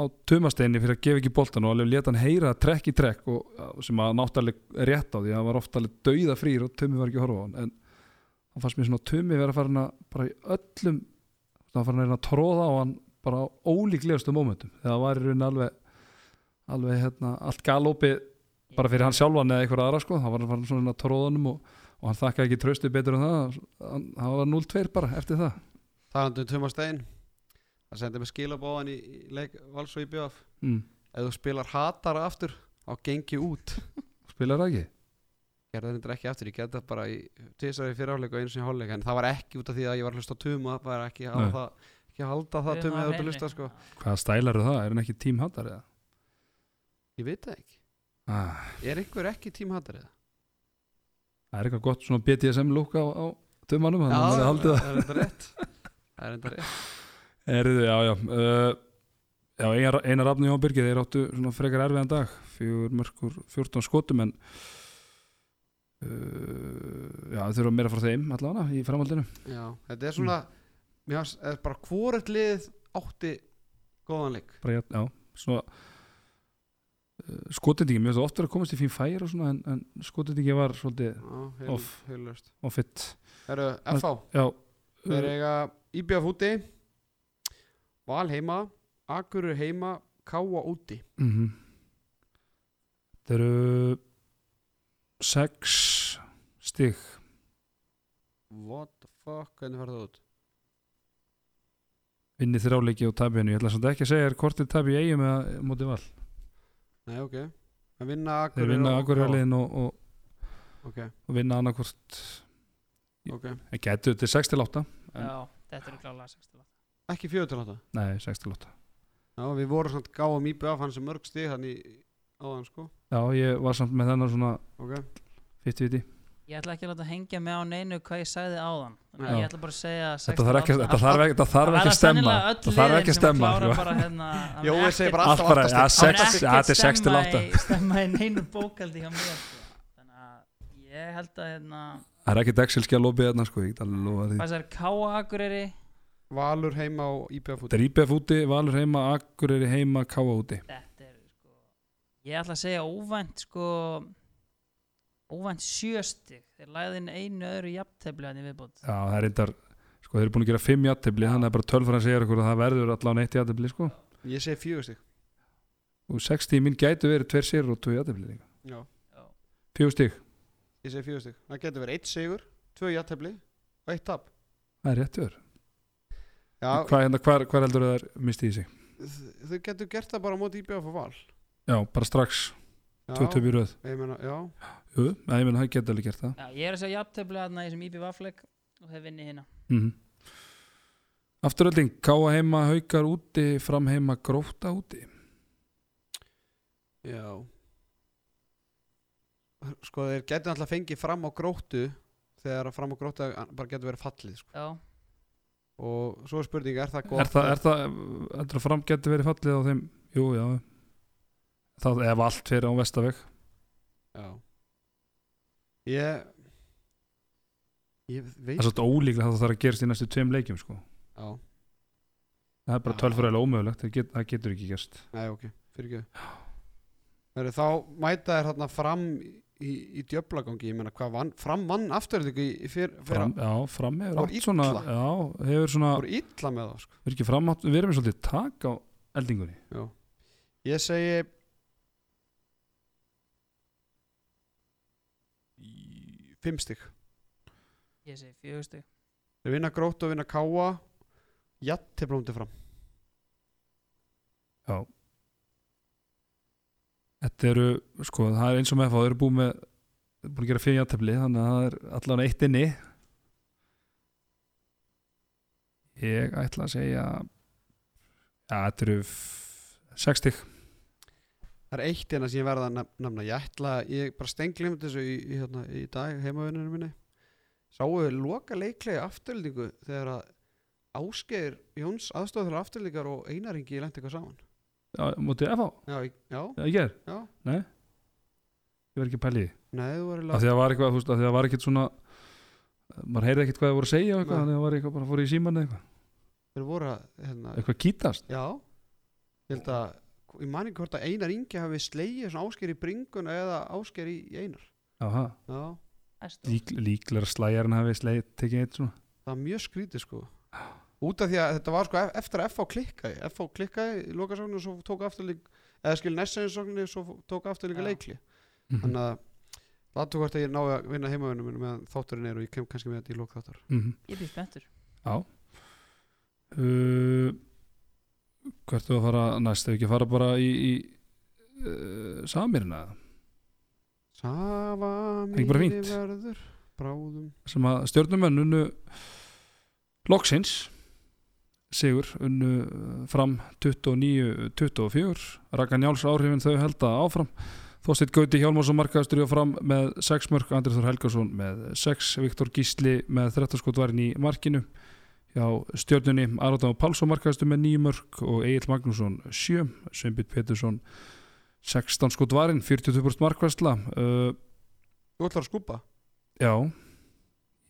Speaker 2: á tumasteini fyrir að gefa ekki boltan og alveg leta hann heyra trekk í trekk og, sem að náttúrulega rétt á því að hann var ofta alveg dauða frýr og tumi var ekki að horfa á hann en það fannst mér svona tumi vera farin að bara í öllum það var farin að reyna að tróða á hann bara á ólíklegustu mómentum þegar það var í rauninni alveg alveg hérna allt galopið bara fyrir hann sjálfan eða einhver aðra sko það var hann svona að tróðanum og, og hann þakkaði ekki tröstu betur en það hann, hann var 0-2 bara eftir það
Speaker 4: Talandu um Tumar Stein það sendi mig skilabóðan í, í leik Vals og í BF
Speaker 2: mm.
Speaker 4: ef þú spilar hatara aftur á gengi út
Speaker 2: spilar það ekki
Speaker 4: gerði þetta ekki aftur, ég gerði þetta bara í tísari fyrirháleik og einu sinni háleik en það var ekki út af því að ég var að hlusta á tuma það var ekki að,
Speaker 2: Nei.
Speaker 4: það, ekki að halda það
Speaker 3: Hérna
Speaker 4: tuma eða út að hlusta sko
Speaker 2: hvaða stælar það, er hann ekki tímhattar eða
Speaker 4: ég veit það ekki,
Speaker 2: ah,
Speaker 4: er einhver ekki tímhattar eða?
Speaker 2: það er eitthvað gott svona BDSM lúk á, á tumanum þannig að hann er haldið það
Speaker 4: það er enda rétt það er enda rétt
Speaker 2: Erðu, já, já uh, Já, Einar, Einar Afni og Birgir þeir áttu svona frekar erfiðan dag fjögur mörkur 14 skotum en uh, já, þau eru meira frá þeim allavega í framhaldinu
Speaker 4: Já, þetta er svona, mér hans er bara hvort lið átti góðan leik
Speaker 2: bara, jafn- já, svona uh, skotendingi, mér finnst það oft verið að komast í fín færi og svona en, en skotendingi var svolítið
Speaker 4: Já,
Speaker 2: Off.
Speaker 4: heilust
Speaker 2: offitt
Speaker 4: Herru, FH,
Speaker 2: Já,
Speaker 4: þeir
Speaker 2: uh,
Speaker 4: eiga IBF úti Val heima Akurur heima, Káa úti
Speaker 2: mm þeir eru sex stig
Speaker 4: What the fuck, hvernig var það út?
Speaker 2: vinni þrjáleiki og tabi hennu ég ætla samt ekki að segja þér hvort þið tabi í eigum eða móti val
Speaker 4: Nei, ok Að vinna Akureyri
Speaker 2: þeir vinna
Speaker 4: og-
Speaker 2: akkurjaliðin og, og,
Speaker 4: Ok,
Speaker 2: og vinna annarkvort
Speaker 4: ok
Speaker 2: en getur þetta 6 til 8 en-
Speaker 3: Já, þetta eru klálega 60
Speaker 4: Ekki fjöðu til þetta
Speaker 2: nei 6 til 8
Speaker 4: Já, við vorum samt gáum íbjöð af hans sem mörg stig þannig áðan sko
Speaker 2: já ég var samt með þennan svona
Speaker 4: Ok,
Speaker 2: 50-50
Speaker 3: Ég ætla ekki að láta hengja mig á neinu hvað ég sagði áðan Þannig
Speaker 4: Já.
Speaker 3: að Ég ætla bara að segja
Speaker 2: þetta þarf ekki,
Speaker 3: 16.
Speaker 2: þetta þarf ekki, þetta þarf ekki að stemma
Speaker 3: Það
Speaker 2: það þarf ekki að stemma
Speaker 3: Það
Speaker 2: sko.
Speaker 3: er sennilega öll liðin sem klára bara hérna þannig
Speaker 4: Jói
Speaker 3: ekkert-
Speaker 4: segir bara
Speaker 2: allt bara
Speaker 4: átta
Speaker 2: ja,
Speaker 4: stig.
Speaker 3: Það
Speaker 2: 6, ja, þetta er 6 til 8
Speaker 3: stemma í neinu bókaldi hjá mér sko. þannig að ég held að hérna,
Speaker 2: það er ekki dexilski að lobby þarna sko ég get alveg lofa því
Speaker 3: hvað það er K.A. Akureyri
Speaker 4: Valur heima og íbjöð fúti
Speaker 2: Dríbef úti, Valur heima, Akureyri heima, Káa úti
Speaker 3: þetta er sko, ég ætla að segja óvænt sko óvænt sjöstig þeir lagði inn einu öðru jafntefli hann í viðbót
Speaker 2: Já, það er reyndar, sko þeir eru búin að gera 5 jattefli, þannig að bara tölfræðan segir okkur að það verður allan eitt jattefli, sko
Speaker 4: Ég segi fjögur stig
Speaker 2: og 60 mín gætu verið tver sigur og 2 jattefli líka
Speaker 4: Já,
Speaker 2: fjögur stig,
Speaker 4: ég segi fjögur stig Það getur verið eitt sigur, tvö jattefli og eitt tap
Speaker 2: það er rétt verður
Speaker 4: Já,
Speaker 2: hvað, hérna, hvar, hvar heldur það er mistið í sig
Speaker 4: þ- þau getur gert það bara á móti íbjöð og val
Speaker 2: já, bara strax,
Speaker 4: Já,
Speaker 2: 2-2 í röð
Speaker 4: ég meina, já
Speaker 2: jú, að ég menn það geta alveg gert það
Speaker 3: Já, ég er að segja jafntefli hann í þessum IB Vafleik og þeir vinni hérna
Speaker 2: mm -hmm. afturölding, káa heima haukar úti, fram heima gróta úti
Speaker 4: Já Sko, þeir getur alltaf fengið fram á gróttu þegar að fram á gróttu bara getur verið fallið sko
Speaker 3: Já,
Speaker 4: og svo er spurning, er það gott?
Speaker 2: Er það, er það, heldur að fram getur verið fallið á þeim? Jú, já. Það ef allt fyrir á vestaveg.
Speaker 4: Já. Ég, ég
Speaker 2: Það er
Speaker 4: veit,
Speaker 2: svolítið ólíklega að það þarf að gerast í næstu tveim leikjum, sko.
Speaker 4: já,
Speaker 2: Það er bara
Speaker 4: Já.
Speaker 2: tölfræðilega ómögulegt, það, get, það getur ekki gerst.
Speaker 4: nei ok, fyrir ekki. Heru, þá mæta þér hérna fram í, í djöflagangi, ég meina hvað vann, fram vann aftur þetta ekki í fyrra, fyrra.
Speaker 2: Fram, já, fram hefur
Speaker 4: Fór
Speaker 2: átt svona,
Speaker 4: illa.
Speaker 2: já, hefur svona,
Speaker 4: voru illa með það sko.
Speaker 2: við erum ekki fram átt, við erum svolítið tak á eldingunni.
Speaker 4: ég segi í- fimm stygg
Speaker 3: Ég segi fjögustug.
Speaker 4: þeir vinna grótt og vinna káa jatt til blóndi fram
Speaker 2: Þetta eru, sko, það er eins og með það eru búið með, búið að gera fyrir játefli, þannig að það er allan eitt inni. Ég ætla að segja, já, þetta eru f- sex stygg.
Speaker 4: það er eitt hérna sem ég verða að nef- nefna ég ætla, ég bara stenglim þessu í, í, hérna, í dag heimavinninu minni sáu við loka leiklegi afturlíku þegar að Ásgeir Jóns aðstofður fyrir afturlíkar og Einaringi lent eitthvað saman
Speaker 2: Já, mútið FH,
Speaker 4: já, í- já,
Speaker 2: já, ég er,
Speaker 4: já,
Speaker 2: nei, ég verð ekki að pæli því.
Speaker 4: nei þú var
Speaker 2: Af því að það var eitthvað, þú veist, af því að það var ekkert svona, maður heyrði ekkert hvað það voru að segja og eitthvað,
Speaker 4: Nei.
Speaker 2: þannig að það var eitthvað bara fór í síman eitthvað,
Speaker 4: þeir voru að hérna,
Speaker 2: eitthvað kýtast.
Speaker 4: Já Ég held að Ég man ekki hvort að Einar Ingi hafi slegið svona ásker í bringuna eða ásker í í Einar
Speaker 2: Aha,
Speaker 4: Já
Speaker 2: lík, líklar slæjarinn hafi sleið, tekið eitt svona.
Speaker 4: Það var mjög skrítið sko Út af því að þetta var sko ef- eftir að FH klikkaði FH klikkaði í lokasögnu og svo tók afturlík eða skil næstseginsögnu og svo tók afturlíka
Speaker 3: Já.
Speaker 4: leikli Þannig að Láttu hvort að ég nái að vinna heimavinnum minn meðan þátturinn er og ég kem kannski með þetta í lók þáttar
Speaker 2: Mhm.
Speaker 3: Ég býð spenntur.
Speaker 2: Uh, hvert er að fara næst ef ekki að fara bara í, í uh, samirina
Speaker 4: Safa
Speaker 2: ekki bara fínt?
Speaker 4: verður Bráðum
Speaker 2: sem að stjórnumenn unnu loksins sigur unnu uh, fram 29-24 Raka Njáls áhrifin þau held að áfram Þorsteit Gauti Hjálmarsson markaðastur í og fram með 6 mörg, Andrið Þór Helgason með 6, Viktor Gísli með 13 skotværin í markinu hjá stjörnunni Aróta og Pálsson markaðastur með 9 mörg og Egil Magnússon 7, Sveinbjörn Petursson 16 skotværin, 42% markværsla uh,
Speaker 4: Þú ætlar að skúpa?
Speaker 2: Já,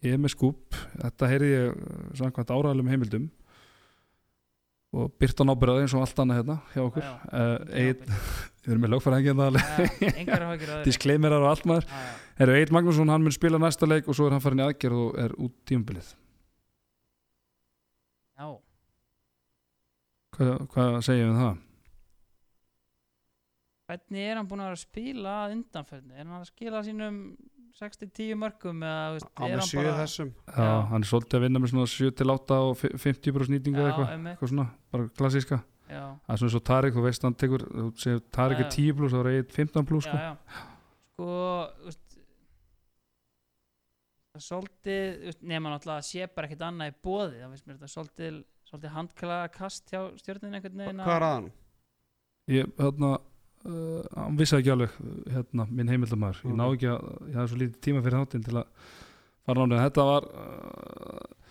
Speaker 2: ég er með skúp Þetta heyrði ég uh, samkvæmt áraðalum heimildum og byrta nábyrðaði eins og allt annað hérna hjá okkur
Speaker 3: Já,
Speaker 2: uh, Egill- Við erum með lögfæra
Speaker 3: Engar áhækjur á þér.
Speaker 2: Disclaimer er á allt maður
Speaker 3: Já, já.
Speaker 2: Eru Eit Magnússon, hann mun spila næsta leik og svo er hann farin í aðgerð og er út tímabilið
Speaker 3: Já,
Speaker 2: Hvað, hvað segjum við um það?
Speaker 3: hvernig er hann búin að vera að spila að undanferðni? Er hann að skila sínum 6-10 mörgum eða þú veist,
Speaker 4: Á
Speaker 3: er
Speaker 4: með
Speaker 3: hann
Speaker 4: sjö
Speaker 3: bara
Speaker 4: þessum
Speaker 2: Já,
Speaker 3: Já.
Speaker 2: hann er svolítið að vinna með svona 7-8 og 50% nýtingu eða eitthvað
Speaker 3: einmitt,
Speaker 2: eitthvað svona, bara klassíska
Speaker 3: já,
Speaker 2: Það er svona svo Tarik, þú veist hann tekur þú segir Tarik
Speaker 3: Já,
Speaker 2: er
Speaker 3: já.
Speaker 2: 10 pluss, þá er Eit 15 pluss sko.
Speaker 3: já, já. sko þú veist, það er svolítið þú veist, nema náttúrulega að sé bara ekkert annað í bóði það finnst mér þetta svolítið, svolítið handklaða kast hjá stjórnin einhvern veginn
Speaker 4: Hvað er að hann?
Speaker 2: ég, hérna uh, hann vissi það ekki alveg uh, hérna, minn heimildamæður, ég ná
Speaker 4: Ok.
Speaker 2: ekki að ég hafði svo lítið tíma fyrir þáttinn til að fara nánu, þetta var uh,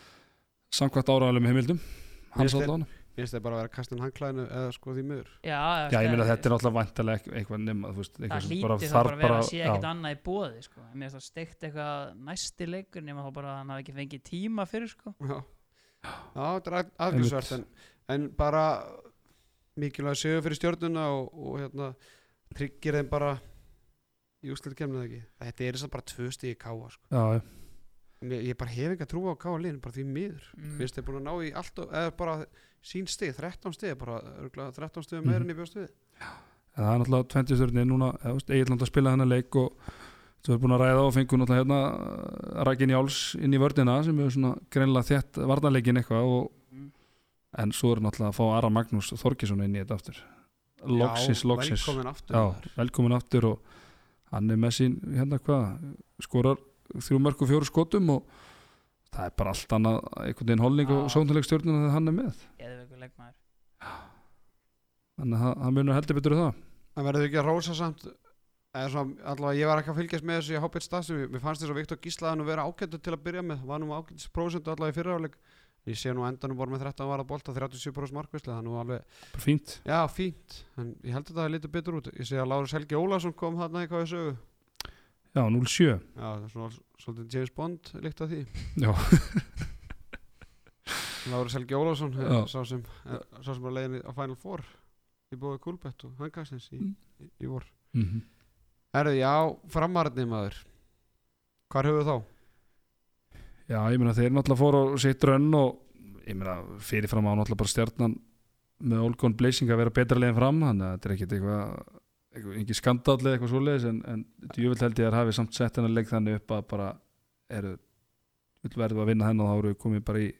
Speaker 2: samkvæmt áraðalum heimildum hans
Speaker 4: Mér finnst
Speaker 2: allan
Speaker 4: Mér finnst það bara að vera kastin handklæðinu eða sko því miður.
Speaker 3: já,
Speaker 2: já, ég meina þetta er náttúrulega vantilega eitthvað nema, þú veist, eitthvað
Speaker 3: það
Speaker 2: sem
Speaker 3: lítur
Speaker 2: bara
Speaker 3: það bara
Speaker 2: þarf
Speaker 3: að vera
Speaker 2: bara
Speaker 3: að sé ekkert
Speaker 2: já,
Speaker 3: annað í bóði sko. En mér er það steikt eitthvað næsti leikur nema þá bara að hann hafi ekki fengið tíma fyrir sko.
Speaker 4: Já, Já þetta er aðgjörsvert en, en bara mikilvæg segur fyrir stjórnuna og, og hérna tryggir þeim bara í úslit kemnað ekki. Þetta er þess að bara tvö stíði káa sko.
Speaker 2: já, já,
Speaker 4: Mér, ég bara hef ekki að trúa á káa liðin bara því miður.
Speaker 3: Mm.
Speaker 4: Mér finnst þeir búin að ná í allt og eða bara sín stíð, 13 stíð, bara örugglega 13 stíð
Speaker 2: Mhm.
Speaker 4: meira en ég bjóst við.
Speaker 2: en það er náttúrulega 20 stjórnir núna, eða, þú veist, Egilland að spila hennar leik og þú er búin að ræða og fengur náttúrulega hérna Rækin Jáls inn í vördina sem hefur svona greinlega þétt varnarleikin eitthvað og
Speaker 3: Mm.
Speaker 2: en svo er náttúrulega að fá Ara Magnús Þorkesson inn í þetta aftur loksins,
Speaker 4: Já,
Speaker 2: loksins
Speaker 4: Velkomin aftur. maður.
Speaker 2: já, velkomin aftur og hann er með sín, hérna hvað skorar þrjú mörg og fjóru skotum og það er bara allt annað einhvern veginn holning og
Speaker 3: Já.
Speaker 2: sóknuleik stjórnuna þegar hann er með
Speaker 3: Mm, Geðveikur leikmaður.
Speaker 2: þannig að hann- hann munur heldur betur um það
Speaker 4: Það verður ekki að rósa samt eða svona, allavega ég var ekki að fylgjast með þessu í Hobbit Stasi, mér fannst þess að Viktor Gíslaðan að vera ágættu til að byrja með, var nú ágættis prósentu allavega í fyrirháleik ég sé nú á endanum voru með 13 varða bolta 37 prófs markvisla það er nú alveg,
Speaker 2: bara fínt
Speaker 4: já fínt en ég held að það er litið betur út ég sé að Lárus Helgi Ólafsson kom þarna í hvað við sögu
Speaker 2: já, 0-7
Speaker 4: já, það er svona svolítið James Bond líkt að því
Speaker 2: Já.
Speaker 4: Lárus Helgi Ólafsson eh,
Speaker 2: Já.
Speaker 4: sá sem, eh, sá sem var leiðin á Final Four í bóði Kulbett og Hangastins í,
Speaker 2: Mm.
Speaker 4: í, í vor
Speaker 2: mm
Speaker 4: Herðu, já, framarðni maður Hvar höfum við þá?
Speaker 2: já, ég meina þeir náttúrulega fóru á sitt rönn og ég meina fyrirfram á náttúrulega bara stjarnan með Olgón Blazing að vera betra leiðin fram þannig að þetta er ekkit eitthvað eitthvað, engin skandall eða eitthvað svoleiðis en, en djúvill held ég að þær hafi samt sett hennar leik þannig upp að bara eru vill verðum að vinna hennar þá eru við komið bara í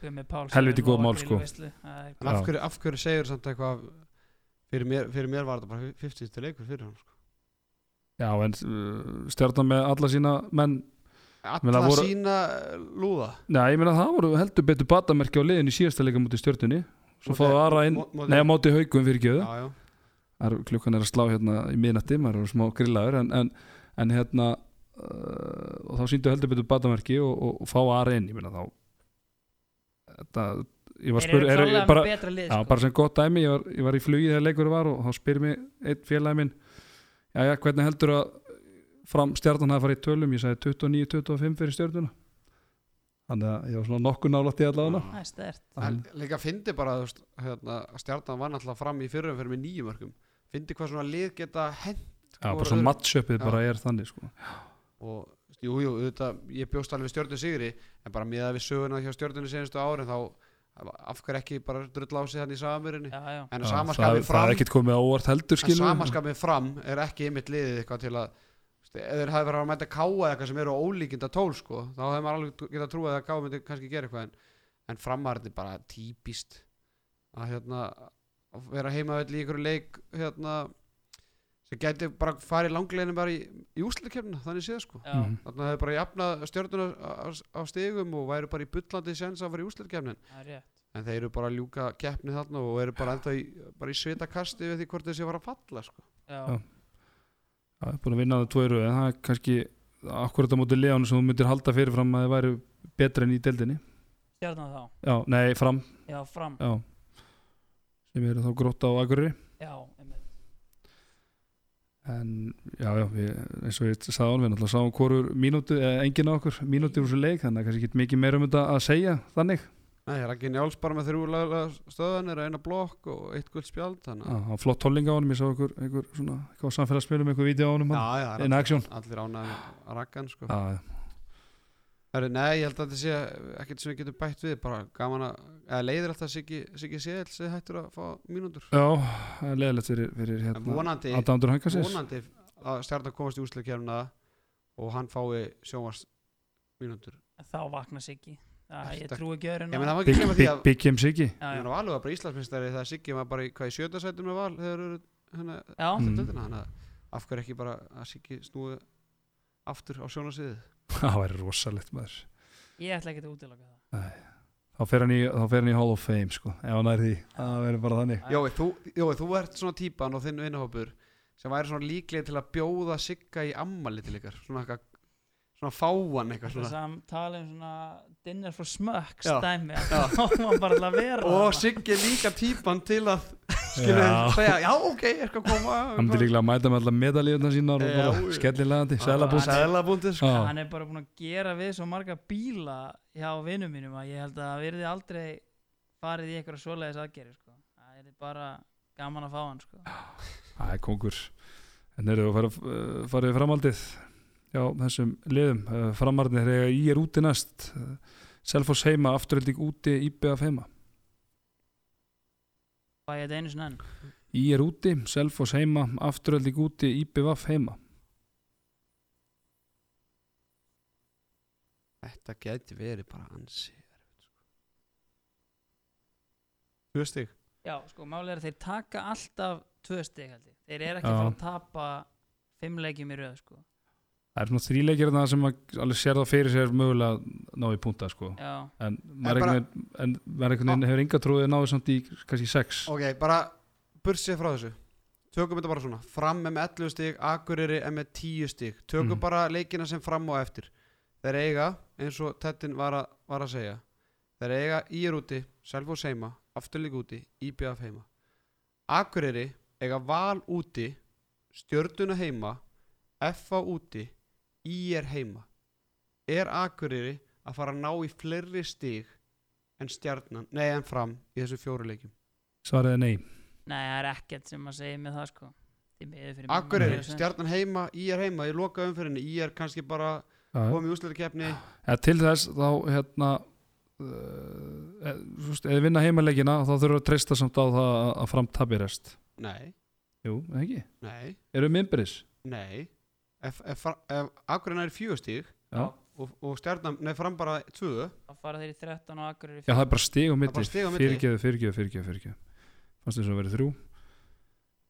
Speaker 3: Gummi Páls
Speaker 2: Helviti góð mál, sko.
Speaker 4: En af hverju, af hverju segir samt eitthvað fyrir mér, fyrir mér var þetta bara 50 til leikur fyrir hann sko.
Speaker 2: já, en uh, stjarnan með alla sína menn
Speaker 4: Alla
Speaker 2: Meina, voru-
Speaker 4: sína lúða
Speaker 2: Nei, ég meina það voru heldur betur batamerki á liðinu í síðasta leika mútið stjörnunni Svo
Speaker 4: Móti-
Speaker 2: fáðu aðra inn,
Speaker 4: mó- móti-
Speaker 2: nei, á móti haugum fyrir
Speaker 4: Já,
Speaker 2: gjöðu
Speaker 4: já,
Speaker 2: Klukkan er að slá hérna í miðnætti, maður eru smá grillaður En, en, en hérna, uh, og þá síndu heldur betur batamerki og, og, og fá aðra inn, ég meina þá Þetta, ég var spur, er,
Speaker 3: klálega
Speaker 2: bara,
Speaker 3: með betra lið
Speaker 2: já,
Speaker 3: sko.
Speaker 2: bara sem gott dæmi, ég var, ég var í flugi þegar leikur var og þá spyr mér einn félagi minn Já, já, hvernig heldur að fram stjarnan hafi farið í tölum, ég sagði 29-25 fyrir stjörnuna Þannig að ég var svona nokkuð nálætt í allavega
Speaker 3: Það er stert
Speaker 4: En Líka fyndi bara þú veist, hérna, að stjarnan var náttúrulega fram í fyrrum fyrir með nýjum örkum Fyndi hvað svona lið geta hent
Speaker 2: Já,
Speaker 4: hvor
Speaker 2: bara svona
Speaker 4: öðrum.
Speaker 2: matchupið bara er þannig sko.
Speaker 4: og jú, jú, auðvitað, ég bjóst alveg við stjörnum sigri en bara með að við söguna hjá stjörnunni senastu árin þá af hverju ekki bara drull á sig þannig í samarinni
Speaker 3: Já, já
Speaker 2: Já,
Speaker 4: en að sama
Speaker 2: það,
Speaker 4: skapið
Speaker 2: það er
Speaker 4: fram
Speaker 2: ekkert komið á óvart heldur
Speaker 4: en
Speaker 2: skilur við.
Speaker 4: samaskapið fram er ekki ymitt liðið eitthvað til að veist, ef þeir hafi verið að mæta káa eða eitthvað sem eru ólíkinda tól sko, þá hefði maður alveg getað að trúa að káa myndi kannski gera eitthvað en, en framarðin bara típist að hérna að vera heima öll í einhverju leik hérna sem gæti bara farið langleginu bara í, í úslutkefna þannig séð sko
Speaker 3: Já,
Speaker 2: Mhm.
Speaker 4: þannig að hefði bara jafnað stjörnuna á, á stigum og væri bara í bullandi sens að fara í úslutkefnin
Speaker 3: það er rétt
Speaker 4: en þeir eru bara að ljúka keppni þarna og eru bara enda í, bara í svitakasti við því hvort þessi var að falla sko.
Speaker 3: Já,
Speaker 2: Já. Það er búin að vinna það tvoiru en það er kannski akkurat á móti leðan sem þú myndir halda fyrirfram að þið væri betra en í deildinni
Speaker 3: stjarnan þá
Speaker 2: Já, nei, fram
Speaker 3: Já, fram
Speaker 2: já. sem eru þá grótta á agurri
Speaker 3: Já, einmitt.
Speaker 2: en já, já, við, eins og ég sagði án við náttúrulega sáum hvorur mínútu, eh, enginn á okkur mínútu úr þessu leik, þannig að kannski ekki mikið meira um þetta að segja þannig,
Speaker 4: Nei, Raggi Njáls bara með þrjú laglega stöðanir og eina blokk og eitt guld spjald þannig
Speaker 2: já,
Speaker 4: að
Speaker 2: það var flott tolling á honum ég sá okkur, einhver svona, eitthvað á samfélagsmiðlum eitthvað vídeo á honum, hann,
Speaker 4: já, já, það er
Speaker 2: in action
Speaker 4: all- allir ánægði að Raggan sko.
Speaker 2: já, já.
Speaker 4: Heru, Nei, ég held að þetta sé ekkert sem við getum bætt við bara gaman að, eða leiðir alltaf Siggi Siggi Séðil sem hættur að fá mínútur
Speaker 2: Já, það er leðilegt fyrir, fyrir
Speaker 4: en
Speaker 2: hérna
Speaker 4: vonandi,
Speaker 2: Adandur Hangasins
Speaker 4: vonandi að stjarnan komast í úsleikjæfna og hann fái sjónvars mínútur
Speaker 3: En Þá vakna Siggi Já, Ég
Speaker 4: Ertu-
Speaker 3: trú ekki öðru en
Speaker 4: Ég meina, það
Speaker 3: að-
Speaker 4: var ekki
Speaker 2: Big,
Speaker 4: kemur því
Speaker 2: big,
Speaker 4: að
Speaker 2: big Kim Siggi
Speaker 3: Já,
Speaker 4: Ég
Speaker 3: já.
Speaker 4: meina Valur var bara Íslandsmeistari þegar Siggi var bara í, hvað, í sjötta sætum með Val þegar eru hérna
Speaker 3: Já,
Speaker 2: Mm.
Speaker 4: deildina þannig að af hverju ekki bara að Siggi snúi aftur á sjónasviðið
Speaker 2: Það væri rosalegt maður
Speaker 3: ég ætla ekki að útiloka það
Speaker 2: Þá fer hann í, þá fer hann í Hall of Fame sko Ef hann er því Það verður bara þannig
Speaker 3: Já.
Speaker 4: Jói, þú, Jói, þú ert svona típan og þinn vinnahópur sem væri svona líklega til að bjóða Sigga í ammali til ykkar svona, eitthvað- svona fáan eitthvað
Speaker 3: Það
Speaker 4: svona.
Speaker 3: sem tala um svona dinner for smucks
Speaker 4: Já.
Speaker 3: dæmi
Speaker 4: Já.
Speaker 3: þá var bara til að vera
Speaker 4: og
Speaker 3: þarna.
Speaker 4: Siggi er líka típan til að skilja
Speaker 2: Já.
Speaker 4: segja, já ok, ég er ekki að koma
Speaker 2: Hann myndi líklega að mæta með alla medalíðuna sína og
Speaker 4: Já,
Speaker 2: bara
Speaker 4: já.
Speaker 2: skellilegandi Sælabúst
Speaker 4: Sælabúndi sko.
Speaker 2: Já,
Speaker 3: hann er bara búin að gera við svo marga bíla hjá vinnum mínum að ég held að það verði aldrei farið í eitthvað svoleiðis aðgerði sko. það er bara gaman að fá hann sko.
Speaker 2: það er kongur En eru þú að fara, uh, farið í framhaldið Já, þessum liðum uh, Framarnir þegar ég er úti næst Selfoss heima, afturölding úti, IBF heima
Speaker 3: fæ ég þetta einu sinni enn
Speaker 2: Í er úti, Selfoss heima, afturölding úti, IBF heima
Speaker 4: Þetta geti verið bara ansi erfitt, sko. Tvö stig
Speaker 3: já, sko, máli er að þeir taka alltaf tvö stig held ég. þeir eru ekki að
Speaker 2: Já.
Speaker 3: fara að tapa fimm leikjum í röð sko.
Speaker 2: Það er svona þríleikir þarna sem maður alveg sér það fyrir sér mögulega að ná í punta sko.
Speaker 3: já,
Speaker 2: en maður
Speaker 4: En bara-
Speaker 2: einhvern veginn- en maður einhvern veginn hefur enga trúið að náðu samt í kannski sex
Speaker 4: Ok, bara bursið frá þessu Tökum þetta bara svona Fram er með 11 stig, Akureyri er með 10 stig Tökum
Speaker 2: Mhm.
Speaker 4: bara leikina sem fram og eftir Þeir eiga, eins og Tettin var, að- var að segja þeir eiga ír úti, Selfos heima afturleik úti, IBF heima Akureyri eiga val úti stjörnuna heima FA úti IR heima er Akureyri að fara að ná í fleiri stig en stjarnan, nei en fram í þessu fjóruleikjum
Speaker 5: Svaraði nei.
Speaker 3: Nei, það er ekkert sem að segja með það sko Því miður fyrir mér.
Speaker 4: Akureyri,
Speaker 3: Mér finnst-
Speaker 4: stjarnan heima, IR heima ég loka umfyrinni, IR kannski bara
Speaker 2: Já,
Speaker 4: komið í úsleitakefni
Speaker 2: Ja, til þess þá hérna uh, e, þú veist, eða vinna heimaleikina þá þurfum við að treysta samt á það að- að fram tabi rest
Speaker 4: nei,
Speaker 2: Jú, eða ekki,
Speaker 4: nei,
Speaker 2: erum við innbyrðis
Speaker 4: nei ef, ef, Fra- ef Akureyri næri fjögustíg
Speaker 2: já.
Speaker 4: og, og stjarnan, nei fram bara tvö
Speaker 3: Þá fara þeir í 13 og Akureyri í
Speaker 2: já, það er bara stig á
Speaker 4: bara
Speaker 2: milli
Speaker 4: stig á milli.
Speaker 2: fyrirgeðu, fyrirgeðu, fyrirgeðu, fyrirgeðu fannst þess að verið þrjú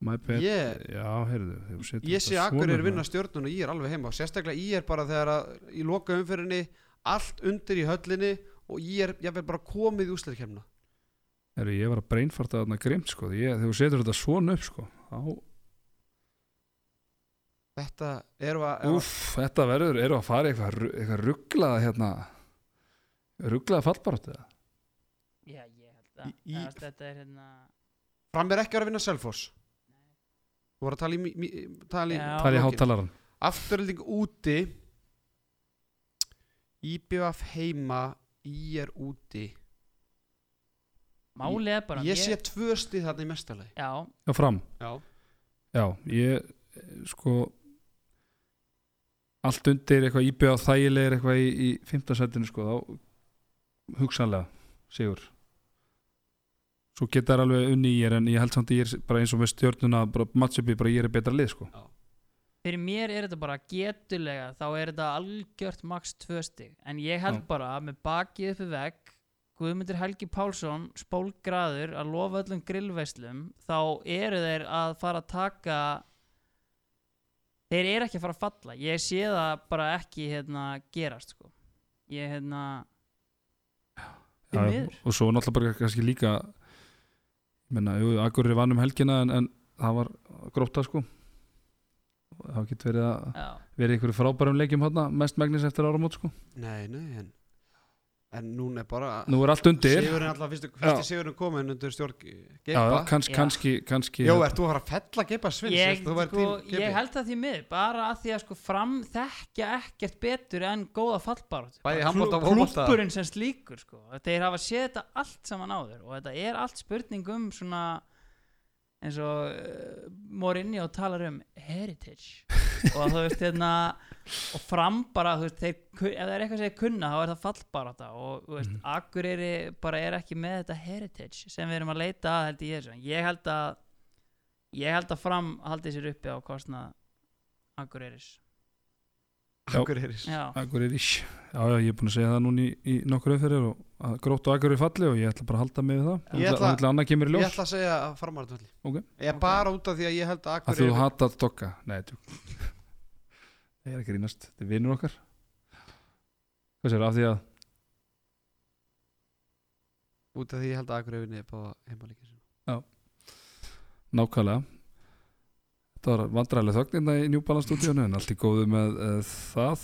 Speaker 2: my bad,
Speaker 4: Ég-
Speaker 2: já, heyrðu þú setur
Speaker 4: ég sé
Speaker 2: þetta svona
Speaker 4: Akureyri vinna
Speaker 2: maður.
Speaker 4: stjörnun og ég er alveg heima sérstaklega ég er bara þegar að í loka umfyrinni allt undir í höllinni og ég er, ég bara komið í úsleitakefna
Speaker 2: Heyrðu, ég var að breinfarta þarna grimt sko, ég, þegar þú setur þetta svona upp sko þá,
Speaker 4: þetta erum við að
Speaker 2: úff, þetta verður eru að fara í eitthvað, ru- eitthvað rugglaða hérna rugglaða fallbaráttu eða?
Speaker 3: Já, ég held að
Speaker 4: Í- í-
Speaker 3: Eðast, Þetta er hérna
Speaker 4: fram er ekki að vera að vinna Selfoss þú voru að tala í, mí- mí- tala í,
Speaker 3: Já.
Speaker 2: það er í
Speaker 4: lokin.
Speaker 2: hátalaran
Speaker 4: Afturölding úti IBF heima IR úti
Speaker 3: Málið er bara
Speaker 4: ég sé tvö stið þarna í mestalagi
Speaker 3: Já,
Speaker 2: Já, fram.
Speaker 4: Já.
Speaker 2: Já, ég eh, sko allt undir eitthvað íbjöð á þægilegir eitthvað í, í fimmtasættinu sko þá hugsanlega sigur svo geta þær alveg unni í ég en ég held samt að ég er bara eins og með stjórnuna bara matchupi bara ég er betra lið sko
Speaker 3: fyrir mér er þetta bara getulega þá er þetta algjört max 2 stig en ég held
Speaker 2: Já.
Speaker 3: bara að með bakið uppi vegg Guðmundur Helgi Pálsson spólgraður að lofa öllum grillveislum þá eru þeir að fara að taka þeir eru ekki að fara að falla ég sé það bara ekki hérna, gerast sko. ég hérna Því
Speaker 2: Já,
Speaker 3: miður.
Speaker 2: og svo náttúrulega bara kannski líka ég menna, jú, Akurri vann um helgina en, en það var gróta sko það getur verið að
Speaker 3: já,
Speaker 2: verið ykkur frábærum leikjum hátna mest megnis eftir áramót sko
Speaker 4: nei, nei, en, en núna er bara
Speaker 2: nú er allt undir
Speaker 4: Sigurinn alltaf fyrstu, fyrstu sigurinn komin undir stjórn
Speaker 2: já, já,
Speaker 4: Geipa
Speaker 2: kannski,
Speaker 3: Já.
Speaker 2: kannski, kannski
Speaker 4: Jó, ert þú að fara að fella Geipa Svins?
Speaker 3: ég,
Speaker 4: Ert þú að vera
Speaker 3: sko,
Speaker 4: til Geipi?
Speaker 3: ég held það því miður bara að því að sko fram þekkja ekkert betur en góða fallbarátt
Speaker 4: Bæði í handbolta og fótbolta.
Speaker 3: klúppurinn sem slíkur sko. þeir hafa séð þetta allt saman áður og þetta er allt spurning um svona eins og uh, Morinni og talar um heritage og þú veist hérna og fram bara, þú veist, þeir, kun- ef það er eitthvað sem þeir kunna þá er það fallbarátt og þú
Speaker 4: Mhm.
Speaker 3: veist, Akureyri bara er ekki með þetta heritage sem við erum að leita að held ég í þessu. ég held að ég held að fram haldi sér uppi á kostnað Akureyris
Speaker 2: Já.
Speaker 4: Akureyris
Speaker 3: já,
Speaker 2: Akureyri ish. já, já, ég er búin að segja það núna í, í nokkur auðferðir og að grótt og Akureyri falli og ég ætla bara að halda mig við það
Speaker 4: Ég
Speaker 2: ég ætla
Speaker 4: ætla-
Speaker 2: að annað kemur í
Speaker 4: Ég
Speaker 2: ljós
Speaker 4: ætla að segja að farmarðvöldi
Speaker 2: Ok.
Speaker 4: Ég er bara út af því að ég held að
Speaker 2: að þú
Speaker 4: Akureyri
Speaker 2: hatar dokka nei, tjú ég er að grínast, þetta er vinnur okkar hvað sér, af því að
Speaker 4: Út af því ég held að Akureyri vinni upp á heimalíkis
Speaker 2: nákvæmlega þetta var vandræðilega þögnina í New Balance stúdíónu en allt í góðu með uh, það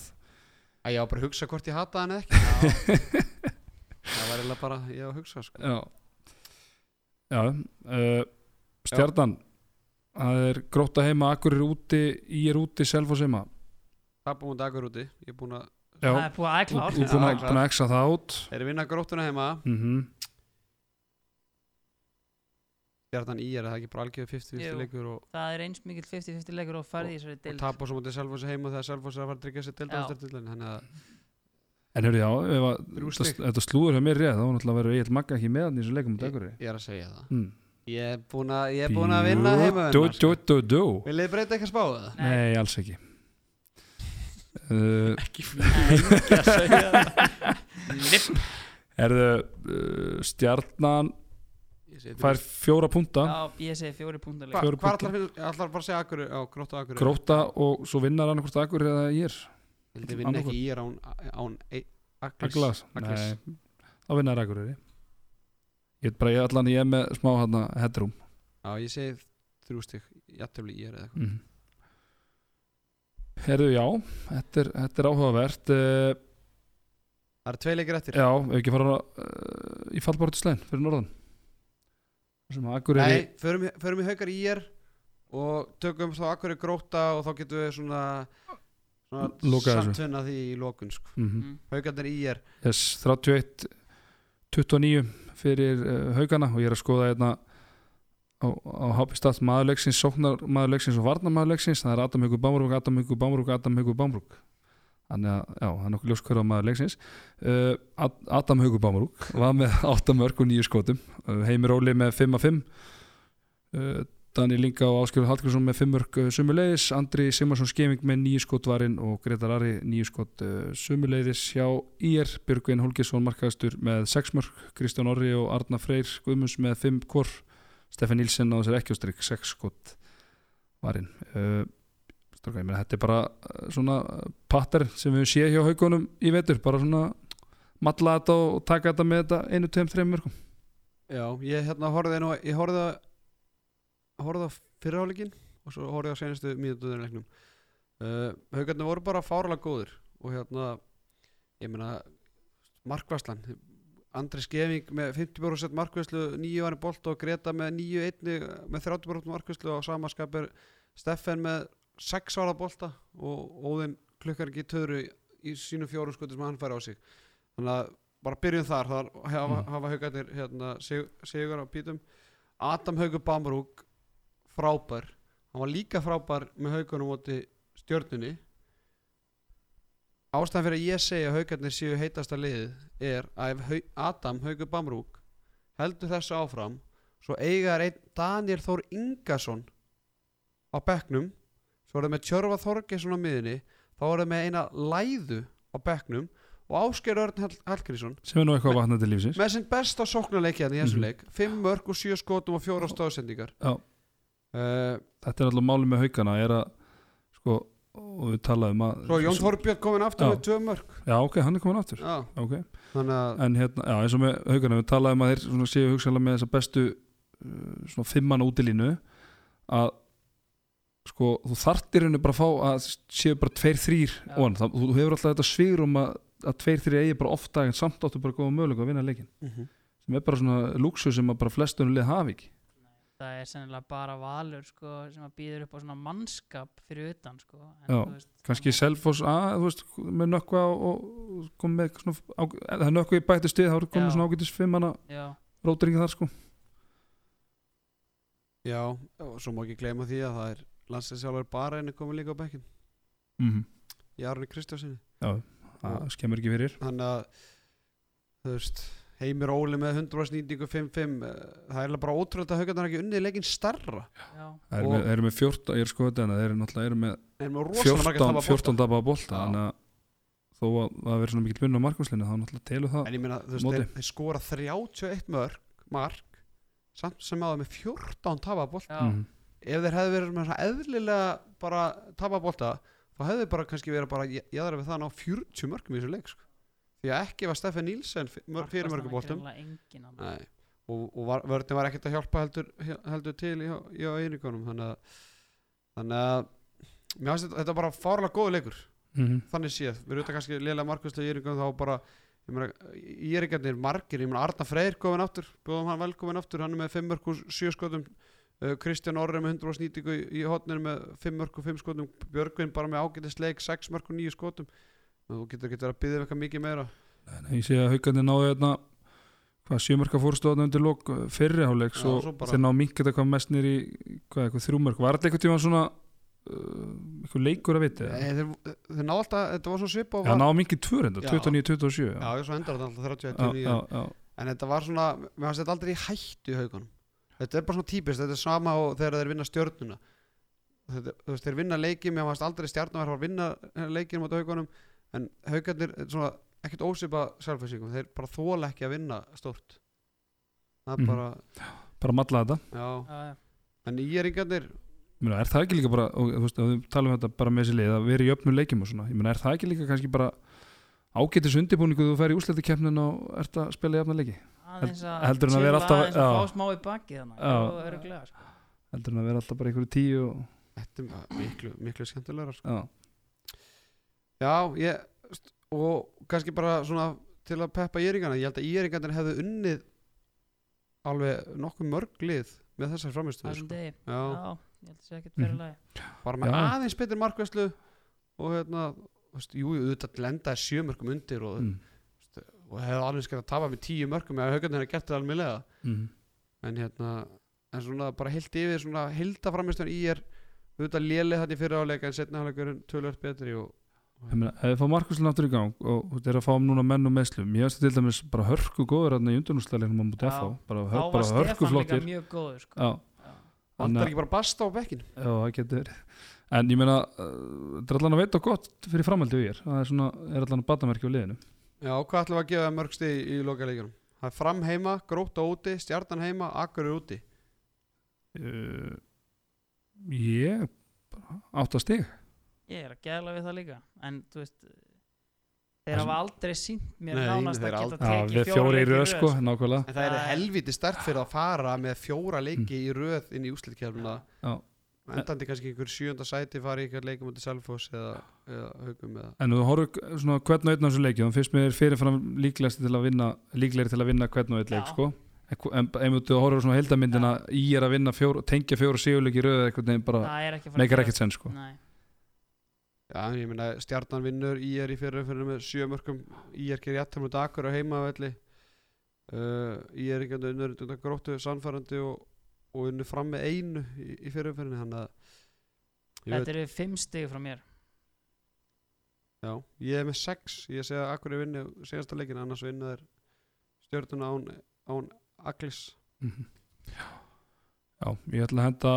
Speaker 4: Að ég á bara að hugsa hvort ég hata hann eða ekki Það var eiginlega bara ég á að hugsa sko.
Speaker 2: já já, uh, stjarnan það er grótt að heima Akureyri úti, ég er úti, Selfoss heima
Speaker 4: Það búið mútið Akureyri um úti Ég er búin að
Speaker 2: Já,
Speaker 3: það er búið að
Speaker 2: Þú
Speaker 3: ækla
Speaker 2: þú búin
Speaker 4: Já,
Speaker 2: að
Speaker 4: klart.
Speaker 2: búin að exa það át
Speaker 4: Þeir eru að vinna gróttuna heima
Speaker 2: mm
Speaker 4: Stjartan í er það ekki bara algjörðu 50
Speaker 3: Jú.
Speaker 4: leikur og,
Speaker 3: það er eins mikill 50-50 leikur og farði í þessari
Speaker 4: og
Speaker 3: deild
Speaker 4: tapa svo mútið Selfossi heima þegar Selfossi er að fara að tryggja sér
Speaker 3: Já.
Speaker 4: deildameistaratitlinum, þannig að
Speaker 2: En hefur já, ef að
Speaker 4: Þrjú
Speaker 2: þetta-
Speaker 4: stig.
Speaker 2: þetta slúður hjá mér réð þá var náttúrulega verið Egil Magga ekki með hann í þessu leikum á dagurri
Speaker 4: ég er að segja það
Speaker 2: mm.
Speaker 4: Ég er búin að, ég er búin að vinna heima
Speaker 2: Dú, dú, dú, dú
Speaker 4: Vil þið breyta eitthvað spáðu það?
Speaker 2: Nei, alls ekki uh,
Speaker 4: Ekki
Speaker 2: Erðu uh, stjarnan fær fjóra punta
Speaker 3: já, ég segi fjóri púntar
Speaker 4: Hvað
Speaker 2: fjóra
Speaker 4: hva
Speaker 2: punkta.
Speaker 4: allar finnst, allar bara að segja Akureyri, á gróttu Akureyri
Speaker 2: gróta og svo vinnar hann hvort dagur eða ég er
Speaker 4: Vil þið vinna
Speaker 2: annað
Speaker 4: ekki í er án, án e- Aglis
Speaker 2: Aglas Nei, þá vinnar dagur Ég veit bara, ég allan ég er með smá hérna headroom
Speaker 4: Já, ég segi þrjú stygg, jættefli í er eða eitthvað
Speaker 3: Mhm.
Speaker 2: mm. Herðu já þetta er, þetta er áhugavert uh,
Speaker 4: Það eru tvei leikir eftir
Speaker 2: Eh, Já, ef ekki fara uh, í fallbártuslegin fyrir norðan Þar sem að Akureyri
Speaker 4: Nei, förum, í- förum í haukar í er og tökum þá akkur í gróta og þá getum við svona, svona
Speaker 2: Loka þessu.
Speaker 4: samtvinna því í lokun sko.
Speaker 2: Mhm.
Speaker 3: Mm.
Speaker 4: Haukarnir í er
Speaker 2: yes, 31 29 fyrir uh, haugana og ég er að skoða hérna á, á Hápistall maðurleiksins, sóknar maðurleiksins og varnar maðurleiksins, það er Adam Haugur Bámrúk Adam Haugur Bámrúk, Adam Haugur Bámrúk þannig að, já, það er nokkuð ljóskvöra maðurleiksins uh, Ad- Adam Haugur Bámrúk var með 8 mörg og 9 skotum uh, Heimir Óli með 5 af 5 uh, Daniel Inga og Áskjöld Hallgrímsson með 5 mörg uh, sumuleiðis, Andri Simonsson Skeming með 9 skot varinn og Gretar Ari 9 skot uh, sumuleiðis hjá IR, Björgvin Holgesson markaðastur með 6 mörg, Kristján Orri og Arna Freyr Guðmunds með 5 kor Stefan Nilsen á þessar ekki á strikk 6 skot varinn uh, strákar, ég meina, þetta er bara uh, svona pattar sem við höfum séð hjá haugunum í vetur, bara svona matla þetta og taka þetta með þetta einu, tveim, þreim mörgum
Speaker 4: Já, ég hérna horfði nú ég horfði að horfði á fyrirháleikin og svo horfði ég á senastu mínútuðurleiknum uh, Haukarnir voru bara fárlega góðir og hérna ég meina markvæslan Andri Skeving með 50% markvæslu 9 varinn bolt og Greta með 9 einni með 30% markvæslu og samaskap er Steffen með 6 varða bolta og Óðinn klukkar ekki í töðru í- í sínum fjórum skutum sem hann fær á sig þannig að bara byrjum þar þar hafa,
Speaker 2: Mm.
Speaker 4: hafa haugarnir hérna, sig- sigur á pítum Adam Haugur Bamrúk frábær hann var líka frábær með haugunum móti stjörnunni ástæðan fyrir að ég segi að haugarnir séu heitasta liðið er að ef Hau- Adam Haugur Bamrúk heldur þessu áfram svo eiga er einn Daniel Þór Ingason á bekknum svo er það með Tjörfa Þorgesson á miðinni þá er það með eina læðu á bekknum og Ásgeir Örn Hall Hallgrísson
Speaker 2: sem er nú eitthvað að vakna til lífsins
Speaker 4: með sinn besta sóknarleiki hérna í þessum
Speaker 2: Mhm.
Speaker 4: leik 5 mörg og 7 skotum og 4 stóðsendingar
Speaker 2: Já.
Speaker 4: uh,
Speaker 2: þetta er alltaf málið með haugana er að sko, og við talaðum um að
Speaker 4: Svo Jón Þorbjörn komin aftur
Speaker 2: Já.
Speaker 4: með 2 mörg
Speaker 2: já ok, hann er komin aftur
Speaker 4: Já,
Speaker 2: okay.
Speaker 4: þannig að
Speaker 2: en hérna, já eins og með haugana við talaðum um að þeir svona, séu hugsanlega með þessa bestu uh, svona fimmann útilínu að sko, þú þartir henni bara að fá að séu bara tveir þrýr
Speaker 3: Já.
Speaker 2: og þú þú hefur alltaf þetta svigrum að, að tveir þrýr eigi bara ofta en samt áttu bara góða mögulega að vinna leikin sem er bara svona lúksu sem að bara flestum lið hafi ekki
Speaker 3: það er sennilega bara valur sko, sem að býður upp á svona mannskap fyrir utan sko. en,
Speaker 2: Já,
Speaker 3: þú veist,
Speaker 2: kannski
Speaker 3: þannig-
Speaker 2: Selfoss að, þú veist, með nökkva og, og kom með svona, á, ef það er nökkva í bættu stið, þá er komið
Speaker 3: Já.
Speaker 2: svona ágætis fimm hana
Speaker 3: já,
Speaker 2: rótringi þar sko
Speaker 4: Já, og svo má ekki gleyma því að það er landsinsjálfur bara einu komin líka á bekkin
Speaker 2: mm
Speaker 4: í Arni Kristjásinni
Speaker 2: það skemmur ekki fyrir
Speaker 4: þannig að þú veist, Heimir Óli með 100.95 eh, það er eiginlega bara ótrúlega að haugarnar ekki unnið leikinn starra
Speaker 3: já,
Speaker 2: það eru
Speaker 4: Og-
Speaker 2: með, þeir eru með 14, ég er sko þetta en þeir eru náttúrulega eru með
Speaker 4: en með rosalega margir
Speaker 2: 14,
Speaker 4: tapa
Speaker 2: 14 daba að
Speaker 4: Já.
Speaker 2: bolta þannig að þó að það verður svona mikill munn á markvæslinni þá náttúrulega telur það
Speaker 4: en ég meina, þú veist,
Speaker 2: Móti.
Speaker 4: þeir, þeir skora 31 mörg, mark samt sem aða með 14 tapabolt
Speaker 3: já,
Speaker 2: Mhm.
Speaker 4: ef þeir hefðu verið með svona eðlilega bara tapabolta þá hefðu þeir bara kannski verið bara jáður við það að ná 40 mörgum í þessu leik sko. því að ekki var Steffen Nílsen fyr- mör- fyrir
Speaker 3: markvarslan er
Speaker 4: mörgum boltum
Speaker 3: greinilega engin annars.
Speaker 4: Nei. og, og var, vörðin var ekkert að hjálpa heldur, heldur til í, í einigunum þannig að, þannig að mér finnst þetta, þetta bara fárlega góðu leikur
Speaker 2: Mhm.
Speaker 4: þannig séð, við erum þetta kannski liðlega markvæslu í yringum þá bara ég meina, yringarnir margir, ég meina Arna Freyr komin aftur, bjóðum hann velkomin aftur hann er með 5 mörg og 7 skotum uh, Kristján Orri með 100 snýtingu í, í hotninu með 5 mörg og 5 skotum Björgvin bara með ágætis leik 6 mörg og 9 skotum þú getur ekki verið að byggja eitthvað mikið meira
Speaker 2: Nei, ég sé að haugandi náðu hérna hvað sjömarka fórstóðan undir lok fyrriháleiks
Speaker 4: Já,
Speaker 2: og
Speaker 4: svo bara-
Speaker 2: þeir ná minkið þetta hvað mest nýri hvað, eitthvað þrjúmörk, var þetta eitthvað tíma svona uh, eitthvað leikur að viti eða?
Speaker 4: Nei, Eh, þeir, þeir ná alltaf, þetta var svo svipa
Speaker 2: Já, ná mikið tvör enda,
Speaker 4: Já.
Speaker 2: 29-27
Speaker 4: já, svo endar þetta alltaf 30
Speaker 2: já, já, já.
Speaker 4: en þetta var svona, mér finnst þetta aldrei í hættu í haugunum, þetta er bara svona típist þetta er sama og þegar þeir vinna stjörnuna þetta, þú veist, þeir vinna leiki mér finnst aldrei stjarnan var að vinna eh, leikin mot haugunum, en haugarnir er svona, ekkert ósipa sjálfhersingum þeir bara þóla ekki að vinna stórt það er
Speaker 2: Mhm.
Speaker 4: bara,
Speaker 2: bara matla þetta
Speaker 4: já
Speaker 3: Já, já.
Speaker 4: en í eringarnir,
Speaker 2: Ég meina, er það ekki líka bara, og, þú veist, ef við talum þetta bara með þessi leið að vera í öfnum leikjum og svona Ég meina, er það ekki líka kannski bara ágætis undirbúningu þú fer í úsletikefnin og ert að spila í öfna leiki
Speaker 3: aðeins að
Speaker 2: Heldur en að vera
Speaker 3: chilla
Speaker 2: alltaf-
Speaker 3: aðeins að
Speaker 2: já.
Speaker 3: fá smá í baki þannig
Speaker 2: Já.
Speaker 3: og öruglega sko.
Speaker 2: heldur en að vera alltaf bara ykkur tíu og,
Speaker 4: þetta er bara miklu, miklu skemmtilegra sko.
Speaker 2: já,
Speaker 4: já, ég st- og kannski bara svona til að peppa íringana ég held að íringarnir hefðu unnið alveg nokkuð mörg lið með þessar
Speaker 3: það
Speaker 4: framistuð
Speaker 3: er um
Speaker 4: sko.
Speaker 3: degi
Speaker 4: Já,
Speaker 3: já, ég held að sé ekkert fyrir
Speaker 2: Mhm.
Speaker 3: lagi
Speaker 4: bara með
Speaker 2: Já.
Speaker 4: aðeins betur markvæslu og hérna þú veist, jú, auðvitað lendaði sjö mörgum undir og,
Speaker 5: Mm.
Speaker 4: og hefðu alveg skil að tapa með tíu mörgum eða haugarnir hefðu gert það alveg
Speaker 5: Mm.
Speaker 4: en hérna en svona bara heilt yfir svona hilda framistuðan í er auðvitað léleg þetta í fyrra áleika en setna áleikurinn tölvöld betri og
Speaker 2: Ég meina, ef við fáum Markuslinn aftur í gang og þú er að fá um núna menn og meðslum ég veist til dæmis bara hörku góður hérna í undurnúsleilinu á mútið
Speaker 3: Já.
Speaker 2: FH bara,
Speaker 3: þá
Speaker 2: hör,
Speaker 3: var
Speaker 2: bara hörku
Speaker 3: Stefan líka
Speaker 2: flottir
Speaker 3: mjög góður sko.
Speaker 2: Já, Þannig
Speaker 4: vandar
Speaker 2: að-
Speaker 4: ekki bara basta á bekkin
Speaker 2: já, það getur verið. En ég meina, uh, þetta er allan að veita gott fyrir framhaldi við ég er það er, svona, er allan að batamerki á liðinu
Speaker 4: Já, og hvað ætlum við að gefa þeim mörg stið í lokaleikunum? Það er fram heima, gróta úti, stjarnan heima, akkur er úti.
Speaker 2: uh, Ég bara átta stig
Speaker 3: ég er að gæla við það líka en þú veist
Speaker 2: Það
Speaker 3: þeir
Speaker 2: sem-
Speaker 3: hafa aldrei sínt mér
Speaker 4: Nei,
Speaker 3: nánast
Speaker 4: þeir
Speaker 3: að geta
Speaker 4: aldrei-
Speaker 2: Já,
Speaker 3: tekið
Speaker 2: við fjóri í
Speaker 3: leiki
Speaker 2: röð sko,
Speaker 3: sko.
Speaker 2: nákvæmlega
Speaker 4: En það er
Speaker 3: Það er-
Speaker 4: helviti stert fyrir að fara með fjóra leiki í röð inn í úslitkerfuna.
Speaker 2: Já.
Speaker 4: Endandi kannski einhver sjönda sæti fara í einhver leikum út í Selfoss eða, eða haugum eða.
Speaker 2: En þú horfðu svona hvern og einn á þessu leiki þá finnst mér fyrirfram líklegast til að vinna líklegri til að vinna hvern og einn leik
Speaker 3: Já.
Speaker 2: sko. en hvo- en en þú horfður svona heldamyndina í er að vinna fjór, tengja fjóru síguleik í röðu eitthvað neginn bara
Speaker 3: það er ekki að fara
Speaker 2: meikar
Speaker 3: að
Speaker 2: ekkert senn sko.
Speaker 3: Nei.
Speaker 4: Já, en ég meina stjarnan vinnur, í er í fyrir fyrir með sjö mörgum, í er gerir jættum út akkur á heima velli. Uh, í er ekki unnur undan gróttu, sannfærandi og, og unnu fram með einu í, í fyrir fyrir hann að Ég veit-
Speaker 3: þetta eru fimm stig frá mér
Speaker 4: Já, ég er með sex Ég segi að Akurey vinni senasta leikin annars vinna þeir stjórnuna án, án Aglis
Speaker 2: Mhm. Já, ég ætla að henda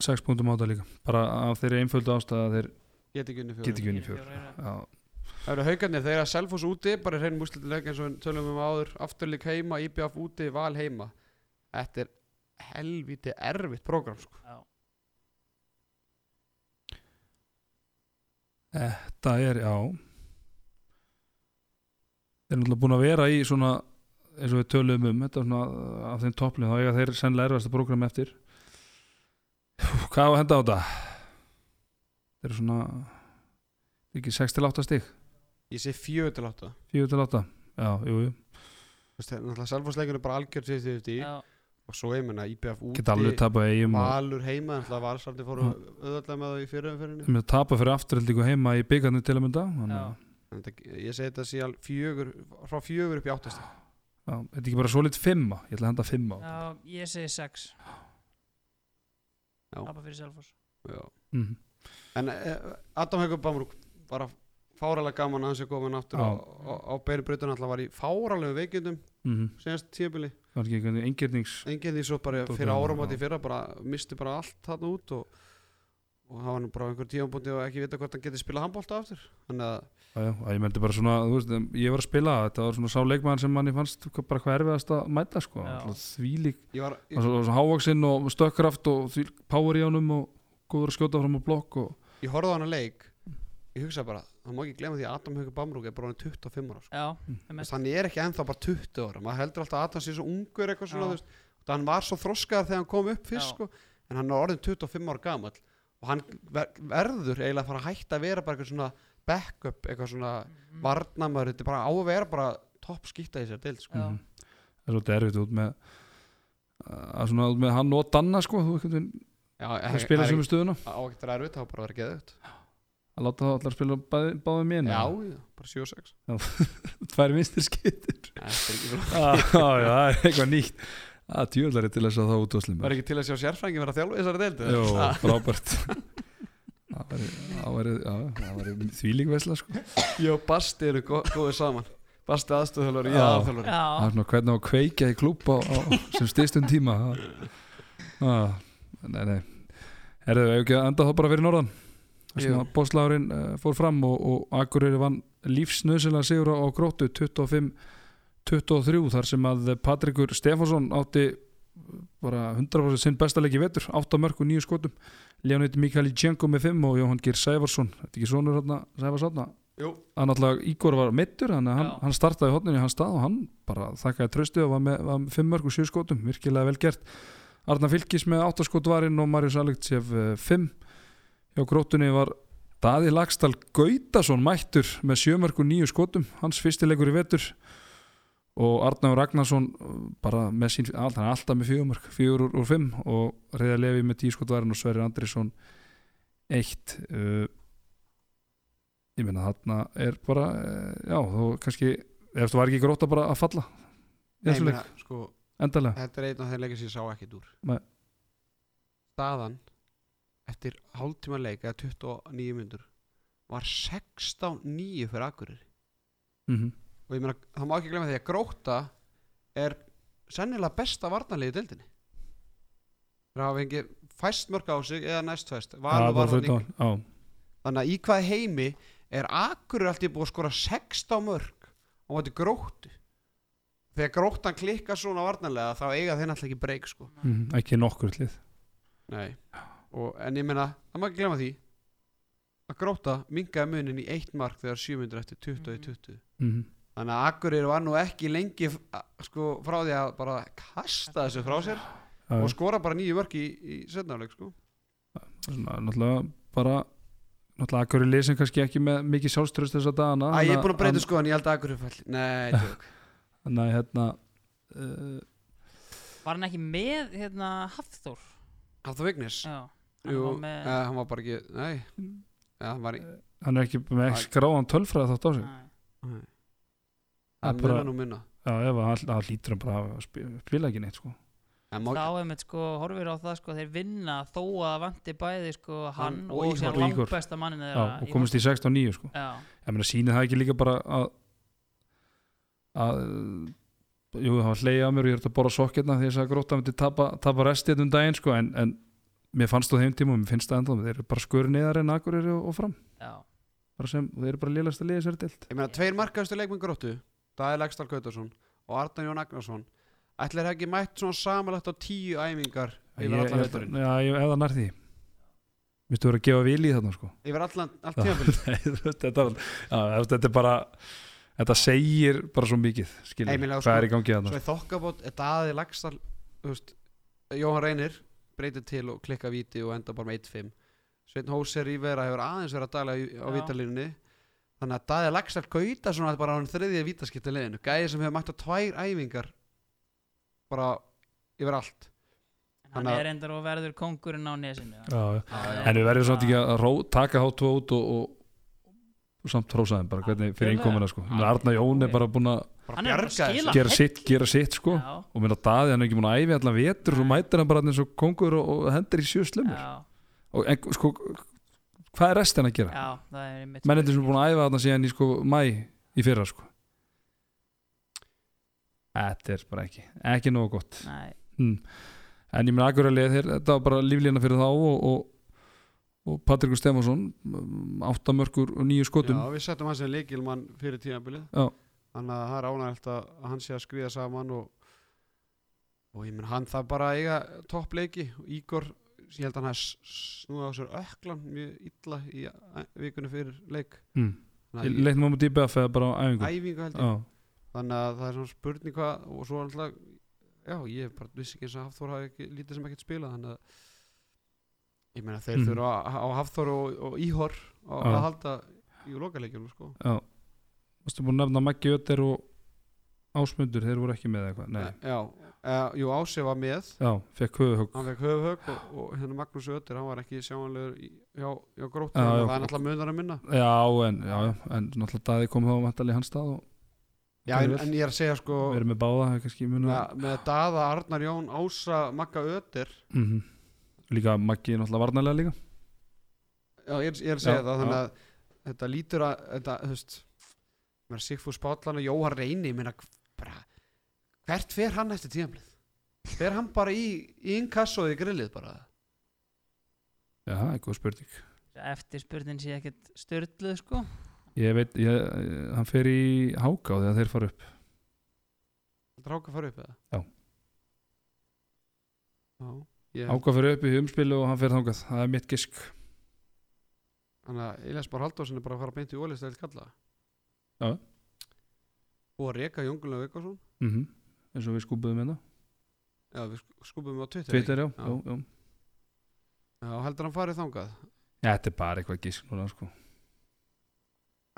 Speaker 2: 6 punktum á þetta líka bara af þeirri einföldu ástæða að þeir
Speaker 4: Get ekki unni
Speaker 2: geti
Speaker 4: fjóri
Speaker 2: ekki unni
Speaker 3: Fjórir
Speaker 2: fjóru
Speaker 3: í röð.
Speaker 2: Já,
Speaker 4: Það eru haugarnir, þeir eru að selfos úti bara reynum úslitileik eins og við tölum um áður afturleik heima, IBF úti, val heima Þetta er helviti erfitt prógram sko
Speaker 3: Já.
Speaker 2: það er, já Þeir eru náttúrulega búin að vera í svona eins og við töluðum um þetta svona uh, af þeim topplið þá eiga þeir sennilega erfasta prógram eftir Hú, Hvað á að henda á þetta? Þeir eru svona ekki 6 til 8 stig
Speaker 4: Ég sé fjögur til átta
Speaker 2: 4 til 8 Já, jú, jú
Speaker 4: Þú veist, þeir- Náttúrulega selfosleikin er bara algjörð sér því því
Speaker 3: Já.
Speaker 4: og svo ég menna IBF úti,
Speaker 2: Geta alveg um tapað eigum og
Speaker 4: valur heima en það var svolítið fóru öðvöldlega með það í fyrir
Speaker 2: þeir eru með að tapa fyrir afturhaldingu heima í byggarnu til að mynda þannig
Speaker 3: Já.
Speaker 2: að
Speaker 4: Ég segi þetta sé al- fjögur frá fjögur upp í áttast
Speaker 2: Já, þetta er ekki bara svo lit fimma, ég ætla að henda fimma á þetta.
Speaker 3: Já, ég segi 6
Speaker 4: Já.
Speaker 3: Abba fyrir Selfoss
Speaker 4: Já
Speaker 2: Mhm.
Speaker 4: En eh, Adam Haugur Bamrúk bara fáralega gaman að hans er komin aftur
Speaker 2: Já.
Speaker 4: á, á, á beinbrutun alltaf var í fáralegu veikindum
Speaker 2: Mhm.
Speaker 4: senast tíabili
Speaker 2: Það er ekki einhvern engirnings
Speaker 4: enginn því svo bara
Speaker 2: Dóttir
Speaker 4: fyrir
Speaker 2: hennar,
Speaker 4: áramati
Speaker 2: já.
Speaker 4: fyrra bara misti bara allt þarna út og, og það var nú bara á einhver tíðanbúndi og ekki vita hvort hann geti spilað handbólta aftur þannig að
Speaker 2: Já, já, ég meldi bara svona, þú veist, em, ég var að spila þetta var svona sá leikmann sem manni fannst hva- bara hvað erfiðast að mæta, sko
Speaker 3: Já.
Speaker 2: Alltaf þvílík,
Speaker 4: ég var
Speaker 2: það var
Speaker 4: ég,
Speaker 2: svo- var svona hávaksinn og stökkraft og því power í honum og góður að skjóta fram á blokk og
Speaker 4: ég horfði á hann að leik ég hugsa bara, það má ekki glemma því að Adam Haugur Bamrúk er bara orðinn 25 ára sko.
Speaker 3: Já,
Speaker 4: Þess, hann er ekki ennþá bara 20 ára maður heldur alltaf að hann sé svo ungur eitthvað svona
Speaker 3: Já.
Speaker 4: þú veist, og hann var svo þroskaðar þegar hann kom upp
Speaker 3: Já.
Speaker 4: fyrst sko, en hann er orðin 25 ára gamall og hann ver verður eiginlega að fara að hætta að vera bara eitthvað svona backup eitthvað
Speaker 2: Mm.
Speaker 4: svona
Speaker 3: Mhm.
Speaker 4: varnamöður þetta er bara á að vera bara topp skýtta í sér til sko.
Speaker 3: Já.
Speaker 2: Mhm. það er svolítið erfitt út með að svona út með hann og Danna, sko þú veist, hann
Speaker 4: Já, Eh, það
Speaker 2: spila sem
Speaker 4: sem
Speaker 2: við stöðuna
Speaker 4: á ekki það er erfitt, það var bara að vera geðugt
Speaker 2: að láta það allar spila báði, báði mér
Speaker 4: já, já, bara 7 og 6
Speaker 2: tvær vinstir skittir Já, já, það er eitthvað nýtt að djöðlari til þess að það útvaslum
Speaker 4: var Ah. ekki til að sjá sérfræðingi vera þjálfið þessari
Speaker 2: Jó,
Speaker 4: deildi
Speaker 2: frábært Það væri- það væri- já, það væri þvílík vesla sko.
Speaker 4: ég og Basti eru gó- góðir saman Basti aðstöðhjálfur, ég
Speaker 2: Já.
Speaker 4: aðalþjálfari.
Speaker 2: Það
Speaker 3: Já,
Speaker 2: er svona hvernig á að kveikja í klúb á, á, sem styrstum tíma Það- ah, Nei, nei Herðu, ef ekki að enda þá bara fyrir norðan Það sem
Speaker 4: Jú.
Speaker 2: að bóðslárin uh, fór fram og, og Akureyri vann lífsnöðsilega sigur á gróttu 25-23 þar sem að Patrikur Stefánsson átti bara 100% sinn bestalegi vetur 8 mörg og 9 skotum Leonid Mikali Djenko með 5 og Jóhann Geir Sæfarsson Þetta er ekki sonur hérna Sæfars hérna
Speaker 4: Jú.
Speaker 2: hann alltaf Ígor var meittur hann, hann,
Speaker 3: Já.
Speaker 2: hann startaði hodninu í hans stað og hann bara þakkaði tröstu og var með, var með 5 mörg og 7 skotum virkilega vel gert eh, Arna Fylkis með 8 skotvarinn og Marius Alektsef 5 hjá grótunni var Daði Lagstall Gautason mættur með sjömörk og nýju skotum, hans fyrstilegur í vetur og Arnaur Ragnarsson uh, bara með sín, all- hann er alltaf með fjögumörk, fjögur úr, úr fimm og reyða lefi með tíu skotvarinn og Sverri Andrisson eitt uh, ég meina þarna er bara uh, já, þú kannski ef þú var ekki gróta bara að falla í
Speaker 4: Nei,
Speaker 2: þessum
Speaker 4: meina,
Speaker 2: leik,
Speaker 4: sko,
Speaker 2: endalega
Speaker 4: þetta er einn af þeim leikir sem ég sá ekkit úr
Speaker 2: Nei.
Speaker 4: staðan eftir hálftíma leik eða 29 myndur var 16-9 fyrir Akureyri eh,
Speaker 2: mm
Speaker 4: og ég meina, það má ekki glemja því að gróta er sennilega besta varnarlið í dildinni það hafa fengið fæst mörg á sig eða næst fæst
Speaker 2: Já,
Speaker 4: Valur
Speaker 2: bara
Speaker 4: var þarna
Speaker 2: þrettán,
Speaker 4: í-
Speaker 2: já,
Speaker 4: þannig að í hvað heimi er Akureyri alltaf búið að skora 16 mörg á móti gróttu þegar gróttan klikkar svona varnarlega þá eiga þeir náttúrulega ekki breyk sko
Speaker 2: mhm, ekki nokkur lið
Speaker 4: Nei. Og, en ég meina, það má ekki glemja því að gróta mingaði munin í eitt mark þegar 700 eftir 20 í 20
Speaker 2: mm
Speaker 4: þannig að Akureyri var nú ekki lengi f- a- sko, frá því að bara kasta þessu frá sér og sko- skora bara nýju vörk í, í setnafleik sko.
Speaker 2: svona, náttúrulega bara náttúrulega akkur er lesin kannski ekki með mikið sjálfströst þess að dagana
Speaker 4: Æ, ég er búin að breyta
Speaker 2: en-
Speaker 4: sko en ég held að Akureyri fall Nei, tjók
Speaker 2: en- nei, hérna uh,
Speaker 3: Var hann ekki með hérna Hafþór?
Speaker 4: Hafþór Vignis
Speaker 3: Já, hann
Speaker 4: Jú,
Speaker 3: var með
Speaker 4: eh, hann var bara ekki, nei ja, hann var í
Speaker 2: hann er ekki með ekki skráðan tölfræða þátt á sig
Speaker 3: Nei.
Speaker 4: nei.
Speaker 2: Það
Speaker 4: Hann
Speaker 2: er bara-
Speaker 4: munna nú munna
Speaker 2: já, ef hann, hann lítur hann bara að spi- spila ekki neitt sko.
Speaker 4: En má-
Speaker 3: Þá einmitt sko, horfir á það sko, þeir vinna þó að það vanti bæði sko hann
Speaker 4: Hann og
Speaker 3: og, og síðan
Speaker 2: Ígor. Og Ígor.
Speaker 3: langbesta mannin
Speaker 2: já, og komist í 16 og 9 sko.
Speaker 3: Já,
Speaker 2: ég meina sýnið það ekki líka bara að að jú, það var hleyja að mér og ég er að borra sokkirna því að það gróta myndi tapa, tapa restið um daginn sko, en, en mér fannst þú þeim tíma og mér finnst það ennþá, þeir eru bara skur neðar en akkur eru og, og fram,
Speaker 3: já
Speaker 2: bara sem, þeir eru bara lélast að liða sér dild
Speaker 4: Ég meina, tveir markaðustu leikmenn gróttu Dæði Lagstall Gautarsson og Arnar Jón Agnarsson Ætlir ekki mætt svona samanlagt á tíu æmingar
Speaker 2: Ég,
Speaker 4: yfir
Speaker 2: ég,
Speaker 4: allan
Speaker 2: held-
Speaker 4: veturinn
Speaker 2: já, ég, eða nær því Vistu verið að gefa vil í þarna sko
Speaker 4: Yfir allan, allt
Speaker 2: Já.
Speaker 4: tímafél
Speaker 2: Nei, þú veist, þetta, var- já, þú veist, þetta er bara Þetta segir bara svo mikið skilur,
Speaker 4: Emil, já,
Speaker 2: Hvað
Speaker 4: sko-
Speaker 2: er í gangi þarna
Speaker 4: Svo
Speaker 2: sko.
Speaker 4: er þokkabót, er daði lagstall þú veist, Jóhann Reynir breytir til og klikka víti og enda bara með 1-5 Sveinn Hóser í vera hefur aðeins verið að dæla í- á
Speaker 3: Já.
Speaker 4: vítalínunni þannig að daði lagstall gauta svona bara á hann þriðja vítaskipta leiðinu gæði sem hefur mætt á tvær æfingar bara yfir
Speaker 3: En
Speaker 4: allt
Speaker 3: hann
Speaker 4: Þannig að-
Speaker 3: er reyndar og verður kongurinn á nesinu
Speaker 2: já, já.
Speaker 3: Já,
Speaker 2: En við verðum samt ekki að ró, taka hátu út og, og, og samt hrósaðum bara hvernig fyrir
Speaker 3: Algjörlega.
Speaker 2: innkomuna sko. Menn, Arna Jón er bara búin að
Speaker 4: bara
Speaker 3: Hann er bara að
Speaker 4: bjargaði
Speaker 3: skila.
Speaker 4: þessu.
Speaker 2: gera sitt, gera sitt sko.
Speaker 3: Já,
Speaker 2: og minna daði hann er ekki múin að æfi allan vetur og mætir hann bara þarna eins og kongur og, og hendur í sjö slumur
Speaker 3: já,
Speaker 2: og en, sko, hvað er restin að gera?
Speaker 3: já, það er einmitt
Speaker 2: Mennendur sem er búin að æfa þarna síðan í sko mæ í fyrra sko Þetta er bara ekki ekki nógu gott
Speaker 3: Nei,
Speaker 2: en ég meina akkuralið þeir, þetta var bara líflína fyrir þá og, og, og Patrikur Stefansson áttamörkur og nýju skotum
Speaker 4: Já, við settum hans sem leikilmann fyrir tíðanbilið
Speaker 2: Já.
Speaker 4: Þannig að það er ánægt að að hann sé að skriða saman og, og ég menn hann það bara að eiga topp leiki og Ígor, ég held að hann hafi snúið á sér öklan mjög illa í a- vikunni fyrir leik
Speaker 2: mm.
Speaker 4: Þannig
Speaker 2: leittum á mútið í BF eða bara á æfingu
Speaker 4: að æfingu held ég
Speaker 2: já,
Speaker 4: Þannig að það er svona spurning hvað og svo alltaf Já, ég bara vissi ekki eins að Hafþór hafi ekki, lítið sem ekkert spilað þannig að ég meina þeir
Speaker 2: Mhm.
Speaker 4: þurfa á, á Hafþór og, og Íhor á,
Speaker 2: Já.
Speaker 4: að halda í lokaleikjum sko.
Speaker 2: já Vastu búin að nefna Maggi Ötter og Ásmundur, þeir voru ekki með eða eitthvað Nei.
Speaker 4: Eh, Já, uh, jú Ási var með
Speaker 2: Já, fekk höfuhögg
Speaker 4: hann fekk höfuhögg og, og hérna Magnús Öttir hann var ekki sjáanlegur í- hjá, hjá gróttu
Speaker 2: Já,
Speaker 4: það
Speaker 2: já.
Speaker 4: er náttúrulega munar að minna
Speaker 2: Já, en, já, já, en náttúrulega daði kom þá vantalið hans stað og
Speaker 4: já, en, en ég er að segja sko
Speaker 2: verið með báða það er kannski muna
Speaker 4: með, með Daða, Arnar Jón, Ása Magga Öttir
Speaker 2: mm Líka Maggi náttúrulega varnarlega líka
Speaker 4: já, ég, er- ég er að segja
Speaker 2: Já,
Speaker 4: það þannig að þetta lítur að þetta, þú veist mér Sigfús Spátlan og Jóhann Reyni ég meina, bara, hvert fer hann eftir tíðanblið fer hann bara í, í inkass og í grillið bara
Speaker 2: Já, það er góð spurning
Speaker 3: eftirspurnin sé ekkit störluð sko
Speaker 2: Ég veit, ég, eh, hann fer í háká þegar þeir fara upp
Speaker 4: dráka fara upp eða
Speaker 2: Já.
Speaker 4: já ég,
Speaker 2: Háká fer upp í umspilu og hann fer þangað Það er mitt gisk
Speaker 4: Þannig að Elias Már Halldórsson er bara að fara beint í ólistæðil kalla
Speaker 2: Já.
Speaker 4: Og að reka Jóngulega Vikarsson
Speaker 2: mm eins og við skúbuðum hérna
Speaker 4: Já, við skúpum á Twitter
Speaker 2: Twitter, já,
Speaker 4: Já.
Speaker 2: já, já.
Speaker 4: Já, heldur hann farið þangað
Speaker 2: Þetta er bara eitthvað gísk núna sko.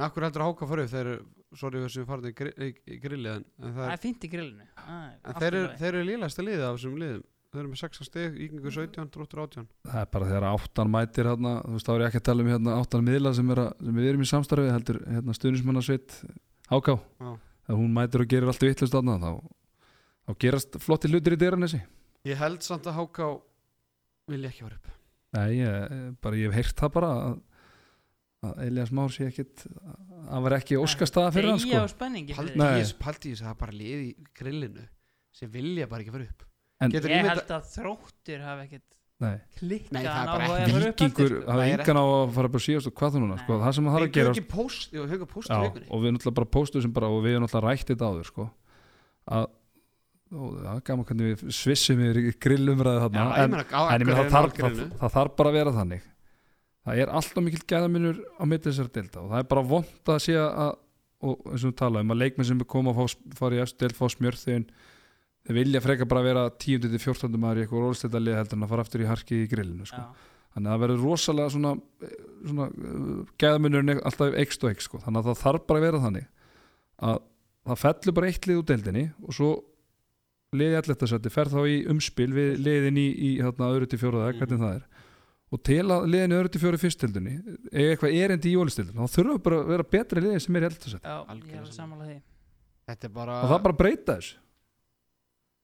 Speaker 4: Akkur heldur að háka fyrir þeir eru, sorry við sem farin í, gri, í, í grilli en, en, það,
Speaker 3: Það
Speaker 4: er-
Speaker 3: er fínt í grillinu Það er
Speaker 4: en
Speaker 3: allt í
Speaker 4: þeir, eru,
Speaker 3: lagi.
Speaker 4: þeir eru lílægsta liðið af þessum liðum Þeir eru með 6 stig, Íkingur 17, Dróttur 18
Speaker 2: Það er bara þegar áttan mætir hérna, þú veist, þá er ég ekki að tala um hérna áttan miðla sem, er að, sem við erum í samstarfi heldur hérna stuðnismannasveit Háká
Speaker 4: Já.
Speaker 2: þegar hún mætir og gerir allt vittlust þarna þá, þá gerast flotti hlutir í dyranesi
Speaker 4: Ég held samt að háka vilja ekki fara upp
Speaker 2: Nei, ég, bara ég hef heyrt það bara að, að Elias Már sé ekkit hann var ekki óskastaða fyrir hann
Speaker 3: Deyja
Speaker 2: sko.
Speaker 3: á spenningi fyrir
Speaker 4: Paldi
Speaker 2: Nei.
Speaker 4: í þessu- paldi í þessu, það er bara lið í grillinu sem vilja bara ekki fara upp
Speaker 2: En-
Speaker 3: því.
Speaker 4: Getur
Speaker 3: Ég
Speaker 4: ímynda-
Speaker 3: held að þróttur hafi ekkert
Speaker 2: Nei.
Speaker 4: Nei, það er
Speaker 3: klikkað
Speaker 4: bara
Speaker 3: á
Speaker 4: ekki-
Speaker 2: Víkingur, það er
Speaker 4: Nei, er
Speaker 2: engan á að fara upp á síðast og hvað það núna, sko, það sem það er að gera
Speaker 4: Við höfum post, jú, höfum post
Speaker 2: Já,
Speaker 4: í vikunni
Speaker 2: og við náttúrulega bara póstuðum sem bara og við höfum náttúrulega rætt þetta áður sko. að og það er gaman hvernig við svissum yfir grillumræði
Speaker 4: Já,
Speaker 2: þarna
Speaker 4: ég
Speaker 2: en,
Speaker 4: meina, á
Speaker 2: en ég meina
Speaker 4: Akureyri
Speaker 2: það, þarf,
Speaker 4: er
Speaker 2: það,
Speaker 4: náttúrulega
Speaker 2: það þarf bara að vera þannig það er alltaf mikill gæðaminur á milli þessar delta og það er bara vond að sé að og eins og við tala um að leikmenn sem er koma að fá, fara í eftir delt fá smjörþegin þeir vilja freka bara vera 10-14 maður í eitthvað rólstættalið heldur en að fara aftur í harki í grillinu sko þannig að það verður rosalega svona, svona eh, gæðamunurinn alltaf ekst og ekst sko. þannig að það þarf bara að vera þannig að það fellur bara eitt lið úr deildinni og svo liði allettasætti fer þá í umspil við liðin í, í þarna, öðru til fjóraða,
Speaker 4: Mhm.
Speaker 2: hvernig það er og til að liðinu öðru til fjóraða fyrst deildinni eða eitthvað erindi í jólistildinni þá þurfa bara að vera betri liði sem er í allettasætti
Speaker 3: Já, ég
Speaker 4: Algjörlega
Speaker 3: er að samála því
Speaker 4: Þetta er bara,
Speaker 2: og það bara breyta þessu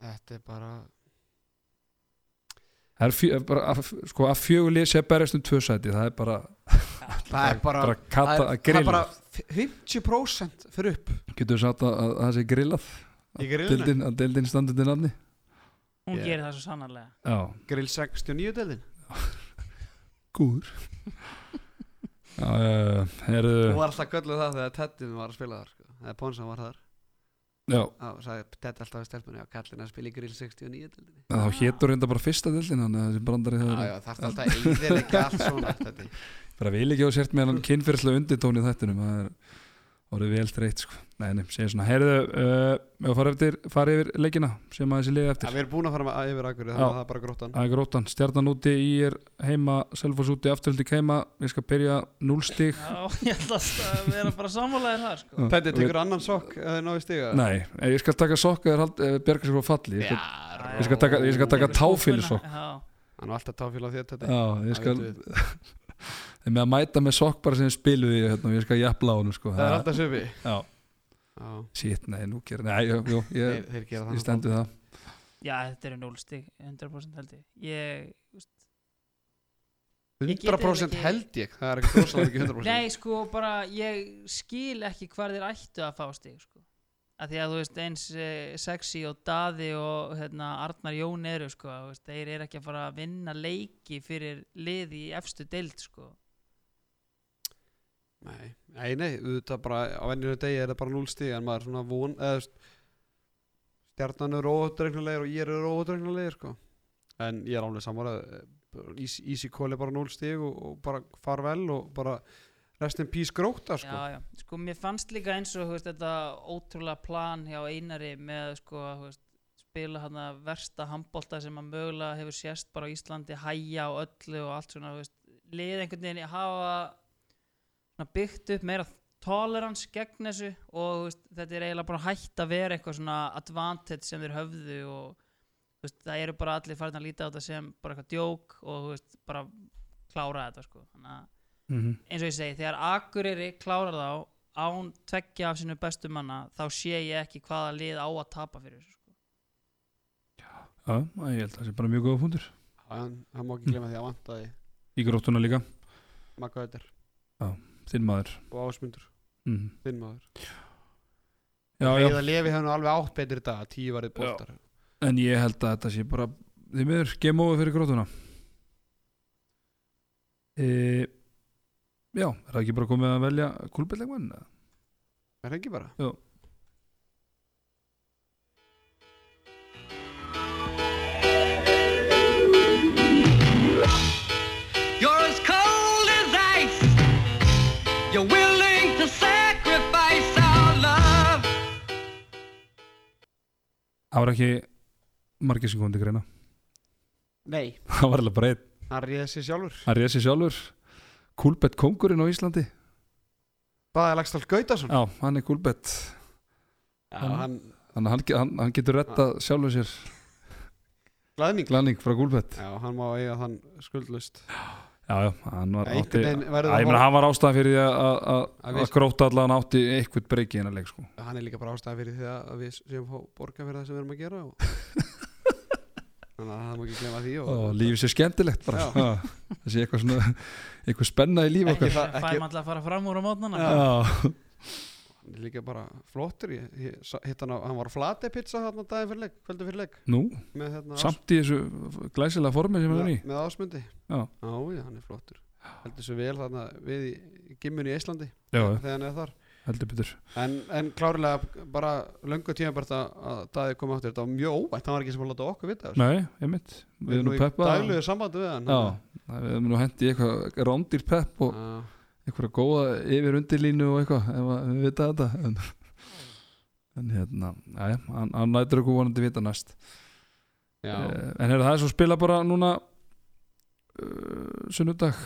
Speaker 4: Þetta er bara
Speaker 2: það er fjö, bara, að, sko, að fjögulið sé berjast um tvö sæti það er bara,
Speaker 4: Það er bara
Speaker 2: bara kata,
Speaker 4: Ah. það
Speaker 2: að
Speaker 4: er- það er
Speaker 2: grilla
Speaker 4: bara 50% fyrir upp
Speaker 2: getur við sagt að, að, að það sé grillað
Speaker 4: Í grillinu?
Speaker 2: deildin, að deildin standið til nafni
Speaker 3: Hún
Speaker 4: Ég-
Speaker 3: gerir það svo sannarlega
Speaker 2: Já,
Speaker 4: Grill 69 deildin
Speaker 2: gúður Já, uh,
Speaker 4: Hún
Speaker 2: herðu
Speaker 4: var alltaf gölluð það þegar Teddin var að spila þar sko. eða Ponsan var þar
Speaker 2: Já,
Speaker 4: og sagði Tedd alltaf að stelpunni á kallin að spila í grill 69 deildin
Speaker 2: þá hétur reynda bara fyrsta dildin hann þessi brandari það
Speaker 4: Já, já,
Speaker 2: er
Speaker 4: það er alltaf eðil ekki allt svona Teddi
Speaker 2: bara vil ekki á sért með hann kynfyrslu undirtón í þættinum það er orðið vel dreitt sko Nei, nei, segja svona, herðu uh, ef fara, eftir, fara yfir leikina sem að þessi liði
Speaker 4: Já,
Speaker 2: eftir
Speaker 4: Við erum búin að fara með yfir akkur þannig
Speaker 2: Já.
Speaker 4: að það er bara gróttan
Speaker 2: Það er grótan, stjarnan úti, í er heima Selfoss úti, afturhaldi keima ég skal byrja 0 stig
Speaker 3: Já, ég ætla að vera bara sammála þér það sko
Speaker 4: Teddi, tekur annan sokk að þið náðu stiga
Speaker 2: Nei, eh, ég skal taka sokka eða bjarga sér frá falli ég skal,
Speaker 4: Já,
Speaker 2: ég skal taka- ég skal taka
Speaker 4: rólegur.
Speaker 2: táfýlusokk.
Speaker 3: Já,
Speaker 4: Hann var alltaf táfíl á því að Teddi
Speaker 2: Já, ég skal
Speaker 4: Það vitum
Speaker 2: Þeir með að mæta með sokk bara sem spiluði ég, hérna, og ég skal jafnla á honum sko.
Speaker 4: Það er alltaf söpi
Speaker 2: Já,
Speaker 4: Já,
Speaker 2: shit, nei, nú gerir Nei, jú, jú,
Speaker 4: þeir,
Speaker 2: ég,
Speaker 4: þeir gera
Speaker 2: ég
Speaker 4: það
Speaker 2: stendur það
Speaker 3: Já, þetta eru 0 stig 100% held ég Ég, Ég get
Speaker 4: 100%
Speaker 3: eiginlega
Speaker 4: held ég Það er ekki rosalega ekki 100%
Speaker 3: nei sko bara ég skil ekki hvar þeir ættu að fá stig sko að því að þú veist eins eh, sexy og daði og hérna Arnar Jón eru sko þú veist, þeir eru ekki að fara að vinna leiki fyrir liði í efstu deild sko
Speaker 4: Nei, nei, nei, auðvitað bara á venjunum degi er það bara 0 stíg en maður svona von eða þú veist, stjarnan eru óóttregnulegir og ég eru óóttregnulegir sko. en ég er alveg samanlega Easy Call er bara 0 stíg og, og bara farvel og bara rest in peace gróta sko.
Speaker 3: Já, já, sko mér fannst líka eins og þú veist, þetta ótrúlega plan hjá Einari með sko, þú veist, spila hann að versta handbolta sem að mögulega hefur sést bara á Íslandi, hæja og öllu og allt svona, þú veist, lið einhvern veginn hafa svona, byggt upp meira tolerance gegn þessu og þú veist, þetta er eiginlega bara hætt að vera eitthvað svona advantage sem þeir höfðu og þú veist, það eru bara allir farin að líta á þetta sem bara eitthvað djók og þú veist, bara klára þetta sko, þannig að eins og ég segi, þegar Akureyri klárar þá án tveggja af sinu bestu manna þá sé ég ekki hvaða lið á að tapa fyrir þessu, sko.
Speaker 2: Já, ég held að það sé bara mjög góða fundur
Speaker 4: en það má ekki glemja því að vantaði
Speaker 2: Í gróttuna líka,
Speaker 4: Magga Ötter
Speaker 2: þinn maður
Speaker 4: og Ásmundur,
Speaker 2: mm.
Speaker 4: þinn maður
Speaker 2: Já, já,
Speaker 4: Heiða Levi hefur nú alveg átt betri dag tíu varðið bóttar
Speaker 2: en ég held að þetta sé bara Þið miður, game over fyrir gróttuna e, Já, er það ekki bara komið að velja kúlbellegmann?
Speaker 4: er það ekki bara?
Speaker 2: Jú.
Speaker 6: You're as cold as ice. You're willing to sacrifice our love.
Speaker 2: Það var ekki margir sem kom til greina
Speaker 4: Nei,
Speaker 2: Það var alveg bara einn
Speaker 4: hann réði sér sjálfur
Speaker 2: hann réð sér sjálfur Kúlbett kongurinn á Íslandi
Speaker 4: Bæði Lagstall Gautason
Speaker 2: Já, hann er Kúlbett
Speaker 4: Já,
Speaker 2: hann-
Speaker 4: hann
Speaker 2: Þannig að hann, hann, hann getur
Speaker 4: Ah.
Speaker 2: rettað sjálfur sér
Speaker 4: glæðning
Speaker 2: glæning frá Kúlbett
Speaker 4: Já, hann má eiga þann skuldlust
Speaker 2: Já, já, hann var
Speaker 4: Einhvern
Speaker 2: átti
Speaker 4: veginn verður
Speaker 2: Æ, ég meina,
Speaker 4: að
Speaker 2: hann var ástæðan fyrir því að- að
Speaker 4: Að
Speaker 2: að-
Speaker 4: við-
Speaker 2: að gróta allan átti eitthvað breyki hennar leik sko.
Speaker 4: hann er líka bara ástæða fyrir því að við séum að borga fyrir það sem við erum að gera og... Þannig að það má ekki glemma því og...
Speaker 2: og lífið sé skemmtilegt bara
Speaker 4: Já.
Speaker 2: Ha, það sé eitthvað svona eitthvað spenna í líf
Speaker 3: Ekki
Speaker 2: okkar
Speaker 4: það-
Speaker 3: fær
Speaker 4: ekki-
Speaker 3: maður alltaf að fara fram úr á mótnana
Speaker 2: Já.
Speaker 4: hann er líka bara flottur ég, ég, sa- hitt hann, á, hann var á flati pizza hann daginn fyrir leik, kvöldu fyrir leik
Speaker 2: nú,
Speaker 4: með, hérna, Ás-
Speaker 2: samt í þessu glæsilega formi sem hann er í
Speaker 4: með, með ásmundi
Speaker 2: Já.
Speaker 4: já, hann er flottur heldur svo vel þarna við í, í gimmunni í Íslandi
Speaker 2: já, já,
Speaker 4: þegar hann er þar
Speaker 2: heldur betur
Speaker 4: en, en klárlega bara löngu tíma bara þetta að Daði kom áttur þetta var mjög óvænt, hann var ekki sem að láta okkur vita af þessu.
Speaker 2: nei, ég mitt, við erum nú
Speaker 4: í
Speaker 2: peppa já,
Speaker 4: daglegu sambandi við hann
Speaker 2: við erum nú hendi í eitthvað rándýr pepp og
Speaker 4: Já.
Speaker 2: eitthvað góða yfir undirlínu og eitthvað, ef að við vita þetta en, en hérna næja, hann, hann nætur okkur vonandi vita næst
Speaker 4: Já.
Speaker 2: Eh, En heyrðu, það er svo spila bara núna uh, sunnudag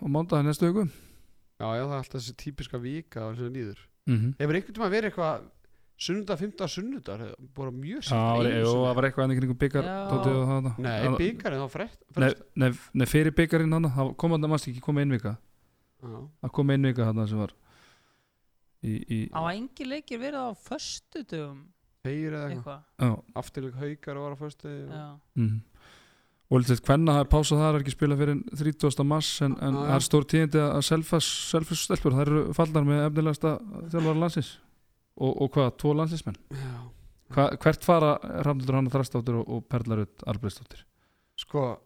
Speaker 2: og mándag næstu viku
Speaker 4: já, já, það er alltaf þessi típiska vika og þessi nýður
Speaker 2: mm -hmm.
Speaker 4: hefur einhvern tíma verið eitthvað sunnudag, fymta, sunnudag bara mjög
Speaker 2: Já,
Speaker 4: sýnt
Speaker 2: var- jú, það var eitthvað enn ykkur byggar
Speaker 3: Já.
Speaker 2: tótið og það
Speaker 4: Nei,
Speaker 2: það-
Speaker 4: byggarinn þá frett
Speaker 2: Nei, nei, nei, fyrir byggarinn hann það kom hann að maður ekki koma einvika
Speaker 4: Já,
Speaker 2: það kom einvika hann sem var í, í
Speaker 3: Á engi leikir verið á föstudum
Speaker 4: Þeir eða eitthvað
Speaker 3: eitthvað
Speaker 2: já,
Speaker 4: Afturleik haukar var á föstu
Speaker 3: Já.
Speaker 2: mhm. og lítið hvenna það er pásað það er ekki spilað fyrir 30. mars en, en
Speaker 4: Já, já.
Speaker 2: það er stór tíðindi að Selfoss Selfoss stelpur, það eru fallnar með efnilegasta þjálfara landsins og, og hvað, tvo landsins
Speaker 4: Já.
Speaker 2: Hva, hvert fara Ramnildur Hanna Þrastóttir og, og Perlarud Arbreistóttir?
Speaker 4: Sko,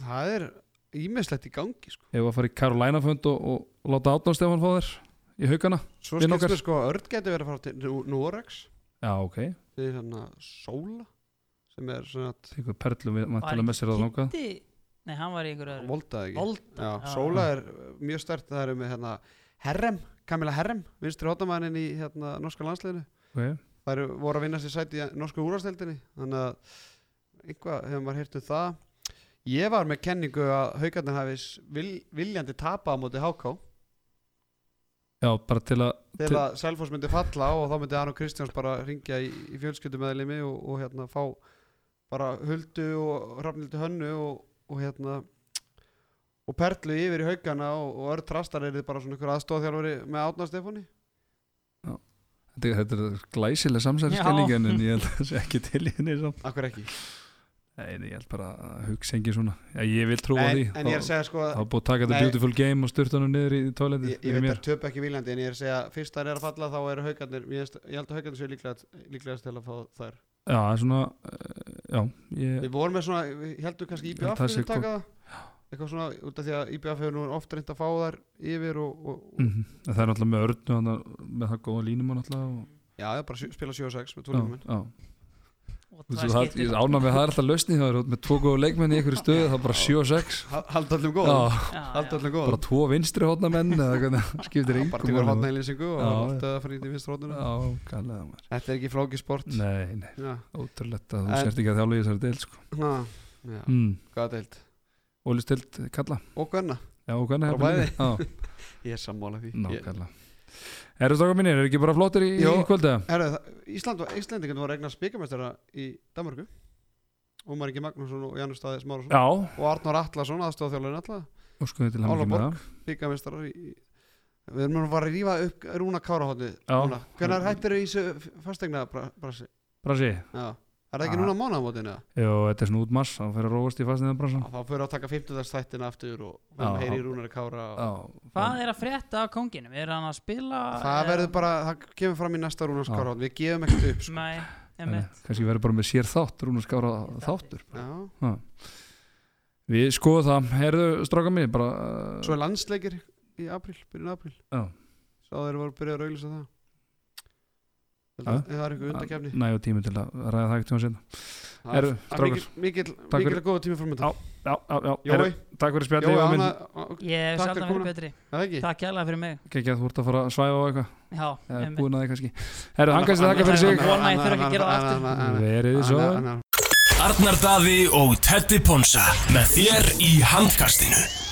Speaker 4: það er ímislegt í gangi sko.
Speaker 2: Ef að fara í Karolina fund og, og láta Átnár Stefán fá þér í haugana?
Speaker 4: Svo
Speaker 2: Vinn
Speaker 4: skilst
Speaker 2: okkar.
Speaker 4: við sko að Örn geti verið að fara til Nú- Norex
Speaker 2: Já, ok.
Speaker 4: Þið er svona Sóla Sem er svona að
Speaker 2: Tekur Perlum við
Speaker 3: Var
Speaker 2: mættilega með sér að
Speaker 3: ekki
Speaker 2: þangað.
Speaker 3: Kiddi- Nei, hann var í einhverju öðru
Speaker 4: Volda ekki
Speaker 3: Volta
Speaker 4: Já,
Speaker 3: Já.
Speaker 4: Sóla er uh, mjög stert Það er með hérna Herrem Kamila Herrem Vinstri hotamænin í hérna norska landsliðinu
Speaker 2: Okay.
Speaker 4: Það eru voru að vinna sér sæti í norsku úrvarsdeildinni Þannig að Eitthvað hefur maður heyrt um það Ég var með kenningu að haugarnir hafi s- vil, viljandi tapa á móti HK
Speaker 2: Já, bara til að,
Speaker 4: til
Speaker 2: Til-
Speaker 4: að Selfoss myndi falla og þá myndi hann og Kristjáns bara ringja í, í fjölskyldumæðlimi og, og hérna fá bara Huldu og Rafnildu Hönnu og, og hérna og Perlu yfir í haugana og, og Örn Trastar er þið bara svona ykkur aðstóðþjálfari með Átna Stefáni
Speaker 2: þetta er- þetta er glæsileg samsæðiskenning en en ég held að það sé ekki til í henni samt.
Speaker 4: Akkur ekki
Speaker 2: Nei, nei, ég held bara að hugsa engin svona. Já, ég vil trúa
Speaker 4: en,
Speaker 2: því.
Speaker 4: en ég er að segja sko
Speaker 2: Það er búið að taka þetta
Speaker 4: Nei.
Speaker 2: beautiful game og styrta hann niður í tóalendi.
Speaker 4: ég, ég veit að töp ekki viljandi en ég er að segja fyrst þær er að falla þá eru haugarnir ég, veist- ég held að haugarnir séu líklegast, líklegast til að fá þær
Speaker 2: Já, það er svona, eh, já, ég,
Speaker 4: Við vorum með svona, við heldum kannski
Speaker 2: Ég held
Speaker 4: IBF
Speaker 2: það sé
Speaker 4: myndi taka það eitthvað svona út af því að IBF hefur nú oft reynd að fá þær yfir og, og, og
Speaker 2: mhm. það er náttúrulega með örnu, hann er- með það góða línumann náttúrulega og
Speaker 4: Já, það er bara að sjö- spila 7 og 6 með
Speaker 2: Já,
Speaker 4: tólum
Speaker 2: já.
Speaker 3: Og
Speaker 2: Þú
Speaker 3: tvær
Speaker 2: veist, það,
Speaker 3: skipti.
Speaker 2: ég ána með það er alltaf lausni þá er með tvo góða leikmenn í einhverju stöðu það er bara 7 og 6
Speaker 4: Haldi allir
Speaker 2: já,
Speaker 4: góð
Speaker 3: Já, já.
Speaker 4: Haldi allir góð
Speaker 2: bara tvo vinstri hotnamenn eða hvernig það skiptir
Speaker 4: Bara til að hotna
Speaker 2: yngum
Speaker 4: í lýsingu og
Speaker 2: Já,
Speaker 4: alltaf að fara í vinst rótuna
Speaker 2: já, gælega maður
Speaker 4: Þetta er ekki flóki sport
Speaker 2: nei, nei,
Speaker 4: Já,
Speaker 2: ótrúlegt að þú
Speaker 4: En-
Speaker 2: sért ekki að þjálfa í þessari deil sko.
Speaker 4: Ná, já,
Speaker 2: mm.
Speaker 4: hvað deild
Speaker 2: Óli stilt kalla
Speaker 4: Og hvernig?
Speaker 2: já, og hvernig
Speaker 4: Bara
Speaker 2: hefur líka? já,
Speaker 4: Ég er sammála því Ég-
Speaker 2: nákvæmlega eru stokkar mínir, eru ekki bara flottir í, í
Speaker 4: Jó.
Speaker 2: kvölda?
Speaker 4: Herðu, það- Ísland var, Íslandingan var eignar spikamestara í Danmarku Ómar Ingi Magnússon og Janus Staði Smárasson
Speaker 2: já,
Speaker 4: og Arnur Atlasson, aðstofþjálfurinn alla
Speaker 2: óskuðu til hann
Speaker 4: Ála
Speaker 2: ekki með það
Speaker 4: spikamestarar í, í Við erum að fara að rífa upp Rúna Kárahóttið
Speaker 2: Já.
Speaker 4: Hvernig hættir þau í þessu fastegna brasi?
Speaker 2: Brasi,
Speaker 4: Já, er það ekki
Speaker 2: Ah.
Speaker 4: núna mánaðamótin eða?
Speaker 2: jú, þetta er svona út mars hann fer að róast í fastniðan bransan
Speaker 4: Já, þá fyrir að taka 50. þættin aftur og
Speaker 2: Já.
Speaker 4: við heyri Rúnari Kára og...
Speaker 3: Hvað er að frétta af konginum? Er hann að spila?
Speaker 4: það verður bara, það kemur fram í næsta Rúnars
Speaker 2: Já.
Speaker 4: Kára við gefum ekkert upp sko.
Speaker 3: Nei,
Speaker 2: Þannig,
Speaker 3: emitt
Speaker 2: eh, kannski verður bara með sér þátt Rúnar Skára þáttur
Speaker 4: Já.
Speaker 2: við skoðum það, heyrðu stráka mín bara, uh,
Speaker 4: svo er landsleikir í april, byrjun april
Speaker 2: Já.
Speaker 4: svo þeir voru að byrja að rauglisa það Held
Speaker 2: Já.
Speaker 4: að- ef það er eitthvað undakefni
Speaker 2: nægjó tími til að ræða það ekki tíma sinna
Speaker 4: Það er-
Speaker 2: Herru,
Speaker 4: það er
Speaker 2: strákar.
Speaker 4: mikill- mikill
Speaker 2: Takk
Speaker 4: mikill góða tími fór mynda
Speaker 2: já, já, já,
Speaker 4: Jói,
Speaker 2: Heru, takk fyrir
Speaker 4: Jói,
Speaker 2: spjallið Jói
Speaker 4: hann
Speaker 2: minn,
Speaker 4: að-
Speaker 3: Ég hef
Speaker 4: Takk
Speaker 3: sjaldan
Speaker 4: fyrir
Speaker 3: verið
Speaker 4: komuna.
Speaker 3: betri
Speaker 4: það er ekki
Speaker 3: Takk kærlega fyrir mig
Speaker 2: ekki að þú ert að fara að svæfa á eitthvað
Speaker 3: Já,
Speaker 2: eða
Speaker 3: emitt
Speaker 2: búin að þið kannski herru, hann kannski þakka fyrir sig
Speaker 3: Vona að ég þurfi ekki að gera það aftur.
Speaker 2: verið þið svo
Speaker 4: aftur
Speaker 1: Arnar Daði og Teddy Ponsa með þér í handkastinu